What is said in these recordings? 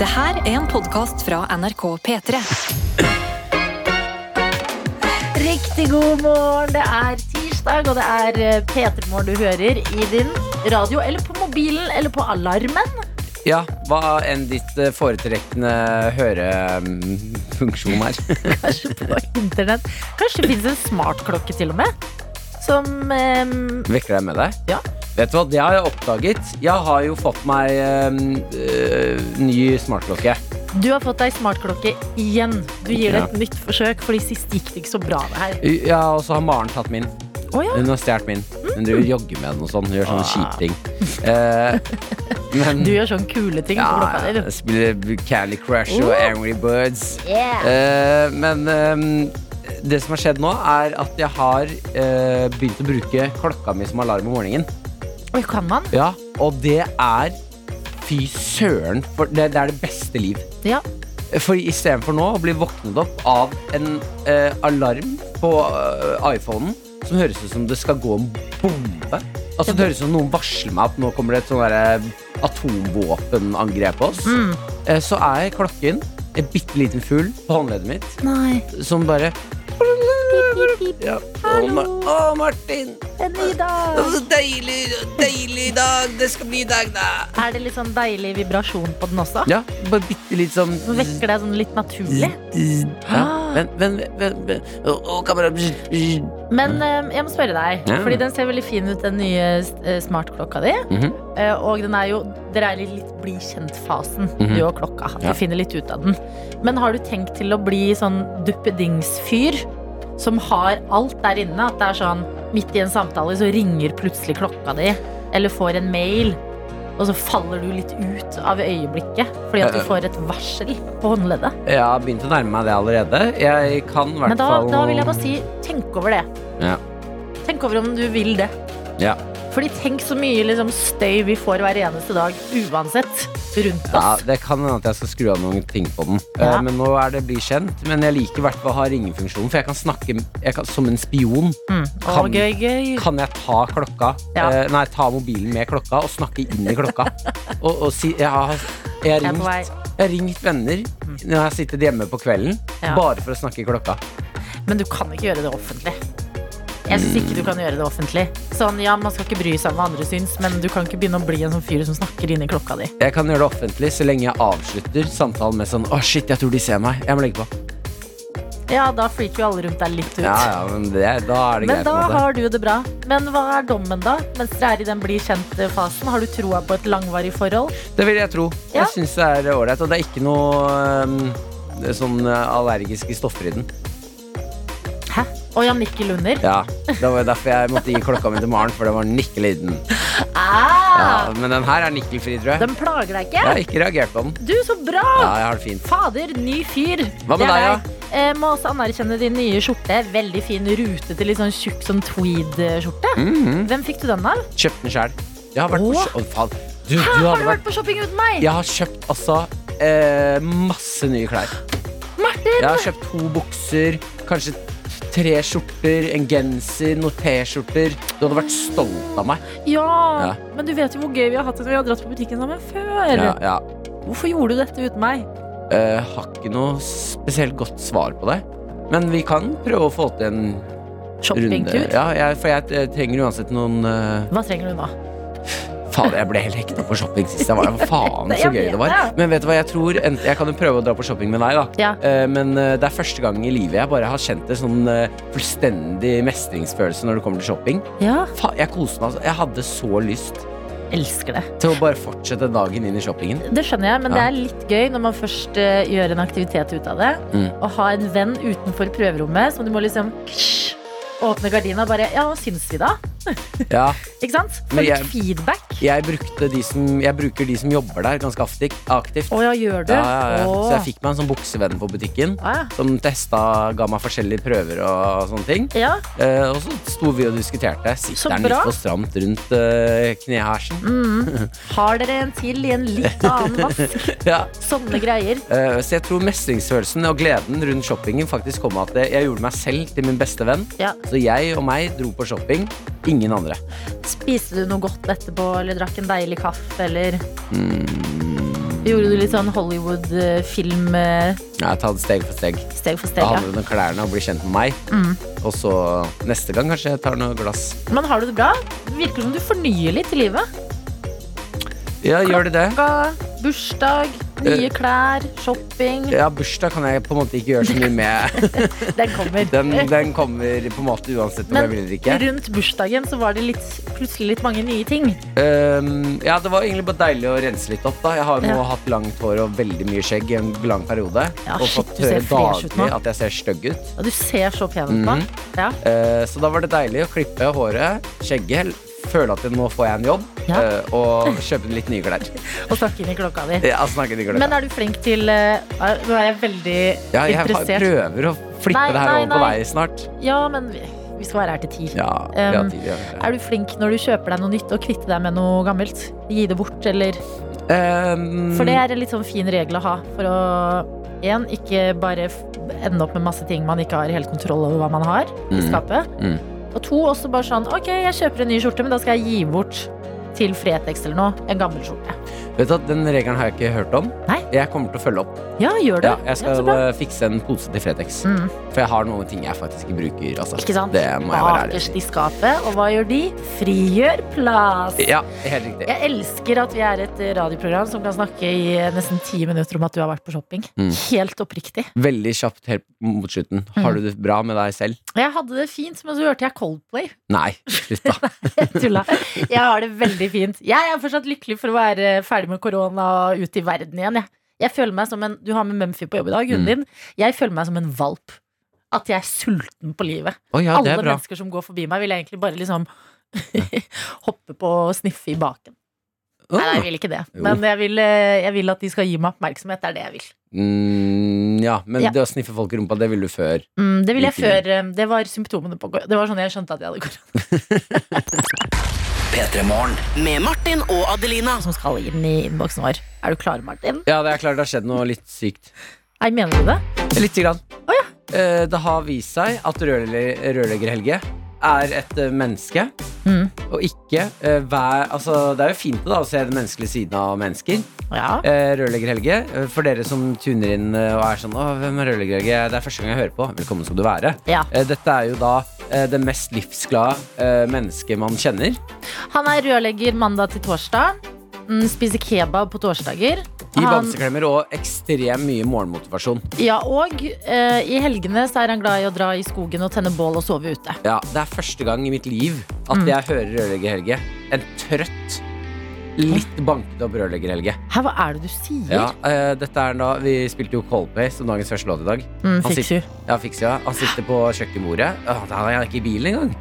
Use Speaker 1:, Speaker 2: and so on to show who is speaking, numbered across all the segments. Speaker 1: Det her er en podkast fra NRK P3.
Speaker 2: Riktig god morgen. Det er tirsdag, og det er P3morgen du hører i din radio eller på mobilen eller på alarmen.
Speaker 3: Ja, hva enn ditt eh, foretrekkende hørefunksjon er.
Speaker 2: Kanskje på internett. Kanskje det finnes en smartklokke til og med. Som ehm,
Speaker 3: Vekker deg med deg?
Speaker 2: Ja.
Speaker 3: Vet du hva, det har jeg oppdaget. Jeg har jo fått meg eh, eh, ny smartklokke.
Speaker 2: Du har fått deg smartklokke igjen. Du gir det
Speaker 3: Ja.
Speaker 2: et nytt forsøk, fordi sist gikk det ikke så bra. det her
Speaker 3: Ja, og så har Maren tatt min.
Speaker 2: Å ja. Mm.
Speaker 3: Hun har stjålet min. Hun driver og jogger med den og sånn. Hun Gjør sånne
Speaker 2: Ah.
Speaker 3: kjipe ting. Eh, men
Speaker 2: Du gjør sånne kule ting på
Speaker 3: ja,
Speaker 2: klokka
Speaker 3: ja,
Speaker 2: di.
Speaker 3: jeg
Speaker 2: du.
Speaker 3: spiller Candy Crush og
Speaker 2: Oh.
Speaker 3: Angry Birds.
Speaker 2: Yeah.
Speaker 3: Eh, men eh, det som har skjedd nå, er at jeg har eh, begynt å bruke klokka mi som alarm om morgenen.
Speaker 2: Oi, kan man?
Speaker 3: Ja, og det er Fy søren, for det, det er det beste liv.
Speaker 2: Ja.
Speaker 3: For istedenfor nå å bli våknet opp av en eh, alarm på eh, iPhonen som høres ut som det skal gå en bombe. Altså Det høres ut som noen varsler meg at nå kommer det et sånn derre atomvåpenangrep på oss.
Speaker 2: Mm.
Speaker 3: Eh, så er klokken en bitte liten fugl på håndleddet mitt
Speaker 2: Nei.
Speaker 3: som bare
Speaker 2: Pip, pip.
Speaker 3: ja. Å,
Speaker 2: Hallo.
Speaker 3: Mar- å, Martin!
Speaker 2: En ny dag.
Speaker 3: Så deilig, deilig dag det skal bli i dag, da!
Speaker 2: Er det litt sånn deilig vibrasjon på den også?
Speaker 3: Ja, bare bitte litt sånn
Speaker 2: Som vekker deg sånn litt naturlig?
Speaker 3: ja.
Speaker 2: Ah.
Speaker 3: Vent, vent, vent, vent. Å, å, kamerat
Speaker 2: Men eh, jeg må spørre deg,
Speaker 3: Ja.
Speaker 2: fordi den ser veldig fin ut, den nye eh, smartklokka di.
Speaker 3: Mhm.
Speaker 2: Eh, Og den er jo Dere er i litt bli kjent-fasen,
Speaker 3: Mhm.
Speaker 2: du og klokka. Du
Speaker 3: Ja.
Speaker 2: finner litt ut av den. Men har du tenkt til å bli sånn duppedingsfyr som har alt der inne? At det er sånn midt i en samtale så ringer plutselig klokka di, eller får en mail. Og så faller du litt ut av øyeblikket fordi at du
Speaker 3: Eh, eh.
Speaker 2: får et varsel på håndleddet.
Speaker 3: Jeg har begynt å nærme meg det allerede. Jeg kan i
Speaker 2: Men
Speaker 3: hvert
Speaker 2: da,
Speaker 3: fall
Speaker 2: da vil jeg bare si tenk over det.
Speaker 3: Ja.
Speaker 2: Tenk over om du vil det.
Speaker 3: Ja.
Speaker 2: Fordi tenk så mye liksom, støy vi får hver eneste dag, uansett, rundt
Speaker 3: ja,
Speaker 2: oss.
Speaker 3: Det kan hende at jeg skal skru av noen ting på den.
Speaker 2: Ja.
Speaker 3: Eh, Men nå er det bli kjent. Men jeg liker i hvert fall å ha ringefunksjonen, for jeg kan snakke jeg kan, som en spion.
Speaker 2: Mm. Å,
Speaker 3: Kan-
Speaker 2: gøy, gøy.
Speaker 3: Kan jeg ta klokka
Speaker 2: Ja.
Speaker 3: eh, Nei, ta mobilen med klokka og snakke inn i klokka? og, og si Jeg har jeg har
Speaker 2: Jeg er på
Speaker 3: ringt
Speaker 2: vei. Mm.
Speaker 3: Jeg har ringt venner når jeg har sittet hjemme på kvelden,
Speaker 2: Ja.
Speaker 3: bare for å snakke i klokka.
Speaker 2: Men du kan ikke gjøre det offentlig. Jeg syns
Speaker 3: Mm.
Speaker 2: ikke du kan gjøre det offentlig. Sånn, ja, Man skal ikke bry seg om hva andre syns, men du kan ikke begynne å bli en sånn fyr som snakker inni klokka di.
Speaker 3: Jeg kan gjøre det offentlig så lenge jeg avslutter samtalen med sånn Å, shit, jeg tror de ser meg. Jeg må legge på.
Speaker 2: Ja, da freaker jo alle rundt deg litt ut.
Speaker 3: Ja, ja, men det, da er det
Speaker 2: Men
Speaker 3: greit.
Speaker 2: da
Speaker 3: på en måte.
Speaker 2: har du det bra. Men hva er dommen, da? Mens dere er i den bli kjent-fasen, har du troa på et langvarig forhold?
Speaker 3: Det vil jeg tro.
Speaker 2: Ja.
Speaker 3: Jeg syns det er ålreit. Og det er ikke noe øhm, det er sånn øh, allergiske stoffer i den.
Speaker 2: Hæ? Å ja, Mikkel Lunder?
Speaker 3: Ja, Det var jo derfor jeg måtte gi klokka mi til Maren, for det var nikkel i den.
Speaker 2: Ah!
Speaker 3: Ja, men den her er nikkelfri, tror jeg.
Speaker 2: Den plager deg ikke?
Speaker 3: Jeg har ikke reagert på den.
Speaker 2: Du, så bra!
Speaker 3: Ja, jeg har det fint.
Speaker 2: Fader, ny fyr.
Speaker 3: Hva med
Speaker 2: Det er
Speaker 3: deg,
Speaker 2: Eh, må også anerkjenne din nye skjorte. Veldig fin rutete, litt sånn tjukk sånn tweed-skjorte.
Speaker 3: Mhm.
Speaker 2: Hvem fikk du den av?
Speaker 3: Kjøpt den sjæl. Jeg har vært på
Speaker 2: Åh.
Speaker 3: sj- Å, faen. Du, du
Speaker 2: Hæ, har
Speaker 3: hadde
Speaker 2: du
Speaker 3: vært
Speaker 2: vært på shopping uten meg?
Speaker 3: Jeg har kjøpt altså eh, masse nye klær.
Speaker 2: Martin!
Speaker 3: Jeg har kjøpt to bukser, kanskje tre skjorter, en genser, noen T-skjorter. Du hadde vært stolt av meg.
Speaker 2: Ja.
Speaker 3: Ja.
Speaker 2: Men du vet jo hvor gøy vi har hatt det når vi har dratt på butikken sammen før.
Speaker 3: Ja, ja.
Speaker 2: Hvorfor gjorde du dette uten meg?
Speaker 3: Eh, har ikke noe spesielt godt svar på det. Men vi kan prøve å få til en runde.
Speaker 2: Shoppingtur?
Speaker 3: Ja, jeg, for jeg eh, trenger uansett noen eh,
Speaker 2: Hva trenger du nå?
Speaker 3: Faen, jeg ble helt hekta på shopping sist. Jeg var faen
Speaker 2: Jeg
Speaker 3: så gøy
Speaker 2: vet
Speaker 3: det var.
Speaker 2: det.
Speaker 3: Men vet du hva, jeg tror ent- Jeg kan jo prøve å dra på shopping med deg, da.
Speaker 2: Ja.
Speaker 3: Eh, Men eh, det er første gang i livet jeg bare har kjent en sånn eh, fullstendig mestringsfølelse når det kommer til shopping.
Speaker 2: ja.
Speaker 3: Fa jeg koste meg. altså. Jeg hadde så lyst
Speaker 2: Elsker det.
Speaker 3: til å bare fortsette dagen inn i shoppingen.
Speaker 2: Det skjønner jeg, men
Speaker 3: Ja.
Speaker 2: det er litt gøy når man først eh, gjør en aktivitet ut av det.
Speaker 3: Mm.
Speaker 2: Å ha en venn utenfor prøverommet som du må liksom ksh, åpne gardina og bare Ja, hva syns vi da?
Speaker 3: Ja,
Speaker 2: Ikke sant? Få
Speaker 3: Men
Speaker 2: litt
Speaker 3: jeg-
Speaker 2: feedback.
Speaker 3: jeg, brukte de som, jeg bruker de som jobber der, ganske aktivt. aktivt.
Speaker 2: Å ja, gjør du?
Speaker 3: Ja, ja, ja.
Speaker 2: Å.
Speaker 3: Så jeg fikk meg en sånn buksevenn på butikken.
Speaker 2: Å,
Speaker 3: Som testa, ga meg forskjellige prøver og sånne ting.
Speaker 2: ja. ja.
Speaker 3: Eh, og så sto vi og diskuterte.
Speaker 2: Så
Speaker 3: Sitter den
Speaker 2: bra.
Speaker 3: litt for stramt rundt eh, knehersen?
Speaker 2: Mm. Har dere en til i en litt annen vask?
Speaker 3: Ja.
Speaker 2: Sånne greier.
Speaker 3: Eh, Så jeg tror mestringsfølelsen og gleden rundt shoppingen faktisk kom av at jeg gjorde meg selv til min beste venn.
Speaker 2: Ja.
Speaker 3: Så jeg og meg dro på shopping. Ingen andre.
Speaker 2: Spiste du noe godt etterpå, eller drakk en deilig kaffe, eller
Speaker 3: Mm,
Speaker 2: Gjorde du litt sånn Hollywood-film eh,
Speaker 3: Ja, ta det steg for steg.
Speaker 2: steg for steg?
Speaker 3: Da
Speaker 2: Ja. Mm.
Speaker 3: handler det om klærne og bli kjent med meg. Og så neste gang kanskje jeg tar noe glass.
Speaker 2: Men har du det bra? Det virker som du fornyer litt i livet.
Speaker 3: Ja, gjør de det?
Speaker 2: Ga- Bursdag, nye
Speaker 3: Eh.
Speaker 2: klær, shopping.
Speaker 3: Ja, bursdag kan jeg på en måte ikke gjøre så mye med.
Speaker 2: Den kommer.
Speaker 3: Den, den kommer på en måte uansett om
Speaker 2: Men
Speaker 3: jeg vil eller ikke.
Speaker 2: rundt bursdagen så var det litt, plutselig litt mange nye ting.
Speaker 3: Ehm, ja, det var egentlig bare deilig å rense litt opp. da Jeg har jo nå
Speaker 2: Ja.
Speaker 3: hatt langt hår og veldig mye skjegg i en lang periode.
Speaker 2: Ja,
Speaker 3: og
Speaker 2: shit,
Speaker 3: fått
Speaker 2: du ser
Speaker 3: høre
Speaker 2: fresh ut nå.
Speaker 3: daglig at jeg ser stygg ut.
Speaker 2: Og du ser så pen ut nå.
Speaker 3: Mhm.
Speaker 2: Ja.
Speaker 3: Eh, så da var det deilig å klippe håret, skjegget, føle at nå får jeg en jobb,
Speaker 2: Ja.
Speaker 3: eh, og kjøpe litt nye klær.
Speaker 2: Og snakke inn i klokka di.
Speaker 3: Jeg snakker ikke
Speaker 2: Men
Speaker 3: glemme.
Speaker 2: er du flink til eh, er- Nå er jeg veldig
Speaker 3: Ja, jeg har-
Speaker 2: interessert.
Speaker 3: prøver å flippe
Speaker 2: Nei,
Speaker 3: det her
Speaker 2: nei,
Speaker 3: over på
Speaker 2: nei.
Speaker 3: deg snart.
Speaker 2: Ja, men vi, vi skal være her til ti.
Speaker 3: Ja, vi har
Speaker 2: Um,
Speaker 3: tid, vi har tid.
Speaker 2: Er du flink når du kjøper deg noe nytt og kvitter deg med noe gammelt? Gi det bort, eller
Speaker 3: Ehm,
Speaker 2: For det er en litt sånn fin regel å ha for å én, ikke bare f- ende opp med masse ting man ikke har helt kontroll over hva man har i
Speaker 3: Mm.
Speaker 2: skapet.
Speaker 3: Mm.
Speaker 2: Og to, også bare sånn OK, jeg kjøper en ny skjorte, men da skal jeg gi bort til Fretex eller noe en gammel skjorte.
Speaker 3: Vet du at Den regelen har jeg ikke hørt om.
Speaker 2: Nei.
Speaker 3: Jeg kommer til å følge opp.
Speaker 2: Ja, gjør det.
Speaker 3: Ja, jeg
Speaker 2: Ja, så
Speaker 3: skal
Speaker 2: bra.
Speaker 3: eh, fikse en pose til Fretex.
Speaker 2: Mm.
Speaker 3: For jeg har noen ting jeg faktisk ikke bruker. Altså.
Speaker 2: Ikke sant?
Speaker 3: Det må jeg være ærlig
Speaker 2: Bakerst
Speaker 3: og si.
Speaker 2: i skapet. Og hva gjør de? Frigjør plass.
Speaker 3: Ja, helt riktig.
Speaker 2: Jeg elsker at vi er et radioprogram som kan snakke i eh, nesten ti minutter om at du har vært på shopping.
Speaker 3: Mm.
Speaker 2: Helt oppriktig.
Speaker 3: Veldig kjapt helt mot slutten.
Speaker 2: Mm.
Speaker 3: Har du det bra med deg selv?
Speaker 2: Jeg hadde det fint, men så hørte jeg Coldplay.
Speaker 3: Nei, slutt, da.
Speaker 2: Jeg tulla. Jeg har det veldig fint. Jeg er fortsatt lykkelig for å være ferdig med korona og ute i verden igjen. Jeg, jeg føler meg som en, Du har med Mumphy på jobb i dag,
Speaker 3: Mm.
Speaker 2: hunden din. Jeg føler meg som en valp. At jeg er sulten på livet.
Speaker 3: Å ja, det
Speaker 2: Alle
Speaker 3: er bra.
Speaker 2: mennesker som går forbi meg, vil jeg egentlig bare liksom hoppe på og sniffe i baken. Nei, nei, jeg vil ikke det.
Speaker 3: Jo.
Speaker 2: Men jeg vil, eh, jeg vil at de skal gi meg oppmerksomhet. Det er det jeg vil.
Speaker 3: Mm, ja, men
Speaker 2: Ja.
Speaker 3: det å sniffe folk i rumpa, det ville du før.
Speaker 2: Mm, det ville jeg
Speaker 3: Ikke
Speaker 2: før. eh, Det var symptomene på kor- Det var sånn jeg skjønte at jeg hadde korona.
Speaker 4: Med Martin og Adelina.
Speaker 2: Som skal inn i innboksen vår. Er du klar, Martin?
Speaker 3: Ja, det er klart det har skjedd noe litt sykt.
Speaker 2: Nei, mener du det?
Speaker 3: Lite grann. Eh, Det har vist seg at rørlegger rørlegger Helge er et eh, menneske.
Speaker 2: Mm.
Speaker 3: Og ikke eh, hver Altså, det er jo fint da, å se den menneskelige siden av mennesker.
Speaker 2: Ja.
Speaker 3: Eh, Rørlegger Helge, eh, for dere som tuner inn eh, og er sånn Åh, hvem er Rørlegger Helge? Det er første gang jeg hører på. Velkommen skal du være.
Speaker 2: ja.
Speaker 3: Eh, Dette er jo da eh, det mest livsglade eh, mennesket man kjenner.
Speaker 2: Han er rørlegger mandag til torsdag. Mm, Spiser kebab på torsdager.
Speaker 3: I
Speaker 2: Han-
Speaker 3: bamseklemmer og ekstremt mye morgenmotivasjon.
Speaker 2: Ja, og eh, i helgene så er han glad i å dra i skogen og tenne bål og sove ute.
Speaker 3: Ja, det er første gang i mitt liv at
Speaker 2: Mm.
Speaker 3: jeg hører Rørlegger Helge. En trøtt, litt banket opp Rørlegger Helge.
Speaker 2: Hæ, hva er det du sier?
Speaker 3: Ja, eh, dette er da, vi spilte jo Coldplay som dagens første låt i dag.
Speaker 2: Mm,
Speaker 3: Han
Speaker 2: fikk
Speaker 3: sitter-
Speaker 2: du.
Speaker 3: Ja, fikser jeg. Han sitter på kjøkkenbordet. Åh, Han er ikke i bilen engang.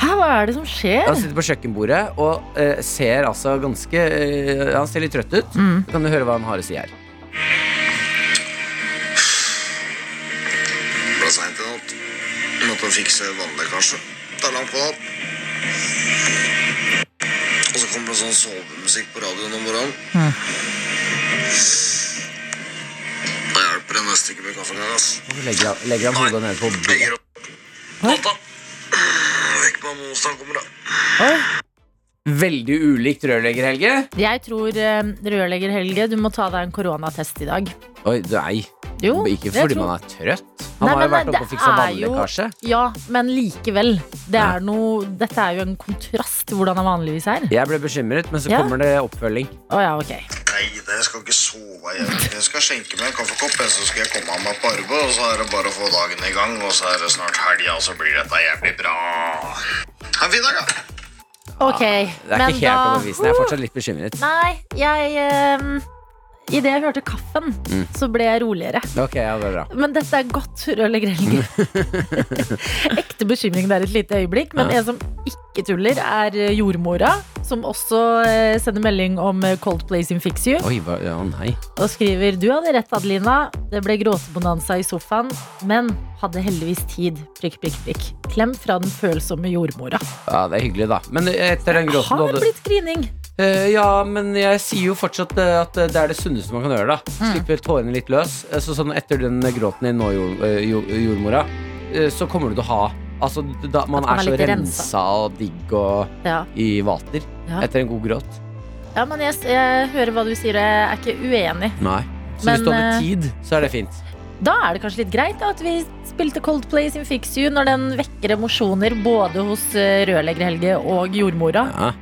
Speaker 2: Hæ, hva er det som skjer?
Speaker 3: Han sitter på kjøkkenbordet og eh, ser altså ganske eh, Han ser litt trøtt ut.
Speaker 2: Mm.
Speaker 3: Kan du høre hva han har å si her?
Speaker 5: Det ble seint i natt. Måtte fikse vannlekkasje. Det er langt på natt. Og så kommer det sånn sovemusikk på radioen om morgenen.
Speaker 2: Mhm.
Speaker 5: Da hjelper det nesten ikke med kaffegang, ass.
Speaker 3: Og så legger, han- legger han hodet ned på bordet.
Speaker 5: Legger opp. Natta. Vekk meg om onsdag kommer, da.
Speaker 3: Veldig ulikt rørlegger, Helge.
Speaker 2: Jeg tror eh, rørlegger Helge, du må ta deg en koronatest i dag.
Speaker 3: Oi, nei.
Speaker 2: Jo,
Speaker 3: Ikke
Speaker 2: jeg
Speaker 3: fordi
Speaker 2: tror-
Speaker 3: man er trøtt. Han
Speaker 2: Nei,
Speaker 3: har jo
Speaker 2: men
Speaker 3: vært
Speaker 2: det
Speaker 3: oppe og fiksa
Speaker 2: er jo-
Speaker 3: vannlekkasje.
Speaker 2: Ja, men likevel. Det
Speaker 3: Ja.
Speaker 2: er noe, dette er jo en kontrast til hvordan han vanligvis er.
Speaker 3: Jeg ble bekymret, men så
Speaker 2: Ja.
Speaker 3: kommer det oppfølging.
Speaker 2: Å ja, ok.
Speaker 5: Nei, det jeg skal ikke sove igjen. Jeg skal skjenke meg en kaffekopp, jeg, så skal jeg komme av meg på arbeid, og så er det bare å få dagen i gang, og så er det snart helg, og så blir dette jævlig bra. Ha en fin dag, da.
Speaker 2: Ok,
Speaker 3: Det er ikke helt overbevisende. Jeg er fortsatt litt bekymret.
Speaker 2: Nei, jeg ehm, i Idet jeg hørte kaffen, så ble jeg roligere.
Speaker 3: Ok, ja, det er bra.
Speaker 2: Men dette er godt røllegrelger. Ekte bekymring der et lite øyeblikk. Men
Speaker 3: Ja.
Speaker 2: en som ikke tuller, er eh, jordmora. Som også eh, sender melding om eh, Coldplay sin Fix You.
Speaker 3: Oi, hva, ja, nei.
Speaker 2: Og skriver Du hadde rett, Adelina. Det ble gråtebonanza i sofaen. Men hadde heldigvis tid. Prikk, prikk, prikk. Klem fra den følsomme jordmora.
Speaker 3: Ja, det er hyggelig, da. Men etter den gråten
Speaker 2: Har
Speaker 3: du
Speaker 2: det
Speaker 3: hadde
Speaker 2: blitt grining?
Speaker 3: Eh, ja, men jeg sier jo fortsatt eh, at eh, det er det sunneste man kan gjøre. da
Speaker 2: Mm.
Speaker 3: Slippe tårene litt løs. Eh, Så sånn etter den gråten din nå, jord, eh, jo- jordmora, eh, så kommer du til å ha Altså, da, man
Speaker 2: At man
Speaker 3: er
Speaker 2: er
Speaker 3: så
Speaker 2: litt
Speaker 3: rensa og digg og
Speaker 2: Ja.
Speaker 3: i vater
Speaker 2: Ja.
Speaker 3: etter en god gråt.
Speaker 2: Ja, men jeg, jeg hører hva du sier, og jeg er ikke uenig.
Speaker 3: Nei. Så
Speaker 2: Men,
Speaker 3: hvis du hadde
Speaker 2: eh,
Speaker 3: tid, så er det fint.
Speaker 2: Da er det kanskje litt greit da, at vi spilte Coldplay sin Fix You når den vekker emosjoner både hos eh, rørlegger-Helge og jordmora.
Speaker 3: Ja.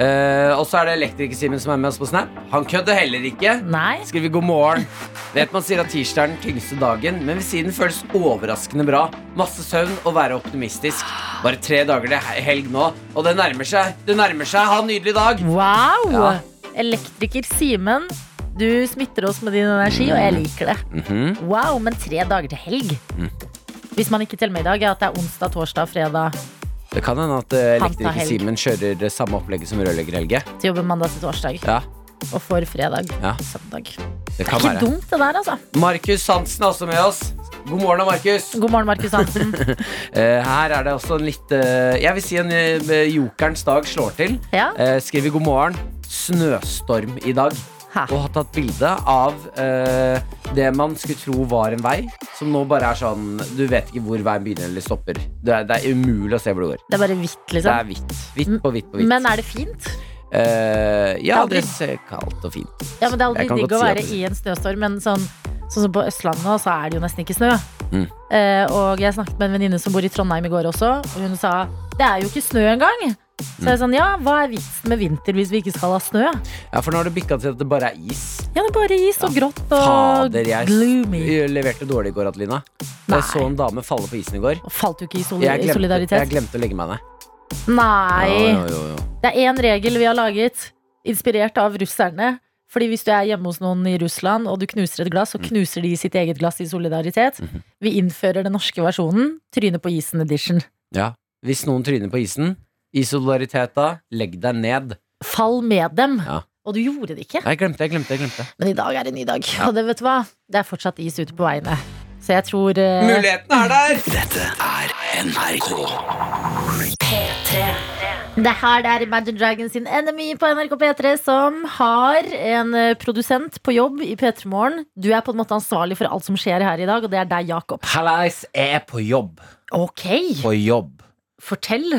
Speaker 3: Eh, og så er det Elektriker-Simen som er med oss på Snap. Han kødder heller ikke.
Speaker 2: Nei.
Speaker 3: Skriver god morgen. Vet man sier at tirsdag er den tyngste dagen, men vil si den føles overraskende bra. Masse søvn og være optimistisk. Bare tre dager til he- helg nå, og det nærmer seg. Det nærmer seg. Ha en nydelig dag.
Speaker 2: Wow!
Speaker 3: Ja.
Speaker 2: Elektriker Simen, du smitter oss med din energi, og jeg liker det.
Speaker 3: Mhm.
Speaker 2: Wow, men tre dager til helg?
Speaker 3: Mm.
Speaker 2: Hvis man ikke teller med i dag, ja, at det er onsdag, torsdag, fredag
Speaker 3: Det kan hende at
Speaker 2: Han tar helg.
Speaker 3: Elektriker-Simen kjører det samme opplegget som rørlegger-Helge.
Speaker 2: til jobber mandag til torsdag,
Speaker 3: Ja,
Speaker 2: og for fredag
Speaker 3: Ja.
Speaker 2: søndag.
Speaker 3: det
Speaker 2: Det er
Speaker 3: kan
Speaker 2: ikke
Speaker 3: være.
Speaker 2: dumt, det der, altså.
Speaker 3: Markus Hansen er også med oss. God morgen, Markus.
Speaker 2: God morgen, Markus Hansen.
Speaker 3: Eh, her er det også en litt eh, Jeg vil si en eh, jokerens dag slår til.
Speaker 2: Ja.
Speaker 3: Eh, skriver god morgen. Snøstorm i dag.
Speaker 2: Ha.
Speaker 3: Og har tatt bilde av eh, det man skulle tro var en vei, som nå bare er sånn Du vet ikke hvor veien begynner eller stopper. Det er, det er umulig å se hvor det går.
Speaker 2: Det er bare hvitt,
Speaker 3: Det er
Speaker 2: liksom.
Speaker 3: hvitt. Hvitt på hvitt på hvitt.
Speaker 2: Men er det fint?
Speaker 3: Eh, ja,
Speaker 2: Det er aldri-
Speaker 3: det ser kaldt og fint
Speaker 2: Ja, men Det er
Speaker 3: Jeg kan
Speaker 2: aldri digg
Speaker 3: godt
Speaker 2: å
Speaker 3: si at
Speaker 2: være
Speaker 3: det-
Speaker 2: i en snøstorm, men sånn, sånn som på Østlandet så er det jo nesten ikke snø.
Speaker 3: Mm.
Speaker 2: Eh, og jeg snakket med en venninne som bor i Trondheim i går også, og hun sa det er jo ikke snø engang. Så
Speaker 3: Mm.
Speaker 2: jeg er sånn, ja, hva er vitsen med vinter hvis vi ikke skal ha snø?
Speaker 3: Ja, For nå har det bikka til at det bare er is.
Speaker 2: Ja, det er bare is og
Speaker 3: Ja.
Speaker 2: grått og
Speaker 3: Fader, jeg
Speaker 2: gloomy.
Speaker 3: s- leverte dårlig i går, Adelina.
Speaker 2: Nei.
Speaker 3: Jeg så en dame falle på isen i går.
Speaker 2: Og Falt du ikke i soli
Speaker 3: Jeg glemte,
Speaker 2: solidaritet?
Speaker 3: jeg glemte å legge meg ned.
Speaker 2: Nei.
Speaker 3: Jo, jo, jo, jo.
Speaker 2: Det er én regel vi har laget, inspirert av russerne. Fordi Hvis du er hjemme hos noen i Russland og du knuser et glass, så knuser de sitt eget glass i solidaritet. Vi innfører den norske versjonen. Tryne på isen edition.
Speaker 3: Ja. Hvis noen tryner på isen, i solidaritet da, legg deg ned.
Speaker 2: Fall med dem.
Speaker 3: Ja.
Speaker 2: Og du gjorde det ikke.
Speaker 3: Nei, jeg glemte, jeg glemte, jeg glemte.
Speaker 2: Men i dag er det en ny dag. Og det, vet du hva? det er fortsatt is ute på veiene. Så jeg tror eh,
Speaker 3: Muligheten er der!
Speaker 2: Det her det er Imagine Dragons sin Enemy på NRK P3, som har en eh, produsent på jobb i P3 Morgen. Du er på en måte ansvarlig for alt som skjer her i dag, og det er deg, Jakob.
Speaker 6: Hallais, jeg er på jobb.
Speaker 2: Ok,
Speaker 6: På jobb.
Speaker 2: fortell.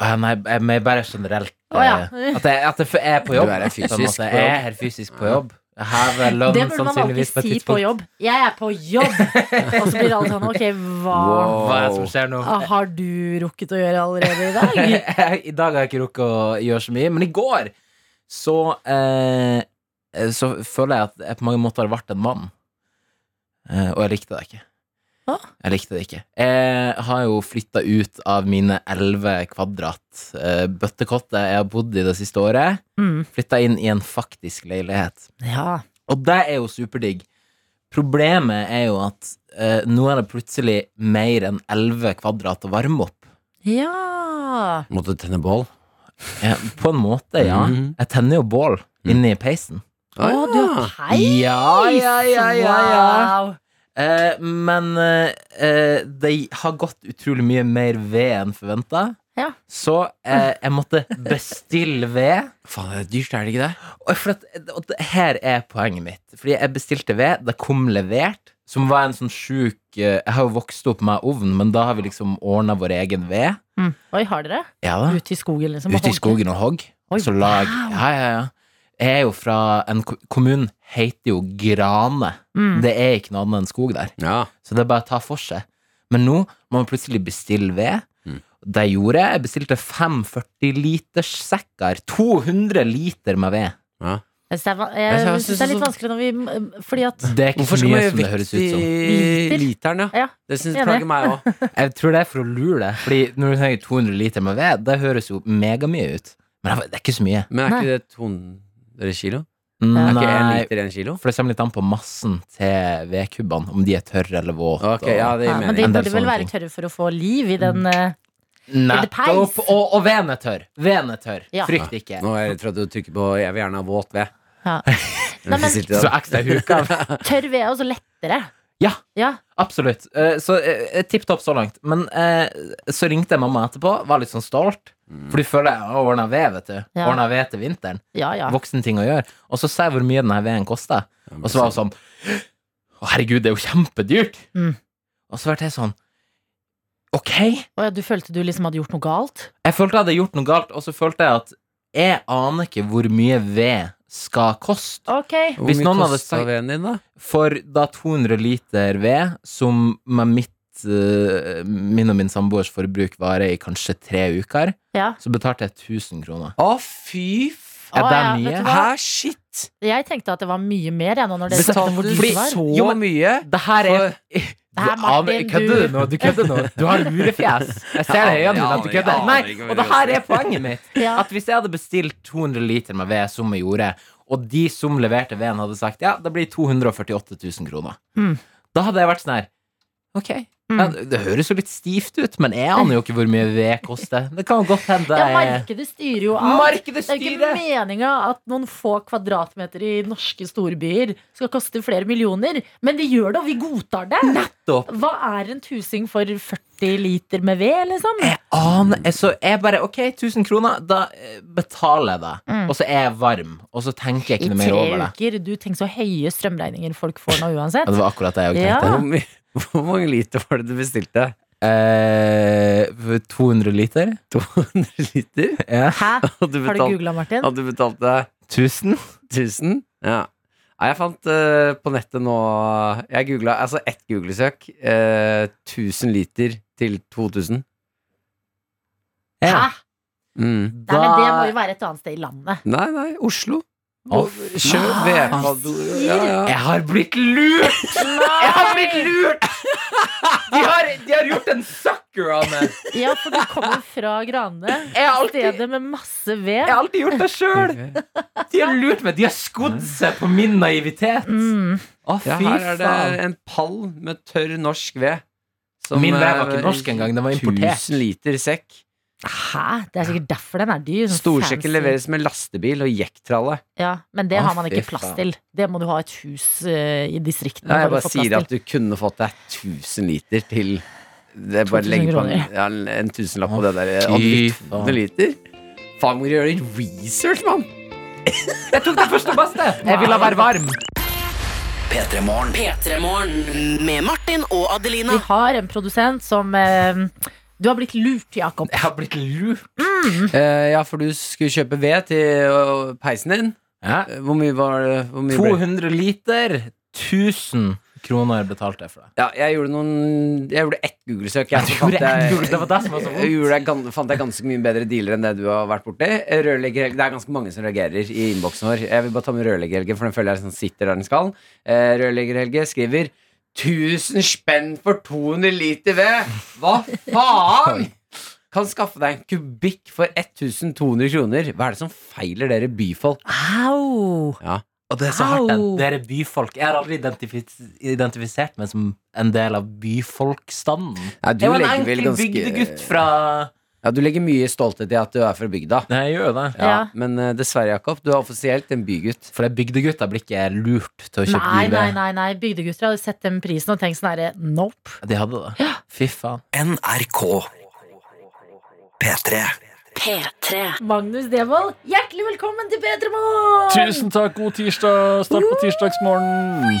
Speaker 6: Eh, Nei, jeg- men bare generelt. eh,
Speaker 2: Å, ja.
Speaker 6: At, jeg, at jeg f- er på jobb.
Speaker 3: Du er her fysisk
Speaker 6: Sånn at
Speaker 3: på
Speaker 6: jeg
Speaker 3: jobb.
Speaker 6: er her fysisk på jobb. Jeg har lønn
Speaker 2: Det burde man alltid
Speaker 6: sannsynligvis på et
Speaker 2: si på
Speaker 6: tidspunkt.
Speaker 2: jobb. Jeg er på jobb! Og så blir alle sånn Ok, hva
Speaker 6: Hva er det som skjer nå?
Speaker 2: ah, har du rukket å gjøre allerede i dag?
Speaker 6: I dag har jeg ikke rukket å gjøre så mye, men i går så eh, Så føler jeg at jeg på mange måter har vært en mann. Eh, og jeg likte det ikke.
Speaker 2: Hå?
Speaker 6: Jeg likte det ikke. Jeg har jo flytta ut av mine elleve kvadrat eh, bøttekotter jeg har bodd i det siste året.
Speaker 2: Mm.
Speaker 6: Flytta inn i en faktisk leilighet.
Speaker 2: Ja.
Speaker 6: Og det er jo superdigg. Problemet er jo at eh, nå er det plutselig mer enn 11 kvadrat å varme opp.
Speaker 2: ja.
Speaker 3: Måtte du tenne bål?
Speaker 6: Ja, på en måte, ja.
Speaker 3: Mhm.
Speaker 6: Jeg tenner jo bål inni peisen.
Speaker 2: Å, du
Speaker 3: Ah,
Speaker 6: Ah.
Speaker 2: har peis!
Speaker 6: Mm. Ja, ja, ja, ja, ja.
Speaker 2: Wow.
Speaker 6: Eh, men eh, eh, de har gått utrolig mye mer ved enn forventa.
Speaker 2: Ja.
Speaker 6: Så eh, jeg måtte bestille ved.
Speaker 3: Faen, det er dyrt, er det ikke det?
Speaker 6: Og for at, og det- her er poenget mitt. Fordi jeg bestilte ved, det kom levert. Som var en sånn sjuk eh, Jeg har jo vokst opp med ovn, men da har vi liksom ordna vår egen ved.
Speaker 2: Mm. Oi, har dere?
Speaker 6: Ja da
Speaker 2: Ute i skogen, liksom? og
Speaker 6: Ute i
Speaker 2: hogge?
Speaker 6: skogen og hogg.
Speaker 2: Oi,
Speaker 6: Så lag
Speaker 2: wow.
Speaker 6: Ja, ja, ja. Jeg er jo fra en ko- Kommunen heter jo Grane.
Speaker 2: Mm.
Speaker 6: Det er ikke noe annet enn skog der.
Speaker 3: Ja.
Speaker 6: Så det er bare å ta for seg. Men nå må man plutselig bestille ved.
Speaker 3: Mm.
Speaker 6: Det gjorde jeg. Jeg bestilte fem 40-literssekker. 200 liter med ved.
Speaker 2: Jeg syns det er, va-
Speaker 3: Jeg
Speaker 2: jeg
Speaker 3: synes
Speaker 2: synes det er litt
Speaker 3: sånn-
Speaker 2: vanskelig når vi mm, Fordi at
Speaker 6: Det er ikke
Speaker 3: Hvorfor
Speaker 6: så
Speaker 3: skal man
Speaker 6: mye
Speaker 3: gjøre
Speaker 6: som det høres
Speaker 3: vekt
Speaker 6: ut som.
Speaker 3: i
Speaker 2: Liter?
Speaker 3: literen, ja?
Speaker 2: Ja.
Speaker 3: Det synes
Speaker 2: Enig.
Speaker 3: jeg plager meg òg.
Speaker 6: Jeg tror det er for å lure deg. Fordi når du tenker 200 liter med ved, det høres jo megamye ut. Men det er ikke så mye.
Speaker 3: Men er ikke det 200 kilo? Er ikke en
Speaker 6: Nei,
Speaker 3: liter en kilo?
Speaker 6: For det kommer litt an på massen til vedkubbene, om de er tørre eller våte.
Speaker 3: Ok, ja, det
Speaker 2: ja,
Speaker 3: gir
Speaker 2: Men de
Speaker 3: mening.
Speaker 6: En del
Speaker 2: burde vel
Speaker 6: sånne
Speaker 2: være tørre for å få liv i
Speaker 6: Mm.
Speaker 2: den eh,
Speaker 6: Nettopp!
Speaker 2: peis?
Speaker 6: Og, og veden er tørr. Veden er tørr.
Speaker 2: Ja.
Speaker 6: Frykt ikke.
Speaker 3: Nå er jeg redd for at du trykker på 'jeg vil gjerne ha våt ved'.
Speaker 2: ja. Nei, men
Speaker 3: Sitter
Speaker 6: Så
Speaker 3: der.
Speaker 6: ekstra huka.
Speaker 2: tørr ved er også lettere.
Speaker 6: Ja.
Speaker 2: Ja.
Speaker 6: Absolutt. Eh, Så eh, tipp topp så langt. Men eh, så ringte jeg mamma etterpå, var litt sånn stolt.
Speaker 3: Mm.
Speaker 6: For du føler jeg har ordna ved, vet du.
Speaker 2: Ja.
Speaker 6: Ordna ved til vinteren.
Speaker 2: Ja, ja.
Speaker 6: Voksen ting å gjøre. Og så sa jeg hvor mye denne veden kosta. Og så var hun sånn Å, herregud, det er jo kjempedyrt.
Speaker 2: Mm.
Speaker 6: Og så ble jeg sånn Ok.
Speaker 2: Å ja, du følte du liksom hadde gjort noe galt?
Speaker 6: Jeg følte jeg hadde gjort noe galt, og så følte jeg at Jeg aner ikke hvor mye ved skal koste.
Speaker 2: Ok.
Speaker 3: Hvor
Speaker 6: Hvis
Speaker 3: mye
Speaker 6: noen hadde
Speaker 3: kosta
Speaker 6: sagt-
Speaker 3: veden din, da?
Speaker 6: For da 200 liter ved, som med mitt, eh, min og min samboers forbruk varer i kanskje tre uker,
Speaker 2: Ja.
Speaker 6: så betalte jeg 1000 kroner.
Speaker 3: Å, fy f...
Speaker 6: Er
Speaker 2: Å,
Speaker 6: det
Speaker 2: ja, vet
Speaker 6: mye?
Speaker 2: du hva?
Speaker 3: Hæ, shit!
Speaker 2: Jeg tenkte at det var mye mer, jeg, nå når dere snakket om hvor dyrt
Speaker 3: Betalte du
Speaker 2: det var.
Speaker 3: så
Speaker 6: Jo, men-
Speaker 3: mye?
Speaker 6: Det her er
Speaker 2: Det her, Martin,
Speaker 6: Kødder
Speaker 2: du-
Speaker 6: du nå? Du kødder nå. Du har lurefjes. Jeg ser det i øynene dine at du
Speaker 3: Jeg aner ikke, jeg
Speaker 6: kødder.
Speaker 3: aner
Speaker 6: Nei,
Speaker 3: ikke hva
Speaker 6: og det
Speaker 3: du
Speaker 6: her
Speaker 3: gjør.
Speaker 6: er poenget mitt.
Speaker 2: Ja.
Speaker 6: At hvis jeg hadde bestilt 200 liter med ved som jeg gjorde, og de som leverte veden hadde sagt ja, det blir 248 000 kroner,
Speaker 2: Mm.
Speaker 6: da hadde jeg vært sånn her Ok. Ja,
Speaker 2: Mm.
Speaker 6: det høres jo litt stivt ut, men jeg aner jo ikke hvor mye ved koster. Det kan jo godt hende
Speaker 2: Ja,
Speaker 6: jeg
Speaker 2: markedet styrer jo alt.
Speaker 6: Markedet
Speaker 2: Det er jo
Speaker 6: styrer.
Speaker 2: ikke meninga at noen få kvadratmeter i norske storbyer skal koste flere millioner, men de gjør det, og vi godtar det.
Speaker 6: Nettopp.
Speaker 2: Hva er en tusing for 40 liter med ved, liksom?
Speaker 6: Jeg aner jeg- Så jeg bare Ok, 1000 kroner, da eh, betaler jeg det.
Speaker 2: Mm.
Speaker 6: Og så er jeg varm, og så tenker jeg
Speaker 2: I
Speaker 6: ikke noe
Speaker 2: tre
Speaker 6: mer over det.
Speaker 2: uker. Du tenker så høye strømregninger folk får nå uansett.
Speaker 6: Ja, det var akkurat det jeg også
Speaker 2: Ja.
Speaker 6: tenkte.
Speaker 3: Hvor, mye- hvor mange liter var det du bestilte?
Speaker 6: Eh, for 200 liter?
Speaker 3: 200 liter?
Speaker 6: Ja.
Speaker 2: Hæ?
Speaker 3: Og du
Speaker 2: Har du
Speaker 3: betalte,
Speaker 2: googla, Martin?
Speaker 3: og du betalte
Speaker 6: 1000?
Speaker 3: 1000? Ja. Nei, jeg fant eh, på nettet nå Jeg googla altså ett googlesøk. eh, 1000 liter til 2000.
Speaker 2: Hæ? Nei, men
Speaker 3: Mm.
Speaker 2: det må jo være et annet sted i landet.
Speaker 3: Nei, nei, Oslo.
Speaker 6: Å,
Speaker 3: Og Kjøp vedpadder. Ja, ja.
Speaker 6: Jeg har blitt lurt! Jeg har blitt lurt! De har, de har gjort en sucker av meg.
Speaker 2: Ja, for du kommer fra Grane,
Speaker 6: Jeg har alltid,
Speaker 2: stedet med masse
Speaker 6: jeg
Speaker 2: ved.
Speaker 6: har alltid gjort det sjøl.
Speaker 3: Ok.
Speaker 6: De har lurt meg. De har skodd seg på min naivitet.
Speaker 2: Mm.
Speaker 6: Å,
Speaker 3: Ja,
Speaker 6: fy
Speaker 3: her er det
Speaker 6: faen.
Speaker 3: en pall med tørr norsk ved. som,
Speaker 6: Min ved var
Speaker 3: eh,
Speaker 6: ikke norsk engang, den var importert.
Speaker 3: 1000 liter sekk.
Speaker 2: Hæ? Det er sikkert derfor den er dyr. sånn fancy.
Speaker 3: Storsekken leveres med lastebil og jekttralle.
Speaker 2: Ja, men det
Speaker 6: Å,
Speaker 2: har man ikke
Speaker 6: fy
Speaker 2: plass
Speaker 6: faen.
Speaker 2: til. Det må du ha et hus eh, i distriktene
Speaker 3: Nei, jeg
Speaker 2: for å
Speaker 3: bare
Speaker 2: få plass
Speaker 3: sier
Speaker 2: til.
Speaker 3: at du kunne fått deg 1000 liter til det er Bare
Speaker 2: 2000
Speaker 3: legge på en,
Speaker 2: kroner.
Speaker 3: ja, en tusenlapp på
Speaker 6: Å,
Speaker 3: det der.
Speaker 6: fy
Speaker 3: Hadde du
Speaker 6: faen.
Speaker 3: 200 liter? Faen, må du gjøre research, mann!
Speaker 6: Jeg tok den første beste. Jeg ville være varm.
Speaker 4: P3morgen med Martin og Adelina.
Speaker 2: Vi har en produsent som eh, Du har blitt lurt, Jakob.
Speaker 6: Jeg har blitt lurt. Mm.
Speaker 3: Eh, ja, for du skulle kjøpe ved til øh, peisen din. Eh, Hvor mye var det? Hvor mye ble det?
Speaker 6: 200 liter. 1000 kroner betalte jeg for det.
Speaker 3: Ja, jeg gjorde noen Jeg gjorde ett Google-søk.
Speaker 6: Ja,
Speaker 3: Jeg,
Speaker 6: du
Speaker 3: fant
Speaker 6: gjorde ett
Speaker 3: jeg-
Speaker 6: Google, det var det som var så Altså, vondt.
Speaker 3: Jeg gjorde, Eh, gan- fant jeg ganske mye bedre dealer enn det du har vært borti. Rørlegger, det er ganske mange som reagerer i innboksen vår. Jeg vil bare ta med Rørleggerhelge, for den føler jeg sånn sitter der den skal. Eh, Rørleggerhelge skriver 1000 spenn for 200 liter ved! Hva faen?! Kan skaffe deg en kubikk for 1200 kroner. Hva er det som feiler dere byfolk?
Speaker 2: Au!
Speaker 6: Og det er så
Speaker 2: Au.
Speaker 6: hardt, den. Dere byfolk. Jeg har aldri identifis identifisert meg som en del av byfolkstanden.
Speaker 3: Nei, du
Speaker 6: jeg var en
Speaker 3: legger
Speaker 6: enkel
Speaker 3: vel ganske-
Speaker 6: bygdegutt fra
Speaker 3: Ja, du legger mye stolthet i at du er fra bygda.
Speaker 6: Nei, jeg gjør jo det.
Speaker 2: Ja.
Speaker 3: Men eh, dessverre, Jakob, du er offisielt en bygutt.
Speaker 6: For det bygdegutter blir ikke lurt til å kjøpe
Speaker 2: Nei, nei,
Speaker 6: livet.
Speaker 2: nei, nei. Bygdegutter hadde sett den prisen og tenkt sånn herre Nope.
Speaker 6: De hadde det. Fy faen.
Speaker 2: Magnus Devold, hjertelig velkommen til P3 Morgen!
Speaker 7: Tusen takk, god tirsdag. Start på tirsdagsmorgen.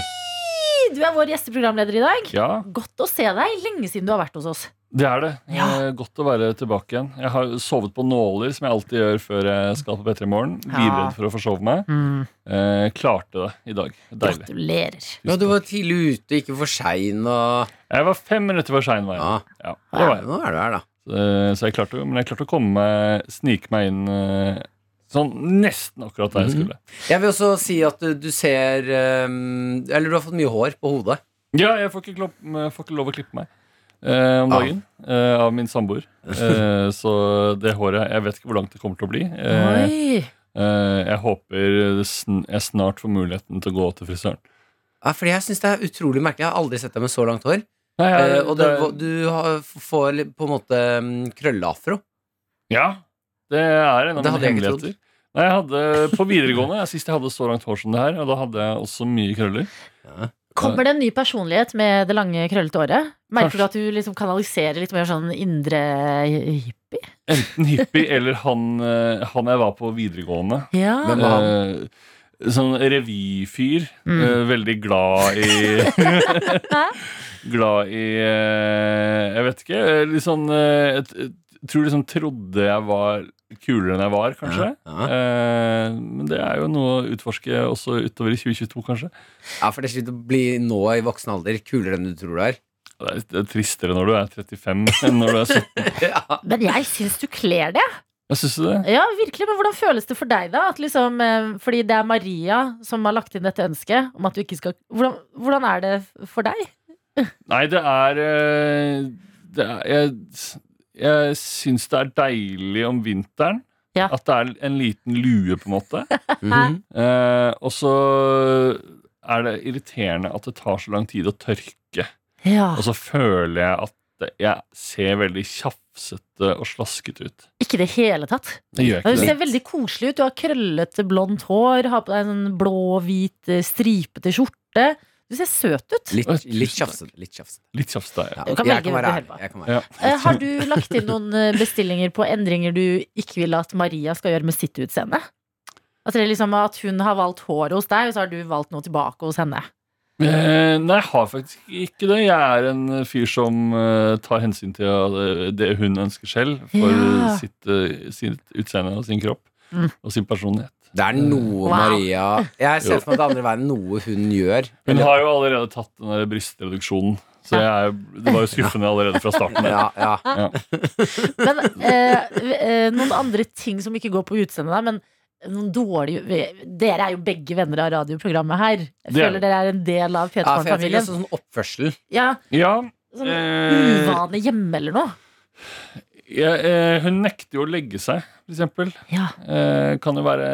Speaker 2: Du er vår gjesteprogramleder i dag.
Speaker 7: Ja,
Speaker 2: Godt å se deg. Lenge siden du har vært hos oss.
Speaker 7: det er det.
Speaker 2: Ja.
Speaker 7: Eh, Godt å være tilbake igjen. Jeg har sovet på nåler, som jeg alltid gjør før jeg skal på P3 Morgen.
Speaker 2: Ja. Mm.
Speaker 7: Livredd for å forsove meg. Eh, klarte det i dag. Deilig.
Speaker 2: Gratulerer.
Speaker 3: Ja, du var tidlig ute, ikke for sein og
Speaker 7: Jeg var fem minutter for sein, var jeg.
Speaker 3: Ja,
Speaker 7: Ja, det var jeg.
Speaker 3: nå er du her, da.
Speaker 7: Eh, Så jeg klarte, jo- men jeg klarte å komme meg, snike meg inn eh, sånn nesten akkurat der jeg skulle.
Speaker 3: Jeg vil også si at du, du ser ehm, Eller du har fått mye hår på hodet.
Speaker 7: Ja, jeg får ikke, klopp, jeg får ikke lov å klippe meg eh,
Speaker 3: Ah.
Speaker 7: om dagen eh, av min samboer. Eh, så det håret Jeg vet ikke hvor langt det kommer til å bli. Eh,
Speaker 2: Oi.
Speaker 7: eh, jeg håper sn jeg snart får muligheten til å gå til frisøren.
Speaker 3: Ja, fordi jeg syns det er utrolig merkelig. Jeg har aldri sett deg med så langt hår.
Speaker 7: Nei, jeg-
Speaker 3: Eh, og du,
Speaker 7: det,
Speaker 3: du har, får litt på en måte mm, krøllafro.
Speaker 7: ja, det er en av
Speaker 3: Det
Speaker 7: mine
Speaker 3: hadde jeg ikke
Speaker 7: hemmeligheter.
Speaker 3: trodd.
Speaker 7: Nei, jeg hadde På videregående sist jeg hadde så langt hår som det her, og da hadde jeg også mye krøller.
Speaker 2: Kommer det en ny personlighet med det lange, krøllete året? Merker du at du liksom kanaliserer litt mer sånn indre hippie?
Speaker 7: Enten hippie eller han, eh, han jeg var på videregående.
Speaker 2: Ja.
Speaker 3: Hvem var han?
Speaker 7: Eh, sånn revyfyr.
Speaker 2: Mm.
Speaker 7: eh, veldig glad i Glad i eh, Jeg vet ikke. eh, Litt sånn eh, et, et tror liksom trodde jeg var kulere enn jeg var, kanskje.
Speaker 3: Ja,
Speaker 7: Eh, men det er jo noe å utforske også utover i 2022, kanskje.
Speaker 3: Ja, for det slutter å bli nå i voksen alder kulere enn du tror det er.
Speaker 7: Det er, det er tristere når du er 35 enn når du er 17.
Speaker 2: Men jeg syns du kler det.
Speaker 7: Jeg synes det.
Speaker 2: Ja, virkelig, Men hvordan føles det for deg, da? At liksom, eh, fordi det er Maria som har lagt inn dette ønsket om at du ikke skal Hvordan, hvordan er det for deg?
Speaker 7: Nei, det er, eh, det er Jeg, jeg syns det er deilig om vinteren.
Speaker 2: Ja.
Speaker 7: At det er en liten lue, på en måte.
Speaker 3: Mhm.
Speaker 7: Eh, og så er det irriterende at det tar så lang tid å tørke.
Speaker 2: Ja,
Speaker 7: Og så føler jeg at det- jeg ser veldig tjafsete og slasket ut.
Speaker 2: Ikke i det hele tatt.
Speaker 7: Det gjør
Speaker 2: Ja,
Speaker 7: jeg
Speaker 2: Du
Speaker 7: ikke.
Speaker 2: ser
Speaker 7: det.
Speaker 2: veldig koselig ut. Du har krøllete, blondt hår, har på deg en sånn blå-hvit, eh, stripete skjorte. Du ser søt ut.
Speaker 3: Litt, litt tjafsete. Litt tjafsete.
Speaker 7: Litt tjafsete er jeg.
Speaker 3: Ja,
Speaker 2: Du kan
Speaker 3: jeg
Speaker 2: velge hvem
Speaker 3: kan
Speaker 2: du
Speaker 3: være
Speaker 2: heller
Speaker 3: ærlig.
Speaker 2: var.
Speaker 3: Jeg kan være
Speaker 7: Ja.
Speaker 2: Eh, Har du lagt inn noen eh, bestillinger på endringer du ikke vil at Maria skal gjøre med sitt utseende? At, det er liksom at hun har valgt håret hos deg, og så har du valgt noe tilbake hos henne.
Speaker 7: Eh, nei, jeg har faktisk ikke det. Jeg er en fyr som eh, tar hensyn til eh, det hun ønsker selv, for
Speaker 2: Ja.
Speaker 7: sitt, eh, sitt utseende og sin kropp.
Speaker 2: Mm.
Speaker 7: Og sin personlighet.
Speaker 3: Det er
Speaker 2: Wow.
Speaker 3: noe Maria Jeg ser
Speaker 7: Jo.
Speaker 3: for meg at det andre veien noe hun gjør.
Speaker 7: Hun har jo allerede tatt den der brystreduksjonen, så jeg er, det var jo skuffende allerede fra starten. av.
Speaker 3: Ja, ja.
Speaker 2: Men eh, eh, noen andre ting som ikke går på utseendet, da, men noen dårlige Dere er jo begge venner av radioprogrammet her. Jeg
Speaker 7: Det er
Speaker 2: føler dere er en del av
Speaker 3: ja for jeg tenker
Speaker 2: P2-familien.
Speaker 3: sånn sånn oppførsel.
Speaker 2: Ja,
Speaker 7: Ja,
Speaker 2: sånn
Speaker 7: Eh.
Speaker 2: uvane hjemme eller noe.
Speaker 7: jeg, eh, hun nekter jo å legge seg, for eksempel.
Speaker 2: Ja.
Speaker 7: Eh, kan, jo være,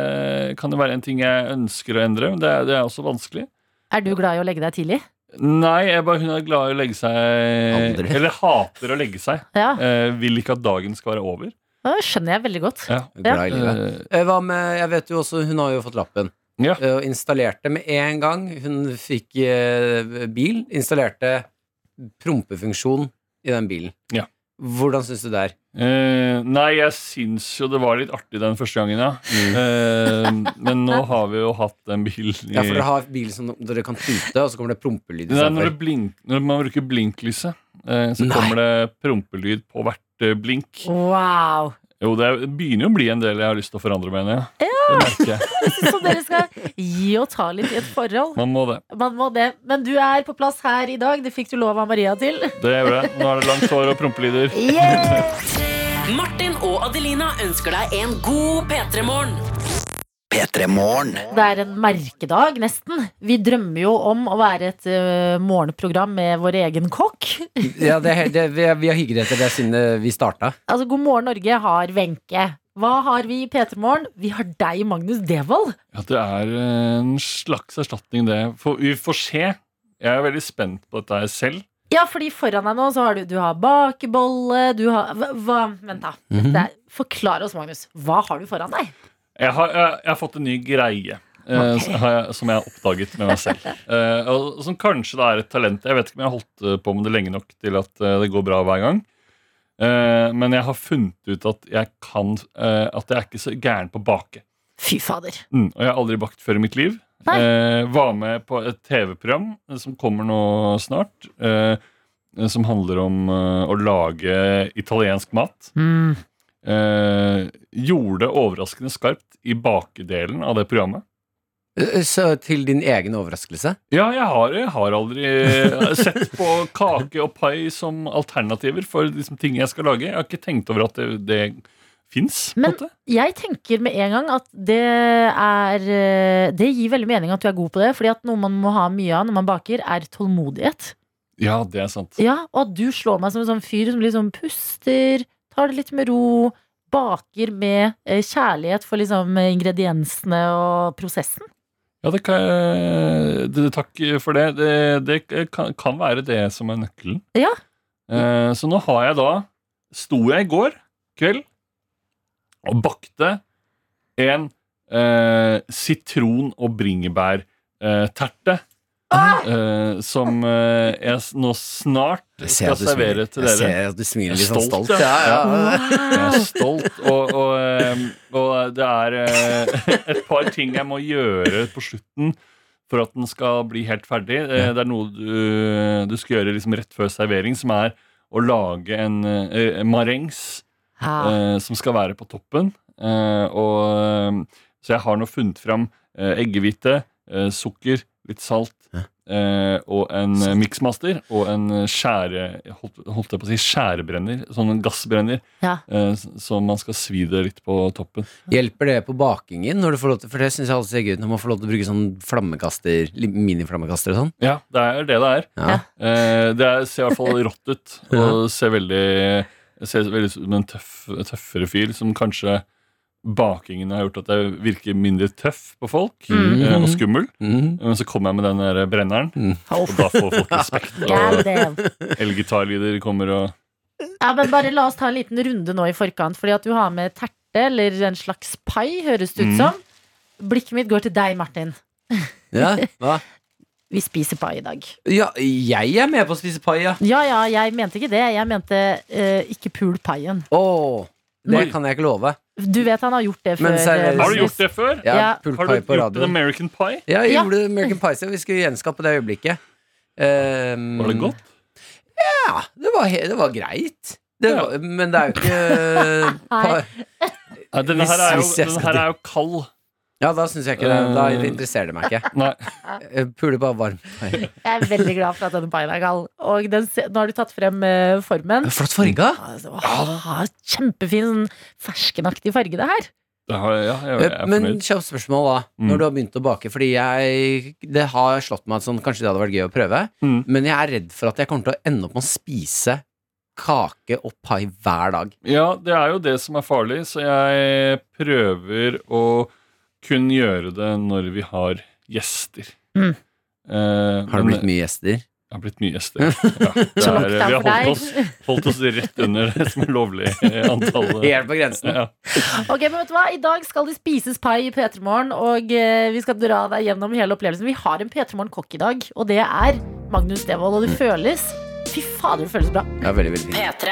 Speaker 7: kan jo være en ting jeg ønsker å endre, men det er, det er også vanskelig.
Speaker 2: Er du glad i å legge deg tidlig?
Speaker 7: Nei, jeg bare, hun er glad i å legge seg
Speaker 3: Aldri.
Speaker 7: Eller hater å legge seg.
Speaker 2: Ja,
Speaker 7: Eh, vil ikke at dagen skal være over.
Speaker 2: det skjønner jeg veldig godt.
Speaker 7: Ja.
Speaker 3: Glad i livet.
Speaker 7: Eh,
Speaker 3: Eh, Hva med, jeg vet jo også, Hun har jo fått lappen.
Speaker 7: Ja.
Speaker 3: Eh, Og installerte med en gang. Hun fikk eh, bil. Installerte prompefunksjon i den bilen.
Speaker 7: Ja.
Speaker 3: Hvordan syns du det er?
Speaker 7: Eh, nei, jeg syns jo det var litt artig den første gangen, ja. Eh, men nå har vi jo hatt en bil i
Speaker 3: Ja, for Dere har bil som dere kan tute, og så kommer det prompelyd.
Speaker 7: Nei, når,
Speaker 3: istedenfor.
Speaker 7: det blink, når man bruker blinklyset, eh, så
Speaker 3: Nei.
Speaker 7: kommer det prompelyd på hvert eh, blink.
Speaker 2: Wow.
Speaker 7: Jo, det er- begynner jo å bli en del jeg har lyst til å forandre, mener jeg. Det merker jeg.
Speaker 2: Så sånn dere skal gi og ta litt i et forhold.
Speaker 7: Man må det.
Speaker 2: Man må det. Men du er på plass her i dag. Det fikk du lov av Maria til.
Speaker 7: Det gjør det. Nå er det langt hår og prompelyder.
Speaker 4: Martin og Adelina ønsker deg en god P3-morgen.
Speaker 2: Det er en merkedag, nesten. Vi drømmer jo om å være et eh, morgenprogram med vår egen kokk.
Speaker 3: Ja, det, er- det, vi, vi har hygget etter det siden eh, vi starta.
Speaker 2: Altså, God morgen, Norge har Wenche. Hva har vi i P3 Morgen? Vi har deg, Magnus Devold.
Speaker 7: Ja, det er eh, en slags erstatning, det. For, vi får se. Jeg er veldig spent på dette her selv.
Speaker 2: Ja, fordi foran deg nå så har du, du har bakebolle, du har hva, hva, Vent, da. Dette er- Forklar oss, Magnus. Hva har du foran deg?
Speaker 7: Jeg har, jeg, jeg har fått en ny greie. eh,
Speaker 2: Ok.
Speaker 7: som har- Som jeg har oppdaget med meg selv. Eh, og som kanskje da er et talent. Jeg vet ikke om jeg har holdt eh, på med det lenge nok til at eh, det går bra hver gang. Eh, men jeg har funnet ut at jeg kan eh, At jeg er ikke så gæren på å bake.
Speaker 2: Fy fader.
Speaker 7: Mm, og jeg har aldri bakt før i mitt liv.
Speaker 2: Nei.
Speaker 7: Eh, var med på et TV-program eh, som kommer nå snart, eh, eh, som handler om eh, å lage italiensk mat. Eh, gjorde det overraskende skarpt i bakedelen av det programmet.
Speaker 3: Eh, Så til din egen overraskelse.
Speaker 7: Ja, jeg har, jeg har aldri eh, sett på kake og pai som alternativer for liksom, ting jeg skal lage. Jeg har ikke tenkt over at det, det fins.
Speaker 2: Men- Jeg tenker med en gang at det er eh, Det gir veldig mening at du er god på det. Fordi at noe man må ha mye av når man baker, er tålmodighet.
Speaker 7: Ja, det er sant.
Speaker 2: Ja, Og at du slår meg som en sånn fyr som liksom puster, tar det litt med ro, baker med eh, kjærlighet for liksom eh, ingrediensene og prosessen.
Speaker 7: Ja, det kan, det, det- takk for det. Det, det kan, kan være det som er nøkkelen.
Speaker 2: Ja.
Speaker 7: Eh, så nå har jeg da Sto jeg i går kveld og bakte en eh, sitron- og bringebærterte. Eh, som eh, jeg s- nå snart skal servere til
Speaker 3: Jeg
Speaker 7: dere.
Speaker 3: ser at du smiler litt sånn
Speaker 7: Stolt,
Speaker 3: stolt. Ja, ja.
Speaker 7: Jeg er stolt, og, og, eh, og det er eh, et par ting jeg må gjøre på slutten for at den skal bli helt ferdig. Eh, Det er noe du, du skal gjøre liksom rett før servering, som er å lage en eh, marengs
Speaker 2: Ja.
Speaker 7: eh, som skal være på toppen. Eh, og, eh, så jeg har nå funnet fram eh, eggehvite, eh, sukker, litt salt eh, og en eh, miksmaster og en eh, skjære... Holdt, holdt jeg på å si skjærebrenner. Sånn en gassbrenner
Speaker 2: Ja.
Speaker 7: eh, s- som man skal svi det litt på toppen.
Speaker 3: Hjelper det på bakingen? Når du får lov til, for det syns jeg alle ser gøy ut når man får lov til å bruke sånn flammekaster, li- miniflammekaster og sånn.
Speaker 7: Ja, det er det det er.
Speaker 3: Ja.
Speaker 7: Eh, det er, ser i hvert fall rått ut, og ser veldig ser veldig ut som en tøff, tøffere fyr. Som kanskje bakingen har gjort at jeg virker mindre tøff på folk,
Speaker 2: Mm.
Speaker 7: eh, og skummel.
Speaker 3: Mm.
Speaker 7: Men så kommer jeg med den der brenneren,
Speaker 3: Mm.
Speaker 7: og da får folk respekt.
Speaker 2: God
Speaker 7: Og
Speaker 2: damn.
Speaker 7: elgitarlyder kommer og
Speaker 2: Ja, men bare la oss ta en liten runde nå i forkant, fordi at du har med terte eller en slags pai, høres det ut
Speaker 7: Mm.
Speaker 2: som. Blikket mitt går til deg, Martin.
Speaker 3: Ja, hva?
Speaker 2: Vi spiser pai i dag.
Speaker 3: ja, jeg er med på å spise pai, ja.
Speaker 2: Ja ja, jeg mente ikke det. Jeg mente eh, ikke pul paien.
Speaker 3: Åh, det
Speaker 7: Oi.
Speaker 3: kan jeg ikke love.
Speaker 2: Du vet han har gjort det før.
Speaker 3: Men seriøst-
Speaker 2: eh,
Speaker 7: Har du gjort det før?
Speaker 3: Jeg
Speaker 2: Ja.
Speaker 3: har pult
Speaker 7: Har du
Speaker 3: pai på
Speaker 7: gjort en
Speaker 3: radioen.
Speaker 7: American Pie?
Speaker 3: Ja, jeg
Speaker 2: Ja.
Speaker 3: gjorde American Pie, så vi skulle gjenskape det øyeblikket. Um,
Speaker 7: Var det godt?
Speaker 3: Ja, det var, he- det var greit. Det
Speaker 7: Ja.
Speaker 3: var, men det er jo ikke eh, pa-
Speaker 7: Nei, denne
Speaker 3: Hvis-
Speaker 7: her er jo,
Speaker 3: hvis jeg
Speaker 7: denne
Speaker 3: skal
Speaker 7: her er jo kald.
Speaker 3: Ja, da syns jeg ikke det. Da
Speaker 7: Eh.
Speaker 3: interesserer det meg ikke.
Speaker 7: Nei.
Speaker 3: Jeg Puler bare varm pai.
Speaker 2: Jeg er veldig glad for at denne paien er gal. Og den, se- nå har du tatt frem eh, formen.
Speaker 3: Flott farga!
Speaker 2: Altså, åh, kjempefin sånn ferskenaktig farge, det her.
Speaker 7: Det har, ja, jeg, jeg er
Speaker 3: Men
Speaker 7: fornøyd.
Speaker 3: kjapt spørsmål, da.
Speaker 7: Mm.
Speaker 3: Når du har begynt å bake. Fordi jeg, det har slått meg at sånn, kanskje det hadde vært gøy å prøve.
Speaker 7: Mm.
Speaker 3: Men jeg er redd for at jeg kommer til å ende opp med å spise kake og pai hver dag.
Speaker 7: Ja, det er jo det som er farlig, så jeg prøver å kun gjøre det når vi har gjester.
Speaker 2: Mm.
Speaker 7: Eh,
Speaker 3: Har det
Speaker 7: men-
Speaker 3: blitt mye gjester?
Speaker 7: Det har blitt mye gjester. Ja, det er, vi har
Speaker 2: Lockdown for
Speaker 7: holdt
Speaker 2: deg.
Speaker 7: oss, holdt oss rett under det som er lovlig eh, antall. eh,
Speaker 3: Helt på grensen.
Speaker 7: Ja.
Speaker 2: Ok, men vet du hva? I dag skal det spises pai i P3morgen, og eh, vi skal dra deg gjennom hele opplevelsen. Vi har en P3morgen-kokk i dag, og det er Magnus Devold. Og det føles Fy fader, det føles bra.
Speaker 3: Ja, veldig, veldig fint.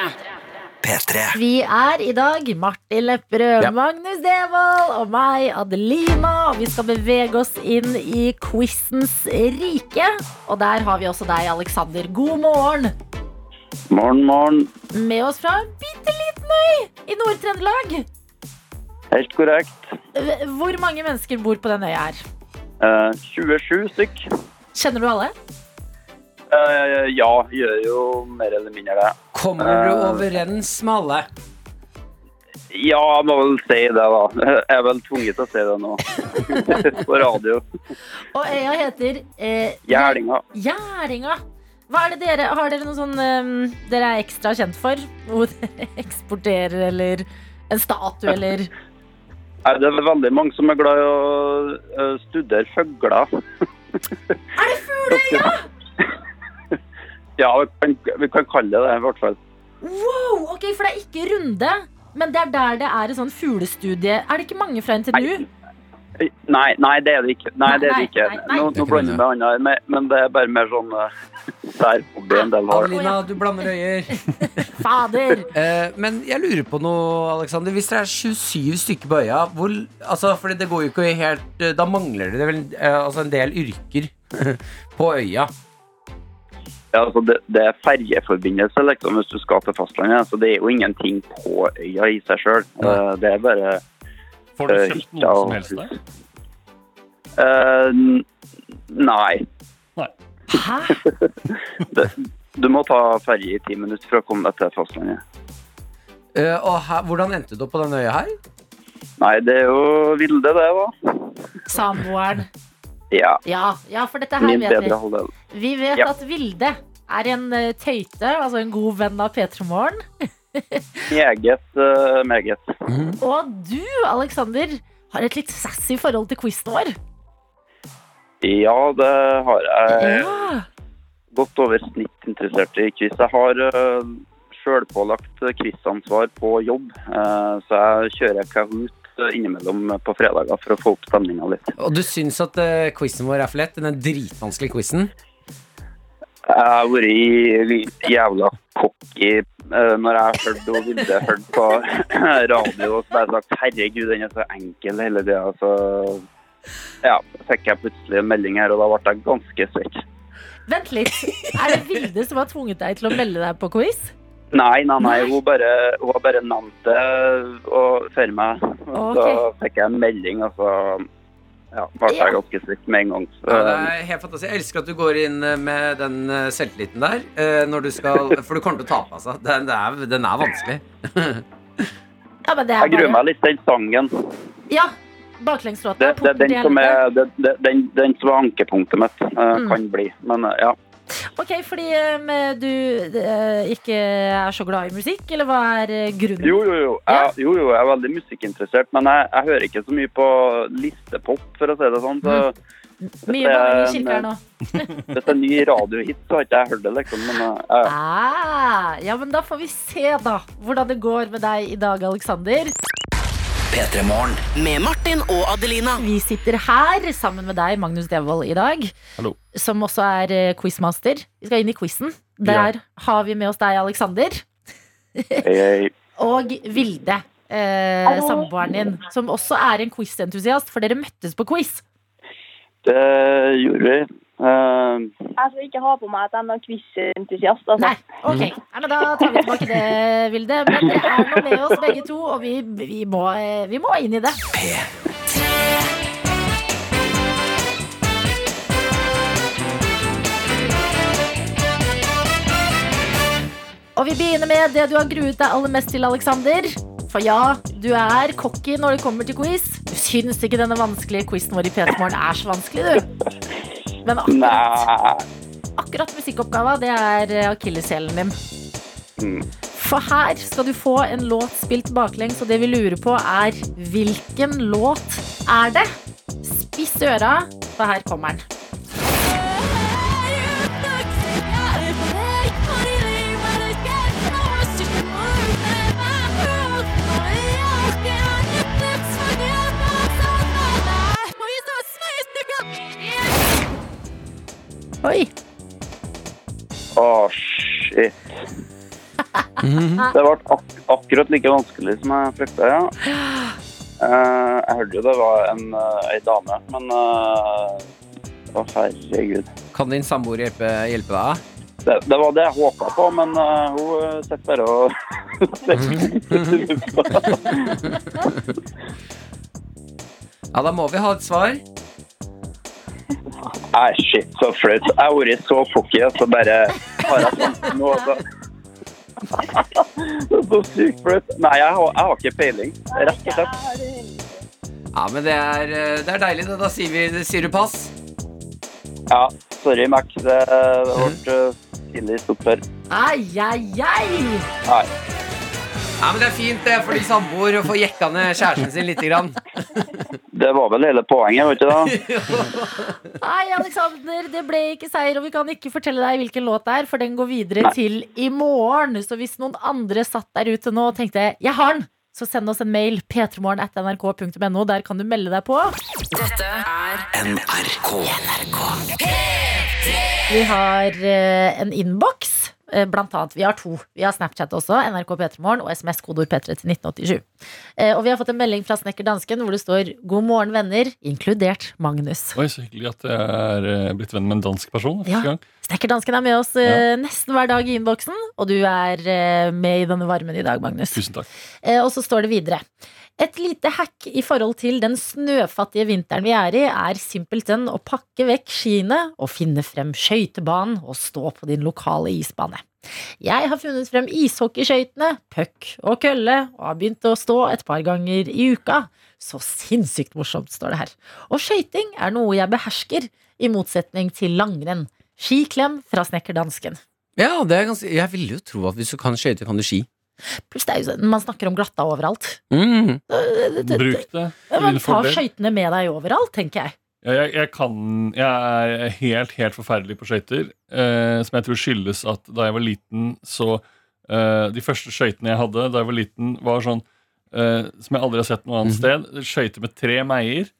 Speaker 4: P3.
Speaker 2: Vi er i dag Martin Lepperød,
Speaker 3: Ja.
Speaker 2: Magnus Devold og meg, Adelina. Og vi skal bevege oss inn i quizens rike. Og der har vi også deg, Aleksander. God morgen.
Speaker 8: Morgen, morgen.
Speaker 2: Med oss fra en bitte liten øy i Nord-Trøndelag.
Speaker 8: Helt korrekt.
Speaker 2: Eh, Hvor mange mennesker bor på den øya her?
Speaker 8: Eh, 27 stykk.
Speaker 2: Kjenner du alle?
Speaker 8: Eh, ja, gjør jo mer eller mindre det.
Speaker 3: Kommer du overens med alle?
Speaker 8: Ja, jeg må vel si det, da. Jeg er vel tvunget til å si det nå. På radio.
Speaker 2: Og øya heter eh,
Speaker 8: Gjerlinga.
Speaker 2: Gjerdinga. Hva er det dere, har dere noe sånn eh, dere er ekstra kjent for? Hvor dere eksporterer eller en statue eller
Speaker 8: Nei, Det er veldig mange som er glad i å eh, studere fugler.
Speaker 2: Er det fugler?
Speaker 8: ja? ja, vi kan, vi kan kalle det det, i hvert fall.
Speaker 2: Wow! Ok, For det er ikke runde, men det er der det er et sånn fuglestudie. Er det ikke mange fra NTNU?
Speaker 8: Eh, Nei, nei, det er det ikke. Nei, det er det ikke.
Speaker 2: Nei, nei, nei.
Speaker 8: Nå, nå blander jeg med andre, men- men det er bare mer sånn uh, der hobby en del har.
Speaker 3: Adelina, du blander øyer.
Speaker 2: Fader!
Speaker 3: Eh, men jeg lurer på noe, Alexander. Hvis dere er 27 stykker på øya, hvor, altså, fordi det går jo ikke helt eh, Da mangler det vel eh, altså en del yrker på øya.
Speaker 8: Ja, altså det, det er ferjeforbindelse liksom, hvis du skal til fastlandet. Så det er jo ingenting på øya i seg sjøl.
Speaker 3: Nei.
Speaker 8: det er bare
Speaker 7: Får du
Speaker 8: eh,
Speaker 7: kjøpt noe
Speaker 8: hytta
Speaker 7: som
Speaker 8: og
Speaker 7: helst der?
Speaker 8: hus. Eh, n- nei.
Speaker 2: Hæ?
Speaker 8: Du må ta ferje i ti minutter for å komme deg til fastlandet.
Speaker 3: Eh, og her, hvordan endte du opp på denne øya her?
Speaker 8: Nei, det er jo Vilde, det, da.
Speaker 2: Samboeren.
Speaker 8: Ja.
Speaker 2: Ja, ja, for dette her
Speaker 8: Min
Speaker 2: vet vi.
Speaker 8: bedre halvdel.
Speaker 2: Vi vet
Speaker 8: Ja.
Speaker 2: at Vilde er en eh, tøyte, altså en god venn av P3 Morgen.
Speaker 8: Meget, eh, meget.
Speaker 2: Og du, Aleksander, har et litt sassy forhold til quizen vår.
Speaker 8: Ja, det har jeg.
Speaker 2: Ja.
Speaker 8: Godt over snitt interessert i quiz. Jeg har uh, sjølpålagt eh, quizansvar på jobb, eh, så jeg kjører Kahoot eh, innimellom på fredager for å få opp stemninga litt.
Speaker 3: Og du syns at
Speaker 6: eh,
Speaker 3: uh, quizen vår er for lett? Den dritvanskelige quizen?
Speaker 8: Jeg har vært i jævla cocky eh, når jeg har hørt og ville hørt på radio og så bare sagt 'herregud, den er så enkel' hele tida. Så ja, fikk jeg plutselig en melding her, og da ble jeg ganske svett.
Speaker 2: Vent litt. Er det Vilde som har tvunget deg til å melde deg på quiz?
Speaker 8: Nei, nei, nei. Hun bare, hun har bare nevnt det og for meg. Og så fikk jeg en melding, og så ja, ble jeg ganske svett med en gang. Så, eh,
Speaker 3: Ja, det er helt fantastisk. Jeg elsker at du går inn eh, med den eh, selvtilliten der. eh, Når du skal, for du kommer til å tape, altså. Den, den, er, den er vanskelig.
Speaker 2: Ja, men det er
Speaker 8: jeg gruer
Speaker 2: bare
Speaker 8: meg litt til den sangen.
Speaker 2: Ja, baklengslåta.
Speaker 8: Det, det er
Speaker 2: Porten
Speaker 8: den
Speaker 2: til
Speaker 8: som
Speaker 2: helvete.
Speaker 8: er, det, det, den, den som er ankepunktet mitt. eh, Kan bli. Men eh, ja.
Speaker 2: Ok, fordi um, du eh, ikke er så glad i musikk, eller hva er eh, grunnen?
Speaker 8: Jo, jo, jo. Jeg, jo, jo, jeg er veldig musikkinteressert, men jeg, jeg hører ikke så mye på listepop, for å si det sånn. Så
Speaker 2: Mye banging i kirka her nå.
Speaker 8: hvis det er ny radiohit, så har ikke jeg hørt det, liksom. Men eh, ja.
Speaker 2: Ah, ja, men da får vi se da hvordan det går med deg i dag, Alexander.
Speaker 4: Med Martin og Adelina.
Speaker 2: Vi sitter her sammen med deg, Magnus Devold, i dag.
Speaker 7: Hallo.
Speaker 2: Som også er eh, quizmaster. Vi skal inn i quizen. Der har vi med oss deg, Alexander.
Speaker 8: Hei, hei.
Speaker 2: Og Vilde, eh, samboeren din, som også er en quizentusiast, for dere møttes på quiz.
Speaker 8: Det gjorde vi. Eh,
Speaker 9: Jeg skal Altså, ikke ha på meg at jeg er noen quizentusiast. Altså.
Speaker 2: Nei, ok. Nei, men da tar vi tilbake det, Vilde. Men dere er nå med oss begge to, og vi, vi, må, eh, vi må inn i det. Og vi begynner med det du har gruet deg aller mest til, Alexander. For ja, du er cocky når det kommer til quiz. Du syns ikke denne vanskelige quizen vår i P3 Morgen er så vanskelig, du. Men akkurat
Speaker 8: nei
Speaker 2: akkurat musikkoppgava, det er eh, akilleshælen din.
Speaker 8: Mm.
Speaker 2: For her skal du få en låt spilt baklengs, og det vi lurer på, er hvilken låt er det? Spiss øra, for her kommer den. Oi.
Speaker 8: Å, shit. Det ble ak akkurat like vanskelig som jeg frykta, ja. Eh, jeg hørte jo det var en, eh, ei dame, men eh, Å, herregud.
Speaker 3: Kan din samboer hjelpe, hjelpe deg?
Speaker 8: Det, det var det jeg håpa på, men eh, hun sitter bare og
Speaker 3: Ja, da må vi ha et svar.
Speaker 8: Nei, shit, så flaut. Jeg har vært så cocky, og så bare har jeg sånn nå, så Det er så sykt flaut. Nei, jeg har, jeg har ikke peiling, rett og slett.
Speaker 3: Ja, men det er, eh, det er deilig, det. Da sier, vi, sier du pass.
Speaker 8: Ja, sorry, Mac. Det det ble eh, tidlig stopp her.
Speaker 2: Ai, ai, ai.
Speaker 8: Nei.
Speaker 3: Ja, men Det er fint det for din samboer å få jekka ned kjæresten sin lite grann.
Speaker 8: Det var vel hele poenget, var ikke det?
Speaker 2: Nei, Alexander, det ble ikke seier, og vi kan ikke fortelle deg hvilken låt det er, for den går videre til i morgen. Så hvis noen andre satt der ute nå og tenkte 'jeg har den', så send oss en mail. p3morgen.nrk.no. Der kan du melde deg på. Vi har eh, en innboks. eh, Blant annet. Vi har to. Vi har Snapchat også, NRK P3morgen og SMS-kodeord P3 til 1987. Eh, Og vi har fått en melding fra snekker dansken hvor det står 'God morgen, venner', inkludert Magnus.
Speaker 7: Oi, så hyggelig at jeg er eh, blitt venn med en dansk person.
Speaker 2: Ja.
Speaker 7: Første gang.
Speaker 2: Snekkerdansken er med oss eh, nesten hver dag i innboksen, og du er eh, med i denne varmen i dag, Magnus.
Speaker 7: Tusen takk.
Speaker 2: Eh, og så står det videre. Et lite hack i forhold til den snøfattige vinteren vi er i, er simpelthen å pakke vekk skiene og finne frem skøytebanen og stå på din lokale isbane. Jeg har funnet frem ishockeyskøytene, puck og kølle og har begynt å stå et par ganger i uka. Så sinnssykt morsomt, står det her. Og skøyting er noe jeg behersker, i motsetning til langrenn. Skiklem fra snekker dansken.
Speaker 3: Ja, det er ganske, Jeg ville jo tro at hvis du kan skøyter, kan du ski.
Speaker 2: Pluss det er jo sånn, man snakker om glatta overalt.
Speaker 3: Mm.
Speaker 7: Bruk det.
Speaker 2: Ja,
Speaker 7: til
Speaker 2: men
Speaker 7: din
Speaker 2: ta
Speaker 7: fordel.
Speaker 2: skøytene med deg overalt, tenker jeg.
Speaker 7: Ja, jeg, jeg, kan, jeg er helt, helt forferdelig på skøyter. Eh, som jeg tror skyldes at da jeg var liten, så eh, De første skøytene jeg hadde da jeg var liten, var sånn eh, som jeg aldri har sett noe annet sted. Skøyter med tre meier.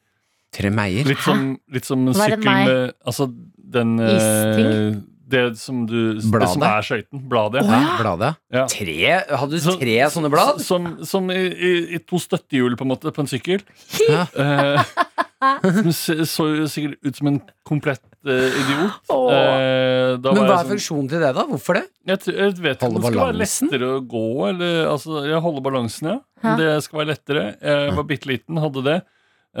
Speaker 3: Tre meier.
Speaker 7: Litt som, litt som en
Speaker 2: Hva er en
Speaker 7: sykkel
Speaker 2: mei?
Speaker 7: med Altså den eh,
Speaker 2: Isting?
Speaker 7: Det som, du, det
Speaker 3: Bladet?
Speaker 7: som er skøyten. Bladet.
Speaker 3: Bladet.
Speaker 7: Ja.
Speaker 3: Tre? Hadde du
Speaker 7: Så-
Speaker 3: tre sånne blad?
Speaker 7: Som, som i, i, i to støttehjul på en måte på en sykkel.
Speaker 3: Ja.
Speaker 7: Eh, som se- så jo sikkert ut som en komplett eh, idiot.
Speaker 2: Åh.
Speaker 7: Eh, da
Speaker 3: Men
Speaker 7: var
Speaker 3: hva
Speaker 7: jeg
Speaker 3: er
Speaker 7: sånn-
Speaker 3: funksjonen til det, da? Hvorfor det?
Speaker 7: Jeg, tr- jeg vet ikke om
Speaker 3: Holde
Speaker 7: det skal være
Speaker 3: balansen?
Speaker 7: lettere å gå, eller altså, jeg holder balansen, ja.
Speaker 2: Ja.
Speaker 7: Om Det skal være lettere. Jeg var bitte liten, hadde det.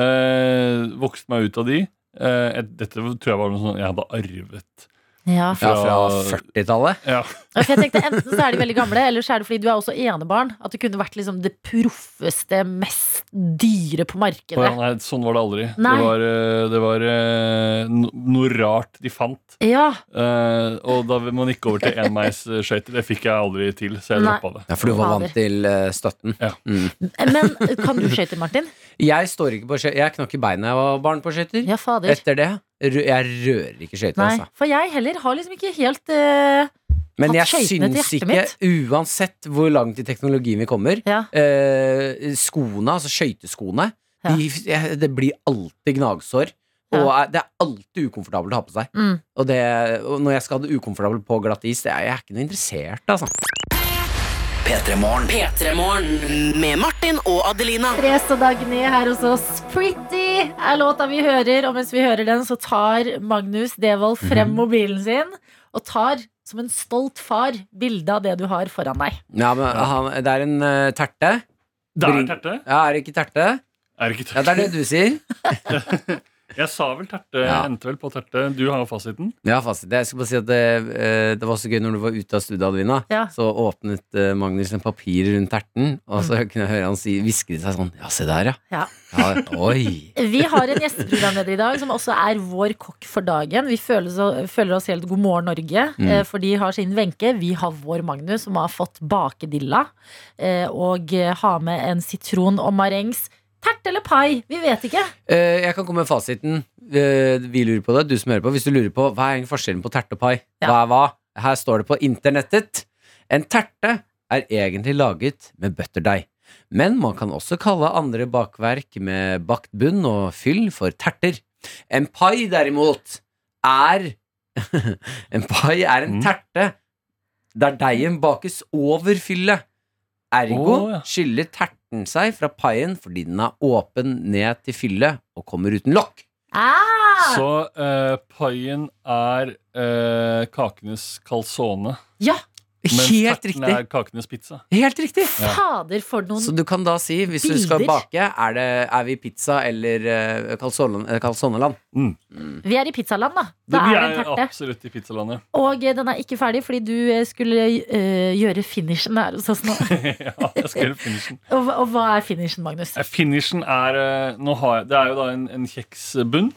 Speaker 7: Eh, vokste meg ut av de. Eh, et- dette tror jeg var noe sånn jeg hadde arvet.
Speaker 2: Ja.
Speaker 3: Ja, fra
Speaker 7: Fra-
Speaker 3: 40-tallet.
Speaker 7: Ja.
Speaker 2: Ja, For jeg tenkte Enten så er de veldig gamle, eller så er det fordi du er også enebarn. At du kunne vært liksom det proffeste, mest dyre på markedet.
Speaker 7: Og ja, nei, sånn var det aldri.
Speaker 2: Nei.
Speaker 7: Det var, eh, det var eh, no, noe rart de fant.
Speaker 2: Ja,
Speaker 7: Eh, og da man gikk over til enveisskøyter, det fikk jeg aldri til, så jeg
Speaker 2: Nei.
Speaker 7: droppa det.
Speaker 3: Ja, for du var vant
Speaker 2: Fader.
Speaker 3: til eh, støtten.
Speaker 7: Ja.
Speaker 3: Mm.
Speaker 2: Men kan du skøyter, Martin?
Speaker 3: Jeg står ikke på skøy- Jeg knakk i beina da jeg var barn på skøyter.
Speaker 2: Ja, fader.
Speaker 3: Etter det rø- Jeg rører ikke skøyter,
Speaker 2: Nei,
Speaker 3: altså.
Speaker 2: for jeg heller har liksom ikke helt eh,
Speaker 3: Men
Speaker 2: Tatt
Speaker 3: jeg
Speaker 2: skøytene til
Speaker 3: syns
Speaker 2: hjertet
Speaker 3: ikke,
Speaker 2: mitt.
Speaker 3: uansett hvor langt i teknologien vi kommer
Speaker 2: Ja.
Speaker 3: eh, Skoene, altså skøyteskoene
Speaker 2: Ja.
Speaker 3: de, jeg- Det blir alltid gnagsår Og
Speaker 2: Ja.
Speaker 3: er- det er alltid ukomfortabelt å ha på seg
Speaker 2: Mm.
Speaker 3: og, det, og når jeg skal ha det ukomfortabelt på glatt is det er, Jeg er ikke noe interessert, altså
Speaker 4: P3-morgen. Med Martin og Adelina.
Speaker 2: Therese og Dagny her hos oss. Pretty er låta vi hører, og mens vi hører den, så tar Magnus Devold frem mobilen sin og tar, som en stolt far, bilde av det du har foran deg.
Speaker 3: ja, men, han, Det er en eh, terte
Speaker 7: Der,
Speaker 3: Bring-
Speaker 7: terte.
Speaker 3: Ja, er det ikke terte?
Speaker 7: Er det ikke
Speaker 3: Ja, det er det du sier
Speaker 7: Jeg sa vel terte,
Speaker 3: Ja.
Speaker 7: endte vel på terte. Du har jo fasiten.
Speaker 3: Ja, fasit. Jeg skal bare si at det, eh, det var så gøy når du var ute av studiet, Adelina.
Speaker 2: Ja.
Speaker 3: Så åpnet eh, Magnus en papir rundt terten, og så kunne jeg høre han si, hviske til seg sånn Ja, se der, ja.
Speaker 2: Ja.
Speaker 3: Ja, oi.
Speaker 2: Vi har en gjesteprogramleder i dag som også er vår kokk for dagen. Vi føler, så, føler oss helt God morgen Norge,
Speaker 7: Mm.
Speaker 2: eh, for de har sin Wenche. Vi har vår Magnus, som har fått bakedilla. eh, Og eh, har med en sitron og marengs. Tert eller pai? Vi vet ikke.
Speaker 3: Eh, jeg kan komme med fasiten. Eh, vi lurer på det, du som hører på. Hvis du lurer på hva er egentlig forskjellen på terte og pai,
Speaker 2: Ja.
Speaker 3: hva er hva? Her står det på internettet. En terte er egentlig laget med butterdeig. Men man kan også kalle andre bakverk med bakt bunn og fyll for terter. En pai, derimot, er En pai er en
Speaker 7: Mm.
Speaker 3: terte der deigen bakes over fyllet. Ergo
Speaker 7: Å, ja.
Speaker 3: skiller terten seg fra paien fordi den er åpen ned til fyllet og kommer uten lokk.
Speaker 2: Ah!
Speaker 7: Så eh, paien er eh, kakenes calzone.
Speaker 2: Ja,
Speaker 7: Mens
Speaker 3: Helt
Speaker 7: terten
Speaker 3: riktig!
Speaker 7: er kakenes pizza.
Speaker 3: Helt riktig!
Speaker 2: fader for noen
Speaker 3: Så du kan da si, hvis du skal
Speaker 2: Sånn Bilder.
Speaker 3: bake, er, det, er vi pizza eller eh, calzone- eh, calzoneland?
Speaker 2: Vi er i pizzaland, da.
Speaker 7: Det
Speaker 2: Da
Speaker 7: blir
Speaker 2: er det
Speaker 7: jeg
Speaker 2: en terte.
Speaker 7: absolutt i pizzalandet.
Speaker 2: Og eh, den er ikke ferdig, fordi du eh, skulle eh, gjøre finishen her hos oss nå.
Speaker 7: ja, jeg skal gjøre finishen.
Speaker 2: Og, hva- og hva er finishen, Magnus?
Speaker 7: Eh, Finishen er eh, nå har jeg, Det er jo da en, en kjeksbunn.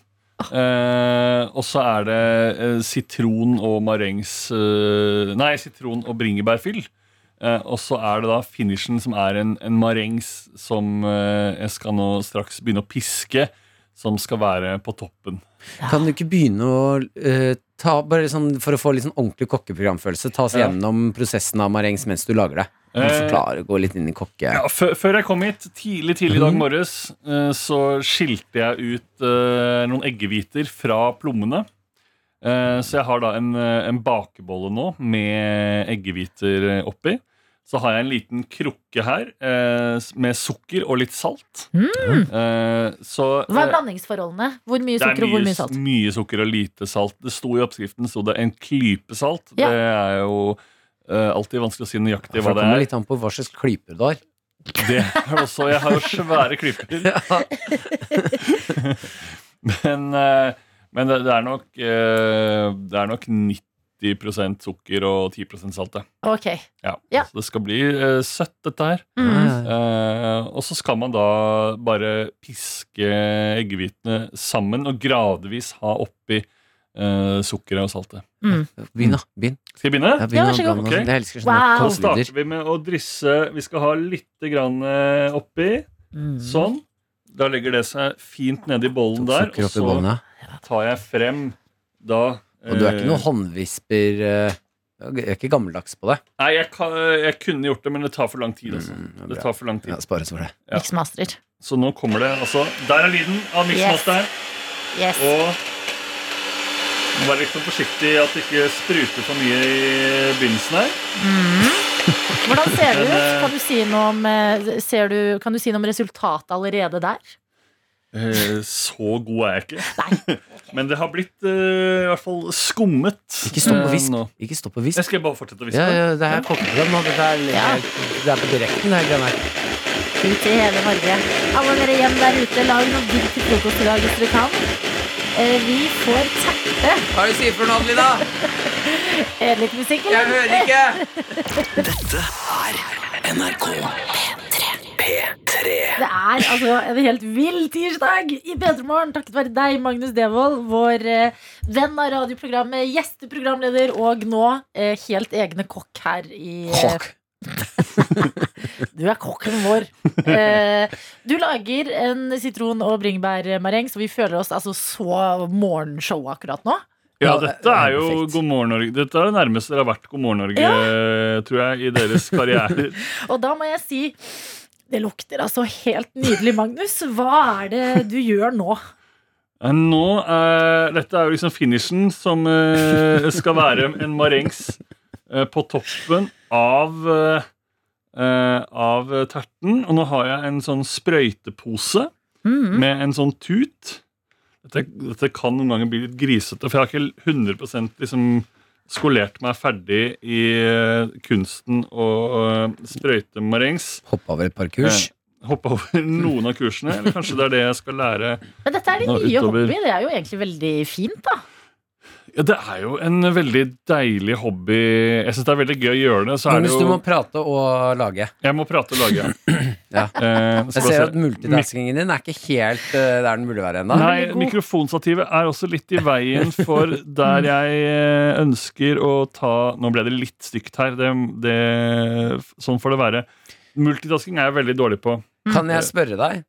Speaker 7: Eh, og så er det eh, sitron og marengs eh, Nei, sitron og bringebærfyll. Eh, og så er det da finishen, som er en, en marengs som eh, jeg skal nå straks begynne å piske. Som skal være på toppen.
Speaker 3: Kan du ikke begynne å eh, ta, bare sånn, For å få litt sånn ordentlig kokkeprogramfølelse, ta oss
Speaker 7: Ja.
Speaker 3: gjennom prosessen av marengs mens du lager det. Kan du
Speaker 7: Eh,
Speaker 3: forklare, gå litt inn i kokke...
Speaker 7: Ja, før, før jeg kom hit, tidlig tidlig i
Speaker 2: Mhm.
Speaker 7: dag morges, eh, så skilte jeg ut eh, noen eggehviter fra plommene. Eh, Så jeg har da en, eh, en bakebolle nå med eggehviter eh, oppi. Så har jeg en liten krukke her eh, s- med sukker og litt salt. Eh, Så
Speaker 2: Mm. Hva er
Speaker 7: eh,
Speaker 2: blandingsforholdene? Hvor mye
Speaker 7: det er
Speaker 2: sukker og hvor
Speaker 7: mye,
Speaker 2: mye salt?
Speaker 7: mye sukker og lite salt. Det sto i oppskriften sto det en klype salt.
Speaker 2: Ja.
Speaker 7: Det er jo eh, alltid vanskelig å si nøyaktig
Speaker 3: For
Speaker 7: hva
Speaker 3: det
Speaker 7: det
Speaker 3: kommer
Speaker 7: er.
Speaker 3: litt an på hva slags klyper du har.
Speaker 7: Det er det også, Jeg har jo svære klyper. Men, eh, men det, det, er nok, eh, det er nok 90 sukker og 10 salt. det.
Speaker 2: Ok.
Speaker 7: Ja.
Speaker 2: Ja.
Speaker 7: Så det skal bli eh, søtt, dette her.
Speaker 2: Mm.
Speaker 7: Eh, og så skal man da bare piske eggehvitene sammen og gradvis ha oppi eh, sukkeret og saltet.
Speaker 3: Begynn, da. Begynn.
Speaker 7: Skal jeg begynne?
Speaker 3: Ja, begynn
Speaker 2: Ja,
Speaker 3: å
Speaker 2: vær så god.
Speaker 3: blande
Speaker 7: Ok.
Speaker 3: oss. Jeg elsker
Speaker 2: Wow.
Speaker 3: sånne
Speaker 7: Da
Speaker 3: kokkelyder.
Speaker 7: starter vi med å drysse. Vi skal ha litt grann eh, oppi.
Speaker 2: Mm.
Speaker 7: Sånn. Da legger det seg fint nedi bollen
Speaker 3: Mhm. Tok
Speaker 7: der.
Speaker 3: sukker
Speaker 7: Og
Speaker 3: oppi
Speaker 7: så
Speaker 3: bollene.
Speaker 7: tar jeg frem da
Speaker 3: Og du er ikke
Speaker 7: eh,
Speaker 3: noe håndvisper eh, Du er ikke gammeldags på det.
Speaker 7: Nei, jeg, kan, jeg kunne gjort det, men det tar for lang tid. Altså.
Speaker 3: Mm, ja,
Speaker 7: det
Speaker 3: bra.
Speaker 7: tar for lang tid.
Speaker 3: Ja, Spar oss for det.
Speaker 7: Ja.
Speaker 2: Miksmaster.
Speaker 7: Så nå kommer det altså Der er lyden av miksmasteren.
Speaker 2: Yes.
Speaker 7: Og må være litt sånn forsiktig at det ikke spruter for mye i begynnelsen her.
Speaker 2: Hvordan ser det ut?
Speaker 7: Men, eh,
Speaker 2: Kan du, si noe om, eh, ser du, kan du si noe om resultatet allerede der?
Speaker 7: eh, så god er jeg ikke. Men det har blitt eh, i hvert fall skummet.
Speaker 3: Ikke stopp
Speaker 7: eh,
Speaker 3: og hvisk.
Speaker 7: nå.
Speaker 3: Ikke stopp og hvisk.
Speaker 7: Jeg skal bare fortsette å hviske.
Speaker 3: Ja, ja, det her kommer frem nå. Dette er, det er på direkten. Det her greiene her.
Speaker 2: Ut i hele Norge. Alle dere hjem der ute, lag noe digg til frokost i dag hvis dere kan. Eh, Vi får teppe.
Speaker 3: Hva er det du sier for noe, Adelina?
Speaker 2: Er det litt musikk,
Speaker 3: Jeg
Speaker 2: eller?
Speaker 3: hører ikke!
Speaker 2: Det er altså en helt vill tirsdag i P3 Morgen takket være deg, Magnus Devold, vår eh, venn av radioprogrammet, gjesteprogramleder og nå eh, helt egne kokk her i eh,
Speaker 3: Fuck.
Speaker 2: Du er kokken vår. Eh, du lager en sitron- og bringebærmareng, så vi føler oss altså så morgenshow akkurat nå.
Speaker 7: Ja, dette er jo
Speaker 3: Perfekt.
Speaker 7: God morgen Norge. Dette er det nærmeste dere har vært God morgen Norge, tror jeg, i deres karrierer.
Speaker 2: Og da må jeg si det lukter altså helt nydelig, Magnus. Hva er det du gjør nå?
Speaker 7: Eh, Nå eh, Dette er jo liksom finishen, som eh, skal være en marengs eh, på toppen av eh, eh, Av terten. Og nå har jeg en sånn sprøytepose
Speaker 2: Mm.
Speaker 7: med en sånn tut. Dette, dette kan noen ganger bli litt grisete, for jeg har ikke 100 liksom skolert meg ferdig i eh, kunsten å eh, sprøyte marengs.
Speaker 3: Hoppa over et par
Speaker 7: Eh,
Speaker 3: kurs.
Speaker 7: Hoppe over noen av kursene. Eller kanskje det er det jeg skal lære
Speaker 2: Men dette er din
Speaker 7: Nå,
Speaker 2: nye
Speaker 7: utover-
Speaker 2: hobby. Det er jo egentlig veldig fint, da.
Speaker 7: Ja, Det er jo en veldig deilig hobby. Jeg syns det er veldig gøy å gjøre det. Så er det
Speaker 3: Magnus, du må
Speaker 7: jo,
Speaker 3: prate og lage.
Speaker 7: jeg må prate og lage.
Speaker 3: Ja.
Speaker 7: Eh,
Speaker 3: Jeg
Speaker 7: skal
Speaker 3: ser
Speaker 7: bare
Speaker 3: at
Speaker 7: se.
Speaker 3: multitaskingen din er ikke helt eh, der den burde være ennå.
Speaker 7: Nei, mikrofonstativet er også litt i veien for der jeg eh, ønsker å ta Nå ble det litt stygt her. Det, det, sånn får det være. Multitasking er jeg veldig dårlig på.
Speaker 3: Kan jeg spørre deg?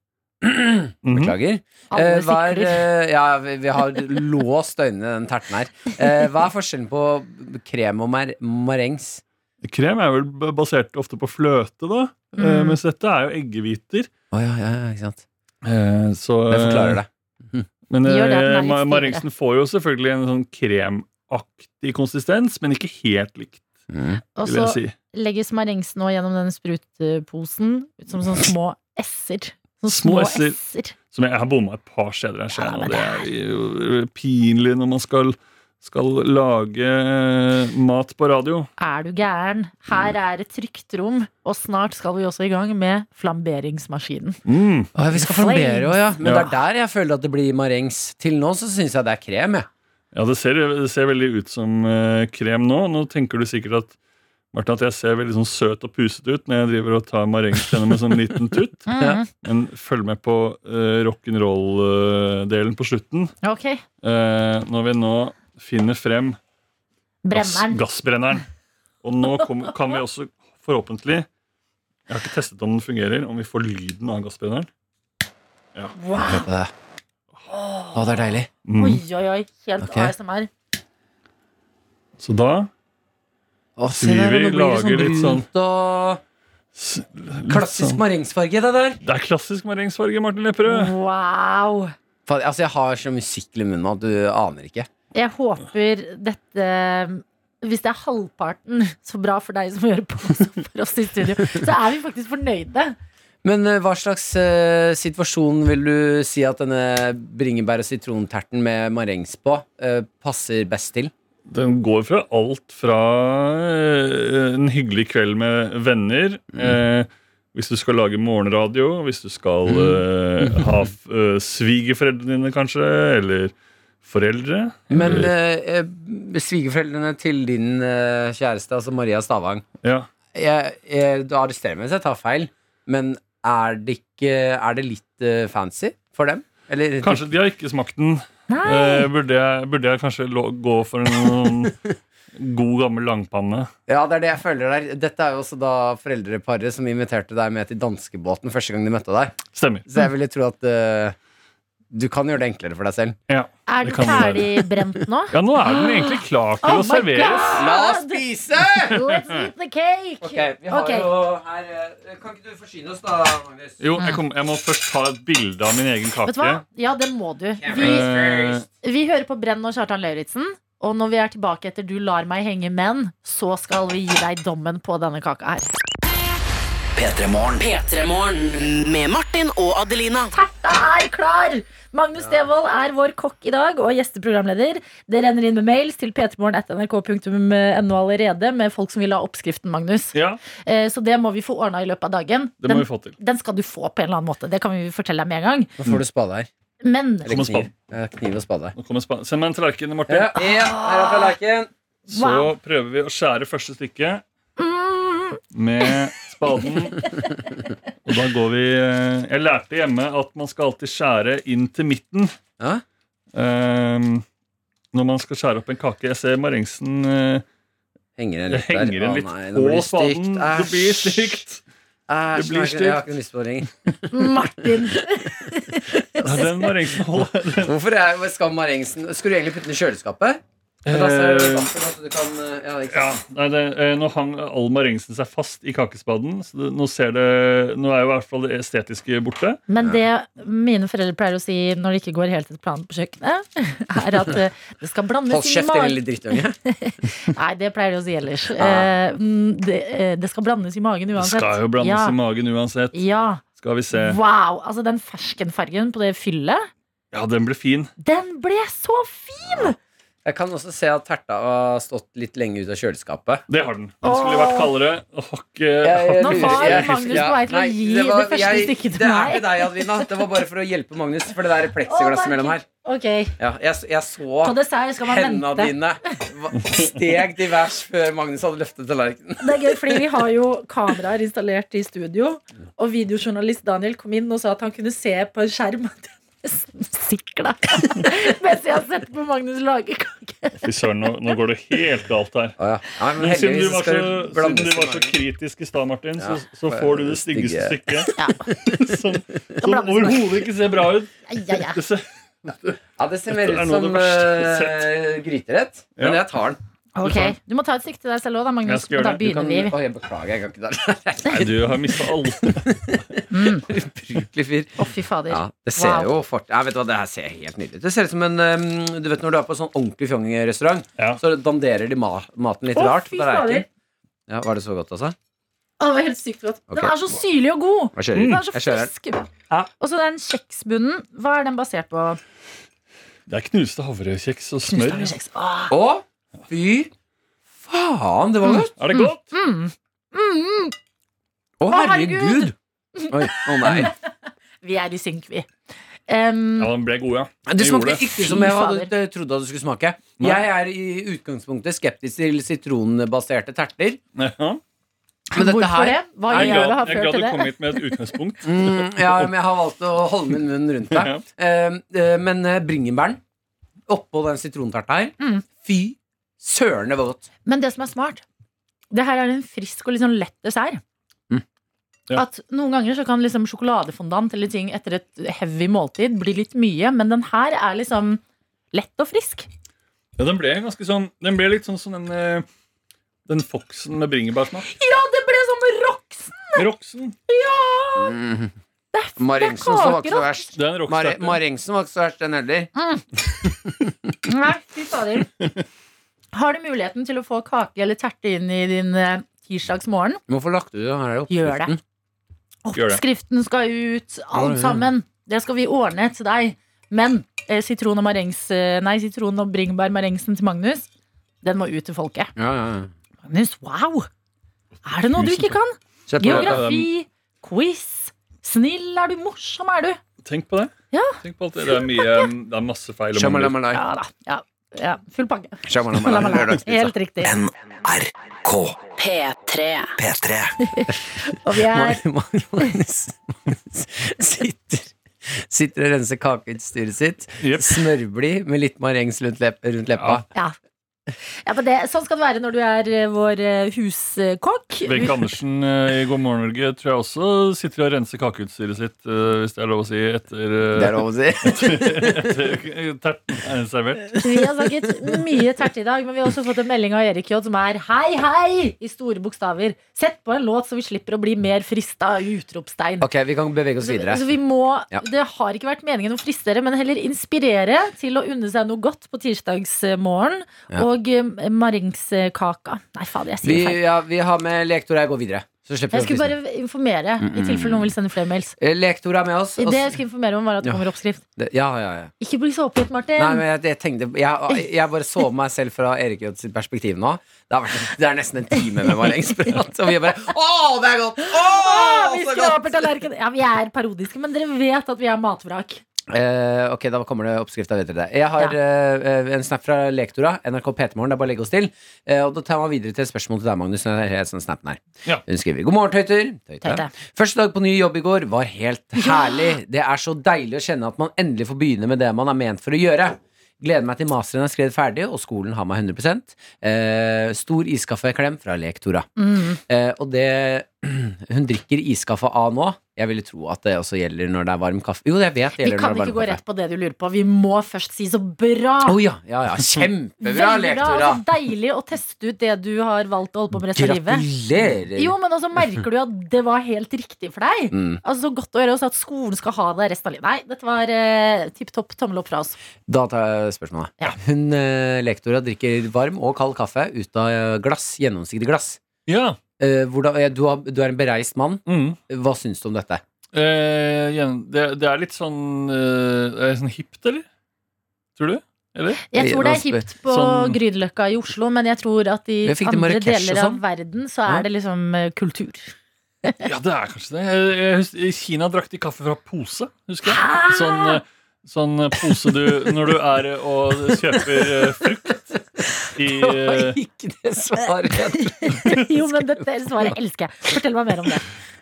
Speaker 7: Mhm.
Speaker 3: Beklager.
Speaker 2: Alle
Speaker 3: Eh, hva er,
Speaker 2: sikrer.
Speaker 3: eh, ja, vi, vi har låst øynene i den terten her. Eh, hva er forskjellen på krem og mar marengs?
Speaker 7: Krem er vel b- basert ofte på fløte, da. Eh,
Speaker 2: Mm.
Speaker 7: Mens dette er jo eggehviter.
Speaker 3: Å ja, ja, ja, ikke sant.
Speaker 7: Eh, Så,
Speaker 3: Det forklarer det.
Speaker 7: Men
Speaker 2: Gjør det at den er
Speaker 7: eh,
Speaker 2: litt
Speaker 7: ma-
Speaker 2: stivere.
Speaker 7: marengsen får jo selvfølgelig en sånn kremaktig konsistens, men ikke helt likt,
Speaker 3: Mm.
Speaker 2: Og
Speaker 7: vil jeg
Speaker 2: så
Speaker 7: si.
Speaker 2: legges marengs nå gjennom den sprutposen ut som sånne små s-er. Sånne
Speaker 7: Små
Speaker 2: små
Speaker 7: S-er.
Speaker 2: s-er.
Speaker 7: Som jeg, jeg har bomma et par steder her, skjer
Speaker 2: Ja,
Speaker 7: nå,
Speaker 2: men
Speaker 7: og det er jo pinlig når man skal, skal lage eh, mat på radio.
Speaker 2: Er du gæren?
Speaker 7: Mm.
Speaker 2: Her er et trygt rom, og snart skal vi også i gang med flamberingsmaskinen.
Speaker 7: Mm.
Speaker 3: Å, ja, vi skal flambere òg, ja. Men
Speaker 7: Ja.
Speaker 3: det er der jeg føler at det blir marengs. Til nå så syns jeg det er krem, jeg.
Speaker 7: Ja, det ser, det ser veldig ut som eh, krem nå. Nå tenker du sikkert at Martin, at jeg ser veldig sånn søt og pusete ut når jeg driver og tar marengs gjennom en sånn liten tutt.
Speaker 2: Mhm.
Speaker 7: Men følg med på eh, rock'n'roll-delen eh, på slutten.
Speaker 2: Ok,
Speaker 7: Eh, når vi nå finner frem gass,
Speaker 2: brenneren.
Speaker 7: gassbrenneren. Og nå kom, kan vi også forhåpentlig Jeg har ikke testet om den fungerer, om vi får lyden av gassbrenneren.
Speaker 2: Wow.
Speaker 3: Hør på det. Å, det er deilig.
Speaker 7: Mm.
Speaker 2: Oi, oi, oi. Helt
Speaker 3: Ok.
Speaker 2: ASMR.
Speaker 7: Så da
Speaker 3: Å, se
Speaker 7: Vi
Speaker 3: der, nå
Speaker 7: vil
Speaker 3: blir det
Speaker 7: lage litt sånn-
Speaker 3: brunt og
Speaker 7: s- litt
Speaker 3: Klassisk
Speaker 7: sånn-
Speaker 3: marengsfarge, det der.
Speaker 7: Det er klassisk maringsfarge, Martin Lepperød.
Speaker 2: Wow.
Speaker 3: Faen, altså, jeg har så musikk i munnen nå at du aner ikke.
Speaker 2: Jeg håper dette Hvis det er halvparten, så bra for deg som gjør på som for oss i studio, så er vi faktisk fornøyde.
Speaker 3: Men eh, hva slags eh, situasjon vil du si at denne bringebær- og sitronterten med marengs på eh, passer best til?
Speaker 7: Den går fra alt fra eh, en hyggelig kveld med venner
Speaker 2: Mm.
Speaker 7: eh, Hvis du skal lage morgenradio, hvis du skal
Speaker 2: Mm.
Speaker 7: eh, ha f- eh, svigerforeldrene dine, kanskje, eller foreldre
Speaker 3: Men eh, eh, svigerforeldrene til din eh, kjæreste, altså Maria Stavang
Speaker 7: Ja.
Speaker 3: jeg, jeg, Du arresterer meg hvis jeg tar feil, men er det, ikke, er det litt eh, fancy for dem? Eller,
Speaker 7: Kanskje de har ikke smakt den.
Speaker 2: Nei.
Speaker 7: Eh, burde, jeg, burde jeg kanskje lå, gå for en god gammel langpanne?
Speaker 3: Ja, det er det jeg føler der. Dette er jo også da foreldreparet som inviterte deg med til danskebåten første gang de møtte deg.
Speaker 7: Stemmer.
Speaker 3: Så jeg ville tro at eh, du kan gjøre det enklere for deg selv.
Speaker 7: Ja.
Speaker 2: Er
Speaker 7: det
Speaker 2: den
Speaker 7: kan det være.
Speaker 2: ferdig brent nå?
Speaker 7: ja, nå er den egentlig klar til
Speaker 2: Oh
Speaker 7: å
Speaker 2: my
Speaker 7: serveres.
Speaker 2: God!
Speaker 3: La oss spise!
Speaker 2: Let's eat the cake!
Speaker 3: Ok, vi har
Speaker 2: Ok.
Speaker 3: jo her eh, Kan ikke du forsyne oss da, Magnus?
Speaker 7: Jo, jeg, kom, jeg må først ta et bilde av min egen
Speaker 2: Vet du hva?
Speaker 7: kake.
Speaker 2: Ja, det må du. Vi,
Speaker 7: Eh,
Speaker 2: vi hører på Brenn og Kjartan Lauritzen. Og når vi er tilbake etter Du lar meg henge men, så skal vi gi deg dommen på denne kaka her.
Speaker 4: P3 Morgen med Martin og Adelina.
Speaker 2: Det er klar! Magnus Devold er vår kokk i dag og gjesteprogramleder. Det renner inn med mails til p3morgen.nrk.no eh, allerede med folk som vil ha oppskriften, Magnus.
Speaker 7: Ja,
Speaker 2: Eh, Så det må vi få ordna i løpet av dagen.
Speaker 7: det må
Speaker 2: Den,
Speaker 7: vi få til.
Speaker 2: den skal du få på en eller annen måte. Det kan vi fortelle deg med en gang.
Speaker 3: Nå får du spade her.
Speaker 2: Men
Speaker 3: Eller
Speaker 7: Kom og
Speaker 3: kniv. Ja, kniv og spade.
Speaker 7: Nå kommer spa- Send meg en tallerken, Martin.
Speaker 3: Ja, ja, her er tallerken.
Speaker 7: Så prøver vi å skjære første stykke
Speaker 2: Mm.
Speaker 7: med spaden. Og da går vi eh, Jeg lærte hjemme at man skal alltid skjære inn til midten.
Speaker 3: Ja.
Speaker 7: Ehm, når man skal skjære opp en kake. Jeg ser Marengsen eh,
Speaker 3: Henger en
Speaker 7: det
Speaker 3: litt
Speaker 7: henger
Speaker 3: der.
Speaker 7: igjen
Speaker 3: Å,
Speaker 7: litt
Speaker 3: nei, nå blir
Speaker 7: på
Speaker 3: det stygt.
Speaker 7: spaden. Det blir
Speaker 3: Æsj.
Speaker 7: stygt.
Speaker 3: Æsj,
Speaker 7: Det blir
Speaker 3: nei, Jeg har
Speaker 7: stygt.
Speaker 3: ikke lyst på å ringe.
Speaker 2: Martin
Speaker 7: Nei, Den Marengsen holder.
Speaker 3: Hvorfor er skal Marengsen Skulle du egentlig putte den i kjøleskapet? Men da ser du
Speaker 7: Eh,
Speaker 3: vaffel, altså, du kan, eh, ja, ikke
Speaker 7: Ja,
Speaker 3: sant?
Speaker 7: nei, det, eh, Nå hang all Marengsen seg fast i kakespaden. Så det, nå, ser det, nå er jo i hvert fall det estetiske borte.
Speaker 2: Men det mine foreldre pleier å si når det ikke går helt etter planen på kjøkkenet, er at eh, det skal blandes
Speaker 3: Hold
Speaker 2: inn i
Speaker 3: kjeft, din
Speaker 2: magen.
Speaker 3: lille drittunge.
Speaker 2: Nei, det pleier de å si ellers.
Speaker 3: Ja.
Speaker 2: Eh, mm, det, eh, det skal blandes i magen
Speaker 7: Det
Speaker 2: uansett.
Speaker 7: skal jo blandes
Speaker 2: ja.
Speaker 7: i magen uansett.
Speaker 2: Ja.
Speaker 7: Skal vi se.
Speaker 2: Wow! Altså, den ferskenfargen på det fyllet,
Speaker 7: Ja, den ble fin.
Speaker 2: den ble så fin!
Speaker 3: Jeg kan også se at terta har stått litt lenge ut av kjøleskapet.
Speaker 7: Det har den. Den skulle vært kaldere. og har ikke-
Speaker 3: Jeg- jeg
Speaker 2: Nå
Speaker 3: lurer-
Speaker 7: har ikke-
Speaker 2: var
Speaker 3: jeg-
Speaker 2: Magnus på vei til å
Speaker 3: Nei,
Speaker 2: gi
Speaker 3: var-
Speaker 2: det første
Speaker 3: jeg-
Speaker 2: stykket til
Speaker 3: Det er
Speaker 2: meg.
Speaker 3: til deg, Adelina. Det var bare for å hjelpe Magnus, for det der
Speaker 2: Å,
Speaker 3: pleksiglasset
Speaker 2: nei,
Speaker 3: mellom her.
Speaker 2: Ok,
Speaker 3: Ja, jeg, jeg
Speaker 2: På
Speaker 3: så
Speaker 2: dessert skal man
Speaker 3: hendene
Speaker 2: vente.
Speaker 3: dine va- steg til værs før Magnus hadde løftet tallerkenen.
Speaker 2: Det er gøy, fordi Vi har jo kameraer installert i studio, og videojournalist Daniel kom inn og sa at han kunne se på en skjerm at jeg nesten sikla mens jeg har sett på Magnus lage kake.
Speaker 7: Fy søren, nå, nå går det helt galt her.
Speaker 3: Å, ja. Nei, men
Speaker 7: Men siden du
Speaker 3: heldigvis
Speaker 7: var
Speaker 3: skal
Speaker 7: så,
Speaker 3: det
Speaker 7: siden
Speaker 3: blandes
Speaker 7: du var så
Speaker 3: i magen.
Speaker 7: kritisk i stad, Martin, så,
Speaker 3: Ja,
Speaker 7: så
Speaker 3: for
Speaker 7: får du det
Speaker 3: det
Speaker 7: styggeste
Speaker 3: stygge.
Speaker 7: stykket.
Speaker 2: Ja.
Speaker 7: Som, som
Speaker 2: blandes i magen.
Speaker 7: overhodet ikke ser bra ut.
Speaker 2: Ja, ja.
Speaker 7: Det ser-
Speaker 3: Ja, det ser mer
Speaker 7: Dette er
Speaker 3: ut
Speaker 7: noe av det
Speaker 3: som
Speaker 7: verste jeg har
Speaker 3: eh, gryterett, men
Speaker 7: Ja.
Speaker 3: jeg tar den.
Speaker 2: Ok, Du må ta et sikte til deg selv òg, da,
Speaker 7: Jeg
Speaker 2: Magnus.
Speaker 7: skal gjøre
Speaker 2: Og da
Speaker 7: det.
Speaker 3: Du
Speaker 2: begynner
Speaker 3: kan,
Speaker 2: vi.
Speaker 3: å, jeg beklager, jeg kan ikke ta den.
Speaker 7: Nei, du har mista alle
Speaker 3: Ubrukelig fyr.
Speaker 2: Å, fy fader.
Speaker 3: Ja, det ser
Speaker 2: Wow.
Speaker 3: jo fort ja, vet du hva, Det her ser helt nydelig ut. Det ser ut som en um, Du vet når du er på en sånn ordentlig fjong-restaurant,
Speaker 7: Ja.
Speaker 3: så danderer de ma maten litt
Speaker 2: Å,
Speaker 3: rart.
Speaker 2: fy
Speaker 3: på tallerkenen.
Speaker 2: fader.
Speaker 3: Ja, var det så godt, altså?
Speaker 2: Å, det var helt sykt godt.
Speaker 3: Ok.
Speaker 2: Den er så syrlig og god.
Speaker 3: Jeg
Speaker 2: Den
Speaker 3: kjører.
Speaker 2: Mm. er så
Speaker 3: Jeg kjører.
Speaker 2: frisk. Og så den kjeksbunnen. Hva er den basert på?
Speaker 7: Det er knuste havrekjeks og smør.
Speaker 2: Kjeks. Åh,
Speaker 3: Å, fy faen, det
Speaker 2: Mm.
Speaker 3: var godt!
Speaker 7: Er det godt?
Speaker 3: Å, herregud!
Speaker 2: herregud!
Speaker 3: Oi, å nei.
Speaker 2: vi er i synk, vi. Um,
Speaker 7: Ja, den ble god, ja.
Speaker 3: Du
Speaker 7: Jeg gjorde
Speaker 3: smakte
Speaker 7: det.
Speaker 3: ikke som jeg
Speaker 2: Fy
Speaker 3: hadde trodde at du skulle smake.
Speaker 7: Nei.
Speaker 3: Jeg er i utgangspunktet skeptisk til sitronbaserte terter.
Speaker 7: Ja.
Speaker 3: Men dette
Speaker 2: hvorfor
Speaker 3: her
Speaker 2: det? Hva
Speaker 7: Jeg er
Speaker 2: gjør det
Speaker 7: glad,
Speaker 2: har
Speaker 7: jeg er glad
Speaker 2: ført
Speaker 7: du
Speaker 2: til
Speaker 7: kom
Speaker 2: det?
Speaker 7: hit med et utgangspunkt.
Speaker 3: Mm, ja, men jeg har valgt å holde min munn rundt deg. Eh, eh, men eh, bringebæren oppå den sitrontarta her
Speaker 2: Mm.
Speaker 3: Fy søren, det var godt.
Speaker 2: Men det som er smart, det her er en frisk og litt sånn lett dessert.
Speaker 3: Mm.
Speaker 7: Ja.
Speaker 2: At Noen ganger så kan liksom sjokoladefondant eller ting etter et heavy måltid bli litt mye, men den her er liksom lett og frisk.
Speaker 7: Ja, den ble ganske sånn Den ble litt sånn som den eh, Den Foxen med bringebærsmak.
Speaker 2: Ja, det ble som
Speaker 7: sånn
Speaker 2: rocksen!
Speaker 7: Roxen.
Speaker 3: Mm.
Speaker 2: det er
Speaker 3: Marengsen så var ikke så
Speaker 2: kakerock.
Speaker 3: verst.
Speaker 7: Det er en
Speaker 3: Mar
Speaker 7: rockstjerne.
Speaker 3: Marengsen var ikke så verst, den heller.
Speaker 2: Nei, fy fader. Har du muligheten til å få kake eller terte inn i din eh, tirsdagsmorgen?
Speaker 3: Hvorfor lagte du den her
Speaker 2: Gjør det.
Speaker 3: oppskriften?
Speaker 7: Gjør det.
Speaker 2: Oppskriften skal ut,
Speaker 3: Ja, ja.
Speaker 2: alt sammen. Det skal vi ordne til deg. Men eh, sitron og, marengs, eh, nei, sitron og bringebær-marengsen til Magnus, den må ut til folket.
Speaker 3: Ja, ja, ja.
Speaker 2: Magnus, wow! Er det noe du ikke kan?
Speaker 3: Se på det.
Speaker 2: Geografi, quiz. Snill er du, morsom er du.
Speaker 7: Tenk på det.
Speaker 2: Ja.
Speaker 7: Tenk på alt det. Det er mye um, Det er masse feil. og mangler.
Speaker 3: Shamalamalai.
Speaker 2: Ja da. Ja, ja. Full pakke.
Speaker 3: Shamalamalai.
Speaker 2: Helt riktig.
Speaker 4: NRK P3 P3
Speaker 2: Og vi er
Speaker 3: Magnus Magnus sitter Sitter og renser kakeutstyret sitt.
Speaker 7: Jep.
Speaker 3: Smørblid med litt marengs rundt, lep rundt leppa.
Speaker 2: Ja. ja men det, sånn skal det være når du er eh, vår eh, huskokk.
Speaker 7: Wenche Andersen eh, i God morgen Norge tror jeg også sitter og renser kakeutstyret sitt, eh, hvis det er lov å si, etter, eh,
Speaker 3: Det er lov å si.
Speaker 7: etter terten er servert.
Speaker 2: Vi har snakket mye tert i dag, men vi har også fått en melding av Erik J som er hei, hei! i store bokstaver. Sett på en låt så vi slipper å bli mer frista av utropstegn.
Speaker 3: Ok, vi kan bevege oss
Speaker 2: Så,
Speaker 3: videre.
Speaker 2: så Altså, vi må,
Speaker 3: Ja.
Speaker 2: Det har ikke vært meningen å friste dere, men heller inspirere til å unne seg noe godt på tirsdagsmorgen.
Speaker 3: Ja.
Speaker 2: Og eh, marengskaka. Nei, fader, jeg
Speaker 3: Vi,
Speaker 2: sier feil.
Speaker 3: ja, vi har med lektor her. Gå videre. Så slipper
Speaker 2: Jeg
Speaker 3: du å
Speaker 2: skulle
Speaker 3: spise.
Speaker 2: bare informere, i tilfelle noen vil sende flere mails.
Speaker 3: Eh, Lektor er med oss. og
Speaker 2: Det jeg
Speaker 3: s-
Speaker 2: skal informere om, var at det
Speaker 3: Ja.
Speaker 2: kommer oppskrift.
Speaker 3: det- Ja, ja, ja.
Speaker 2: Ikke bli så oppgitt, Martin.
Speaker 3: Nei, men jeg, jeg tenkte jeg, jeg bare så meg selv fra Erik Jøds sitt perspektiv nå. Det, har vært, det er nesten en time med meg lengst prat, og vi bare Å, det er godt! Å,
Speaker 2: Å, vi
Speaker 3: så godt!
Speaker 2: skraper tallerkenen. Ja, vi er parodiske, men dere vet at vi er matvrak.
Speaker 3: Eh, ok, da kommer det oppskrift. Da vet dere det. Jeg har eh, en snap fra Lektora, NRK P3morgen. Det er bare å legge oss til. Eh, og da tar man videre til et spørsmål til deg, Magnus. Når jeg har sånn snappen her.
Speaker 7: Ja.
Speaker 3: Hun skriver God morgen, tøyter. Tøyte.
Speaker 2: Tøyte.
Speaker 3: Første dag på ny jobb i går var helt herlig. Det er så deilig å kjenne at man endelig får begynne med det man er ment for å gjøre. Gleder meg til masteren er skrevet ferdig, og skolen har meg 100 eh, Stor iskaffeklem fra Lektora.
Speaker 2: Mm.
Speaker 3: Eh, og det Hun drikker iskaffe A nå. Jeg ville tro at det også gjelder når det er varm kaffe. Jo, jeg vet det
Speaker 2: Vi
Speaker 3: gjelder
Speaker 2: kan
Speaker 3: når det
Speaker 2: ikke
Speaker 3: er varm
Speaker 2: gå
Speaker 3: kaffe.
Speaker 2: rett på det du lurer på. Vi må først si så bra.
Speaker 3: Å ja, ja, ja. Kjempebra,
Speaker 2: Veldig bra,
Speaker 3: lektor, da.
Speaker 2: og så deilig å teste ut det du har valgt å holde på med resten av livet.
Speaker 3: Gratulerer.
Speaker 2: Jo, men også merker du at det var helt riktig for deg.
Speaker 3: Mm.
Speaker 2: Altså Så godt å gjøre også at skolen skal ha deg resten av livet. Nei, dette var eh, tipp topp tommel opp fra oss.
Speaker 3: Da tar jeg spørsmålet.
Speaker 2: Ja.
Speaker 3: Hun eh, lektora drikker varm og kald kaffe ut av eh, glass, gjennomsiktig glass.
Speaker 7: Ja.
Speaker 3: Eh, hvordan, eh, du, har, du er en bereist mann.
Speaker 7: Mm.
Speaker 3: Hva syns du om dette?
Speaker 7: Eh, igjen, det, det er litt sånn eh, Er det sånn hipt, eller? Tror du? Eller?
Speaker 2: Jeg tror det er
Speaker 3: Nå
Speaker 2: kjipt på
Speaker 7: Sånn-
Speaker 2: Grünerløkka i Oslo, men jeg tror at i
Speaker 3: Jeg fikk det i
Speaker 2: andre
Speaker 3: Marrakech og
Speaker 2: deler av
Speaker 3: sånn.
Speaker 2: verden så
Speaker 3: Ja.
Speaker 2: er det liksom eh, kultur.
Speaker 7: Ja, det er kanskje det. Jeg- jeg hus- I Kina drakk de kaffe fra pose, husker jeg. Sånn, eh, sånn pose du når du er eh, og kjøper eh, frukt i eh,
Speaker 3: Ikke det svaret.
Speaker 2: jo, men dette svaret elsker jeg. Fortell meg mer om det.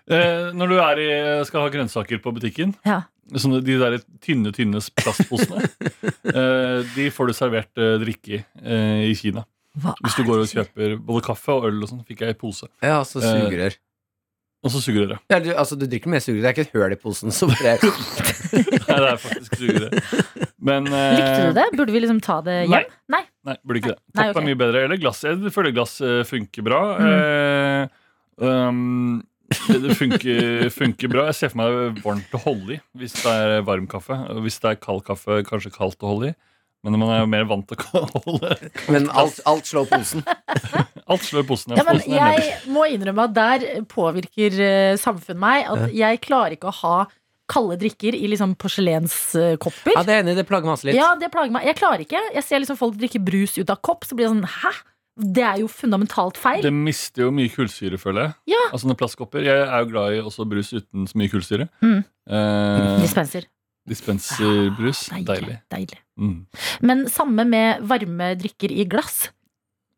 Speaker 7: eh, Når du er i, skal ha grønnsaker på butikken.
Speaker 2: Ja.
Speaker 7: Sånne, de der tynne, tynne plastposene. eh, de får du servert eh, drikke i, eh, i Kina.
Speaker 2: Hva
Speaker 7: Hvis du går og kjøper både kaffe og øl og sånn, fikk jeg i pose.
Speaker 3: Ja, altså sugerør.
Speaker 7: Og så sugerøret.
Speaker 3: Ja, du, altså, du drikker mer sugerør. Det er ikke et høl i posen. Så bare
Speaker 7: Nei, det er faktisk sugerør. Men eh,
Speaker 2: Likte du det? Burde vi liksom ta det
Speaker 7: Nei.
Speaker 2: hjem? Nei.
Speaker 7: Nei, burde ikke det. Kopp
Speaker 2: Nei, ok.
Speaker 7: er mye bedre. Eller glass. Jeg føler glass eh, funker bra.
Speaker 2: Mm.
Speaker 7: Eh, um, det det funker, funker bra. Jeg ser for meg det er varmt å holde i hvis det er varm kaffe. Og Hvis det er kald kaffe, kanskje kaldt å holde i. Men man er jo mer vant til å holde
Speaker 3: Men alt, alt slår posen.
Speaker 7: Alt slår i posen.
Speaker 2: Ja, men
Speaker 7: posen er
Speaker 2: jeg må innrømme at der påvirker eh, samfunnet meg at jeg klarer ikke å ha kalde drikker i liksom porselenskopper.
Speaker 3: Ja, det er jeg enig i. Det plager meg også litt.
Speaker 2: Ja, det plager meg. Jeg klarer ikke. Jeg ser liksom folk drikke brus ut av kopp, så blir jeg sånn hæ? Det er jo fundamentalt
Speaker 7: ned.
Speaker 2: feil.
Speaker 7: det mister jo mye kullsyre, føler jeg.
Speaker 2: Ja.
Speaker 7: Av sånne plastkopper. Jeg er jo glad i også brus uten så mye kullsyre.
Speaker 2: Mm.
Speaker 7: Eh,
Speaker 2: Dispenser.
Speaker 7: dispenserbrus. Deilig.
Speaker 2: Ah, Deilig. deilig.
Speaker 7: Mm.
Speaker 2: Men samme med varme drikker i glass.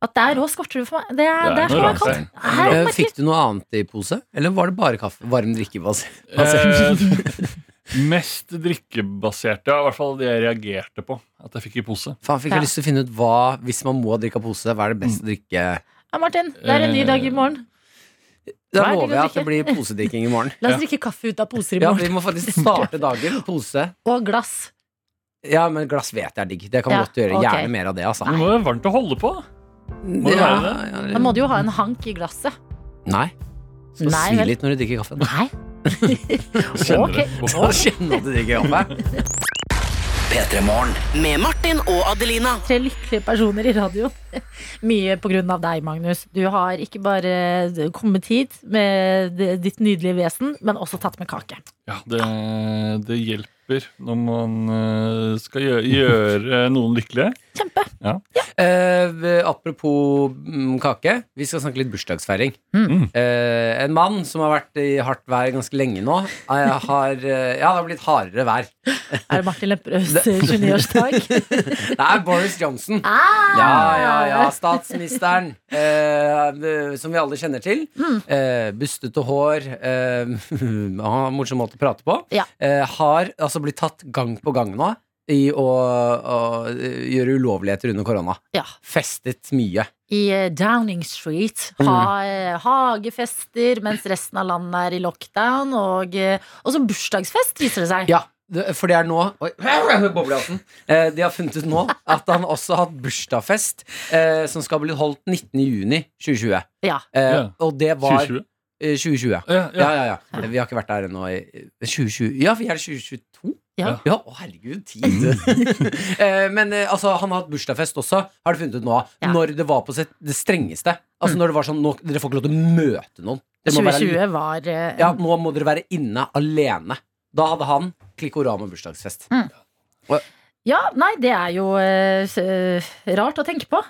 Speaker 2: At der òg skorter det for meg. Det er,
Speaker 7: Det er
Speaker 2: det er så
Speaker 7: noe
Speaker 2: mye kaldt.
Speaker 7: rart,
Speaker 2: Det er
Speaker 3: Eh,
Speaker 2: merkelig.
Speaker 3: Fikk du noe annet i pose? Eller var det bare kaffe? Varm drikke? hva sier- hva
Speaker 2: Altså-
Speaker 3: sier du?
Speaker 7: Eh, mest drikkebaserte, ja, i hvert fall det jeg reagerte på. At jeg fikk i pose.
Speaker 3: Faen, fikk jeg
Speaker 2: Ja.
Speaker 3: lyst til å finne ut hva, hvis man må drikke av pose, hva er det best å drikke
Speaker 2: Ja, Martin, det er en ny dag i morgen.
Speaker 3: Da
Speaker 2: Hva er det å
Speaker 3: lover jeg at det
Speaker 2: drikke?
Speaker 3: blir posedrikking i morgen.
Speaker 2: La oss drikke kaffe ut av poser i
Speaker 3: Ja,
Speaker 2: morgen.
Speaker 3: vi må faktisk starte dagen. Pose.
Speaker 2: Og glass.
Speaker 3: Ja, men glass vet jeg er digg. Det kan vi
Speaker 2: Ja,
Speaker 3: godt gjøre.
Speaker 2: ok.
Speaker 3: Gjerne mer av det, altså.
Speaker 7: Men Det må være varmt å holde på.
Speaker 2: Ah,
Speaker 7: da. Må det
Speaker 3: Ja,
Speaker 7: være det?
Speaker 3: ja,
Speaker 2: Da må du jo ha en hank i glasset.
Speaker 3: Nei. Så
Speaker 2: Nei,
Speaker 3: svi
Speaker 2: vel.
Speaker 3: litt når du drikker kaffe.
Speaker 2: Nei.
Speaker 7: Kjenner det.
Speaker 3: Da kjenner du at du drikker kaffe.
Speaker 4: P3 Morgen.
Speaker 10: Med Martin og Adelina.
Speaker 2: Tre lykkelige personer i radioen. Mye på grunn av deg, Magnus. Du har ikke bare kommet hit med d- ditt nydelige vesen, men også tatt med kake.
Speaker 7: Ja, det, det hjelper når man eh, skal gjøre, gjøre noen lykkelige.
Speaker 2: Kjempe.
Speaker 3: Eh, apropos mm, kake. Vi skal snakke litt bursdagsfeiring.
Speaker 7: Mm.
Speaker 3: Eh, en mann som har vært i hardt vær ganske lenge nå, eh, har eh, Ja, det har blitt hardere vær.
Speaker 2: Er det Martin eh, Lepperøds 29-årsdag?
Speaker 3: Det er Boris Johnson.
Speaker 2: Ah!
Speaker 3: Ja, ja, ja, statsministeren eh, Som vi alle kjenner til
Speaker 2: Mm.
Speaker 3: eh, Bustete hår eh, har en Morsom måte å prate på
Speaker 2: Ja.
Speaker 3: eh, Har altså blitt tatt gang på gang nå I å, å eh, gjøre ulovligheter under korona
Speaker 2: Ja.
Speaker 3: Festet mye
Speaker 2: I eh, Downing Street. Ha, eh, hagefester mens resten av landet er i lockdown. Og eh, også bursdagsfest, viser det seg.
Speaker 3: Ja, det- for det er nå Oi, boblehatten. eh, De har funnet ut nå at han også har hatt bursdagsfest eh, Som skal bli holdt 19. juni 2020
Speaker 2: Ja.
Speaker 3: eh,
Speaker 7: Ja.
Speaker 3: Og det var
Speaker 7: 2020.
Speaker 3: Eh, 2020, ja.
Speaker 7: Ja,
Speaker 3: ja. ja, ja. Vi har ikke vært der ennå. i- 2020 Ja, vi er 2022?
Speaker 2: Ja. Mm.
Speaker 3: ja å, herregud, tid! Eh, Men eh, altså, han har hatt bursdagsfest også, har du funnet ut nå.
Speaker 2: Ja. Mm.
Speaker 3: Når det var på sitt, det strengeste. Altså når det var sånn nå, Dere får ikke lov til å møte noen. Det må være-
Speaker 2: 2020 var eh,
Speaker 3: ja, nå må dere være inne alene. Da hadde han Klikkorama bursdagsfest.
Speaker 2: ja, nei, det er jo eh, s- eh, rart å tenke på.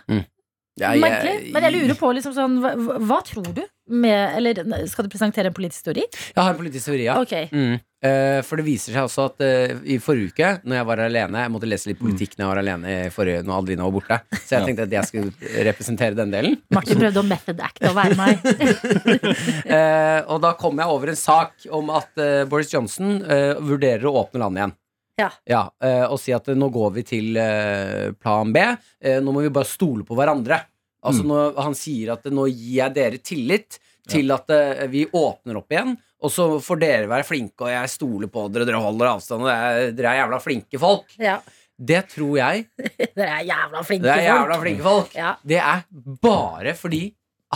Speaker 2: Merkelig. Men jeg lurer på liksom sånn hva, hva- hva tror du med Eller ne, skal du presentere en politisk teori?
Speaker 3: Jeg har en politisk teori, ja.
Speaker 2: Ok.
Speaker 3: Mm. Eh, for det viser seg også at eh, i forrige uke, når jeg var alene Jeg måtte lese litt politikk når jeg var alene i forrige, når Adelina var borte. Så jeg
Speaker 6: Ja.
Speaker 3: tenkte at jeg skulle representere den delen.
Speaker 2: Martin prøvde å method acte og være meg.
Speaker 3: Eh, og da kom jeg over en sak om at eh, Boris Johnson eh, vurderer å åpne landet igjen.
Speaker 2: Ja.
Speaker 3: eh, og si at eh, nå går vi til eh, plan B. Eh, nå må vi bare stole på hverandre. Altså nå, Han sier at eh, nå gir jeg dere tillit til at eh, vi åpner opp igjen. Og så får dere være flinke, og jeg stoler på dere, og dere holder avstand. Og dere er- dere er jævla flinke folk.
Speaker 2: Ja.
Speaker 3: Det tror jeg.
Speaker 2: Dere er jævla flinke
Speaker 3: Dere er jævla
Speaker 2: folk.
Speaker 3: flinke folk.
Speaker 2: Ja.
Speaker 3: Det er bare fordi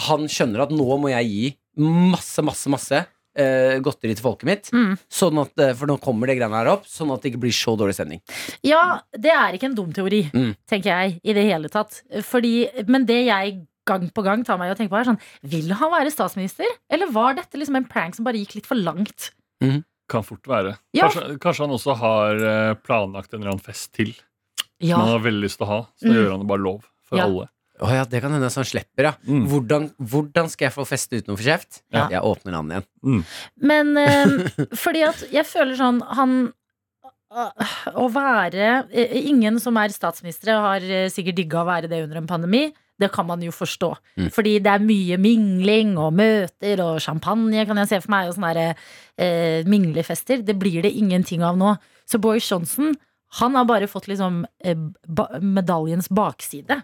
Speaker 3: han skjønner at nå må jeg gi masse, masse, masse eh, godteri til folket mitt.
Speaker 2: Mm.
Speaker 3: Sånn at, eh, for nå kommer det greiene her opp, sånn at det ikke blir så dårlig stemning.
Speaker 2: ja, det er ikke en dum teori,
Speaker 3: Mm.
Speaker 2: tenker jeg, i det hele tatt. Fordi, men det jeg gang på gang tar meg i å tenke på, er sånn Vil han være statsminister, eller var dette liksom en prank som bare gikk litt for langt?
Speaker 7: Kan fort være.
Speaker 2: Ja.
Speaker 7: Kanskje, kanskje han også har eh, planlagt en eller annen fest til som han
Speaker 2: Ja.
Speaker 7: har veldig lyst til å ha. Så da
Speaker 2: Mm.
Speaker 7: gjør han det bare lov for
Speaker 2: Ja.
Speaker 7: alle.
Speaker 3: Å ja, det kan hende så han slipper, ja.
Speaker 7: Mm.
Speaker 3: Hvordan, hvordan skal jeg få feste uten å få kjeft?
Speaker 2: Ja.
Speaker 3: Jeg åpner han igjen.
Speaker 2: Men eh, fordi at jeg føler sånn Han å være eh, Ingen som er statsminister, har eh, sikkert digga å være det under en pandemi. Det kan man jo forstå.
Speaker 3: Mm.
Speaker 2: Fordi det er mye mingling og møter og champagne, kan jeg se for meg, og sånne der, eh, minglefester. Det blir det ingenting av nå. Så Boris Johnson, han har bare fått liksom eh, ba medaljens bakside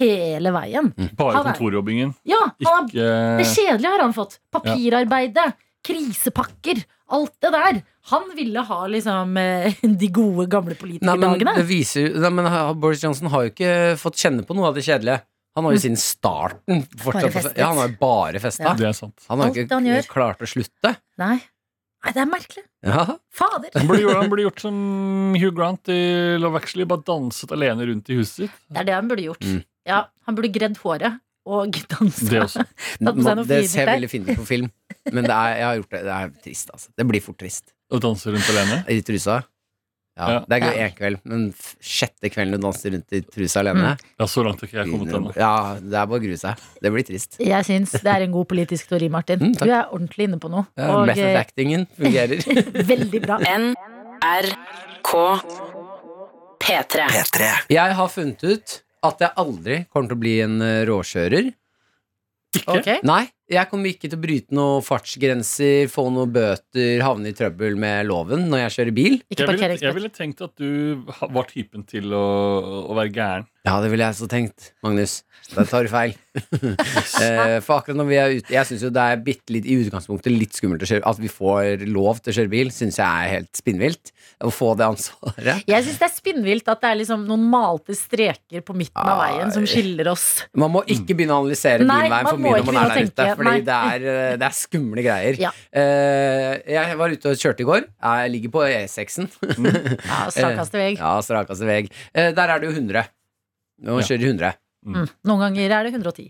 Speaker 2: hele veien.
Speaker 7: Bare
Speaker 2: Han er-
Speaker 7: kontorjobbingen.
Speaker 2: Ja, han har
Speaker 7: Ikke
Speaker 2: det
Speaker 3: Eh.
Speaker 2: kjedelige har han fått. Papirarbeidet, krisepakker, alt det der. Han ville ha liksom eh, de gode, gamle
Speaker 3: Nei, men,
Speaker 2: politikerdagene.
Speaker 3: det viser, nei, men ha- Boris Johnson har jo ikke fått kjenne på noe av det kjedelige. Han har jo siden starten fortsatt
Speaker 2: Mm. festet.
Speaker 3: Ja, han har jo bare festa.
Speaker 2: Ja.
Speaker 7: Det er sant.
Speaker 3: Han har
Speaker 2: Alt
Speaker 3: jo
Speaker 2: han
Speaker 3: ikke
Speaker 2: gjør.
Speaker 3: klart å slutte.
Speaker 2: Nei. Nei, det er merkelig.
Speaker 3: Ja.
Speaker 2: Fader.
Speaker 7: Han burde, gjort, han burde gjort som Hugh Grant i Love Actually, bare danset alene rundt i huset sitt.
Speaker 2: Det er det han burde gjort.
Speaker 3: Mm.
Speaker 2: Ja, han burde gredd håret og dansa.
Speaker 7: Det også.
Speaker 2: Tatt på seg noen
Speaker 3: Det ser
Speaker 2: flyverter.
Speaker 3: veldig fint ut på film, men det er, jeg har gjort det. Det er trist, altså. Det blir fort trist.
Speaker 7: Å danse rundt alene.
Speaker 3: I trusa. Ja,
Speaker 7: Ja.
Speaker 3: Det er gøy én kveld, men f- sjette kvelden du danser rundt i trusa alene
Speaker 7: Ja, så langt har ikke jeg kommet ennå.
Speaker 3: Ja, det er bare å grue seg. Det blir trist.
Speaker 2: Jeg syns det er en god politisk teori, Martin.
Speaker 3: Mm,
Speaker 2: du
Speaker 3: takk.
Speaker 2: er ordentlig inne på noe.
Speaker 3: Ja,
Speaker 2: og
Speaker 3: method
Speaker 2: eh,
Speaker 3: actingen fungerer.
Speaker 2: veldig bra.
Speaker 10: NRK P3.
Speaker 4: P3
Speaker 3: Jeg har funnet ut at jeg aldri kommer til å bli en eh, råkjører.
Speaker 2: Ok.
Speaker 3: Nei, jeg kommer ikke til å bryte noen fartsgrenser, få noen bøter, havne i trøbbel med loven når jeg kjører
Speaker 2: Ikke
Speaker 3: bil.
Speaker 7: Jeg ville, jeg
Speaker 2: parkeringsplass.
Speaker 7: ville tenkt at du ha- var typen til å, å være gæren.
Speaker 3: Ja, det ville jeg så tenkt, Magnus. Der tar du feil. Eh, For akkurat når vi er ute Jeg syns jo det er bitte litt i utgangspunktet litt skummelt å kjøre At vi får lov til å kjøre bil, syns jeg er helt spinnvilt. Å få det ansvaret.
Speaker 2: Jeg syns det er spinnvilt at det er liksom noen malte streker på midten av veien som skiller oss.
Speaker 3: Man må ikke begynne å analysere
Speaker 2: Mm. Nei,
Speaker 3: bilveien
Speaker 2: man
Speaker 3: for
Speaker 2: må
Speaker 3: mye når
Speaker 2: ikke
Speaker 3: man er der
Speaker 2: begynne å
Speaker 3: ute.
Speaker 2: tenke,
Speaker 3: Fordi
Speaker 2: nei.
Speaker 3: det er, eh, det er skumle greier.
Speaker 2: Ja.
Speaker 3: Eh, Jeg var ute og kjørte i går. Jeg ligger på E6-en.
Speaker 2: Ja, Strakkaste vei.
Speaker 3: Ja, strakeste vei. Eh, Der er det jo 100. Når man
Speaker 7: Ja.
Speaker 3: kjører i 100.
Speaker 2: Mm. Noen ganger er det 110.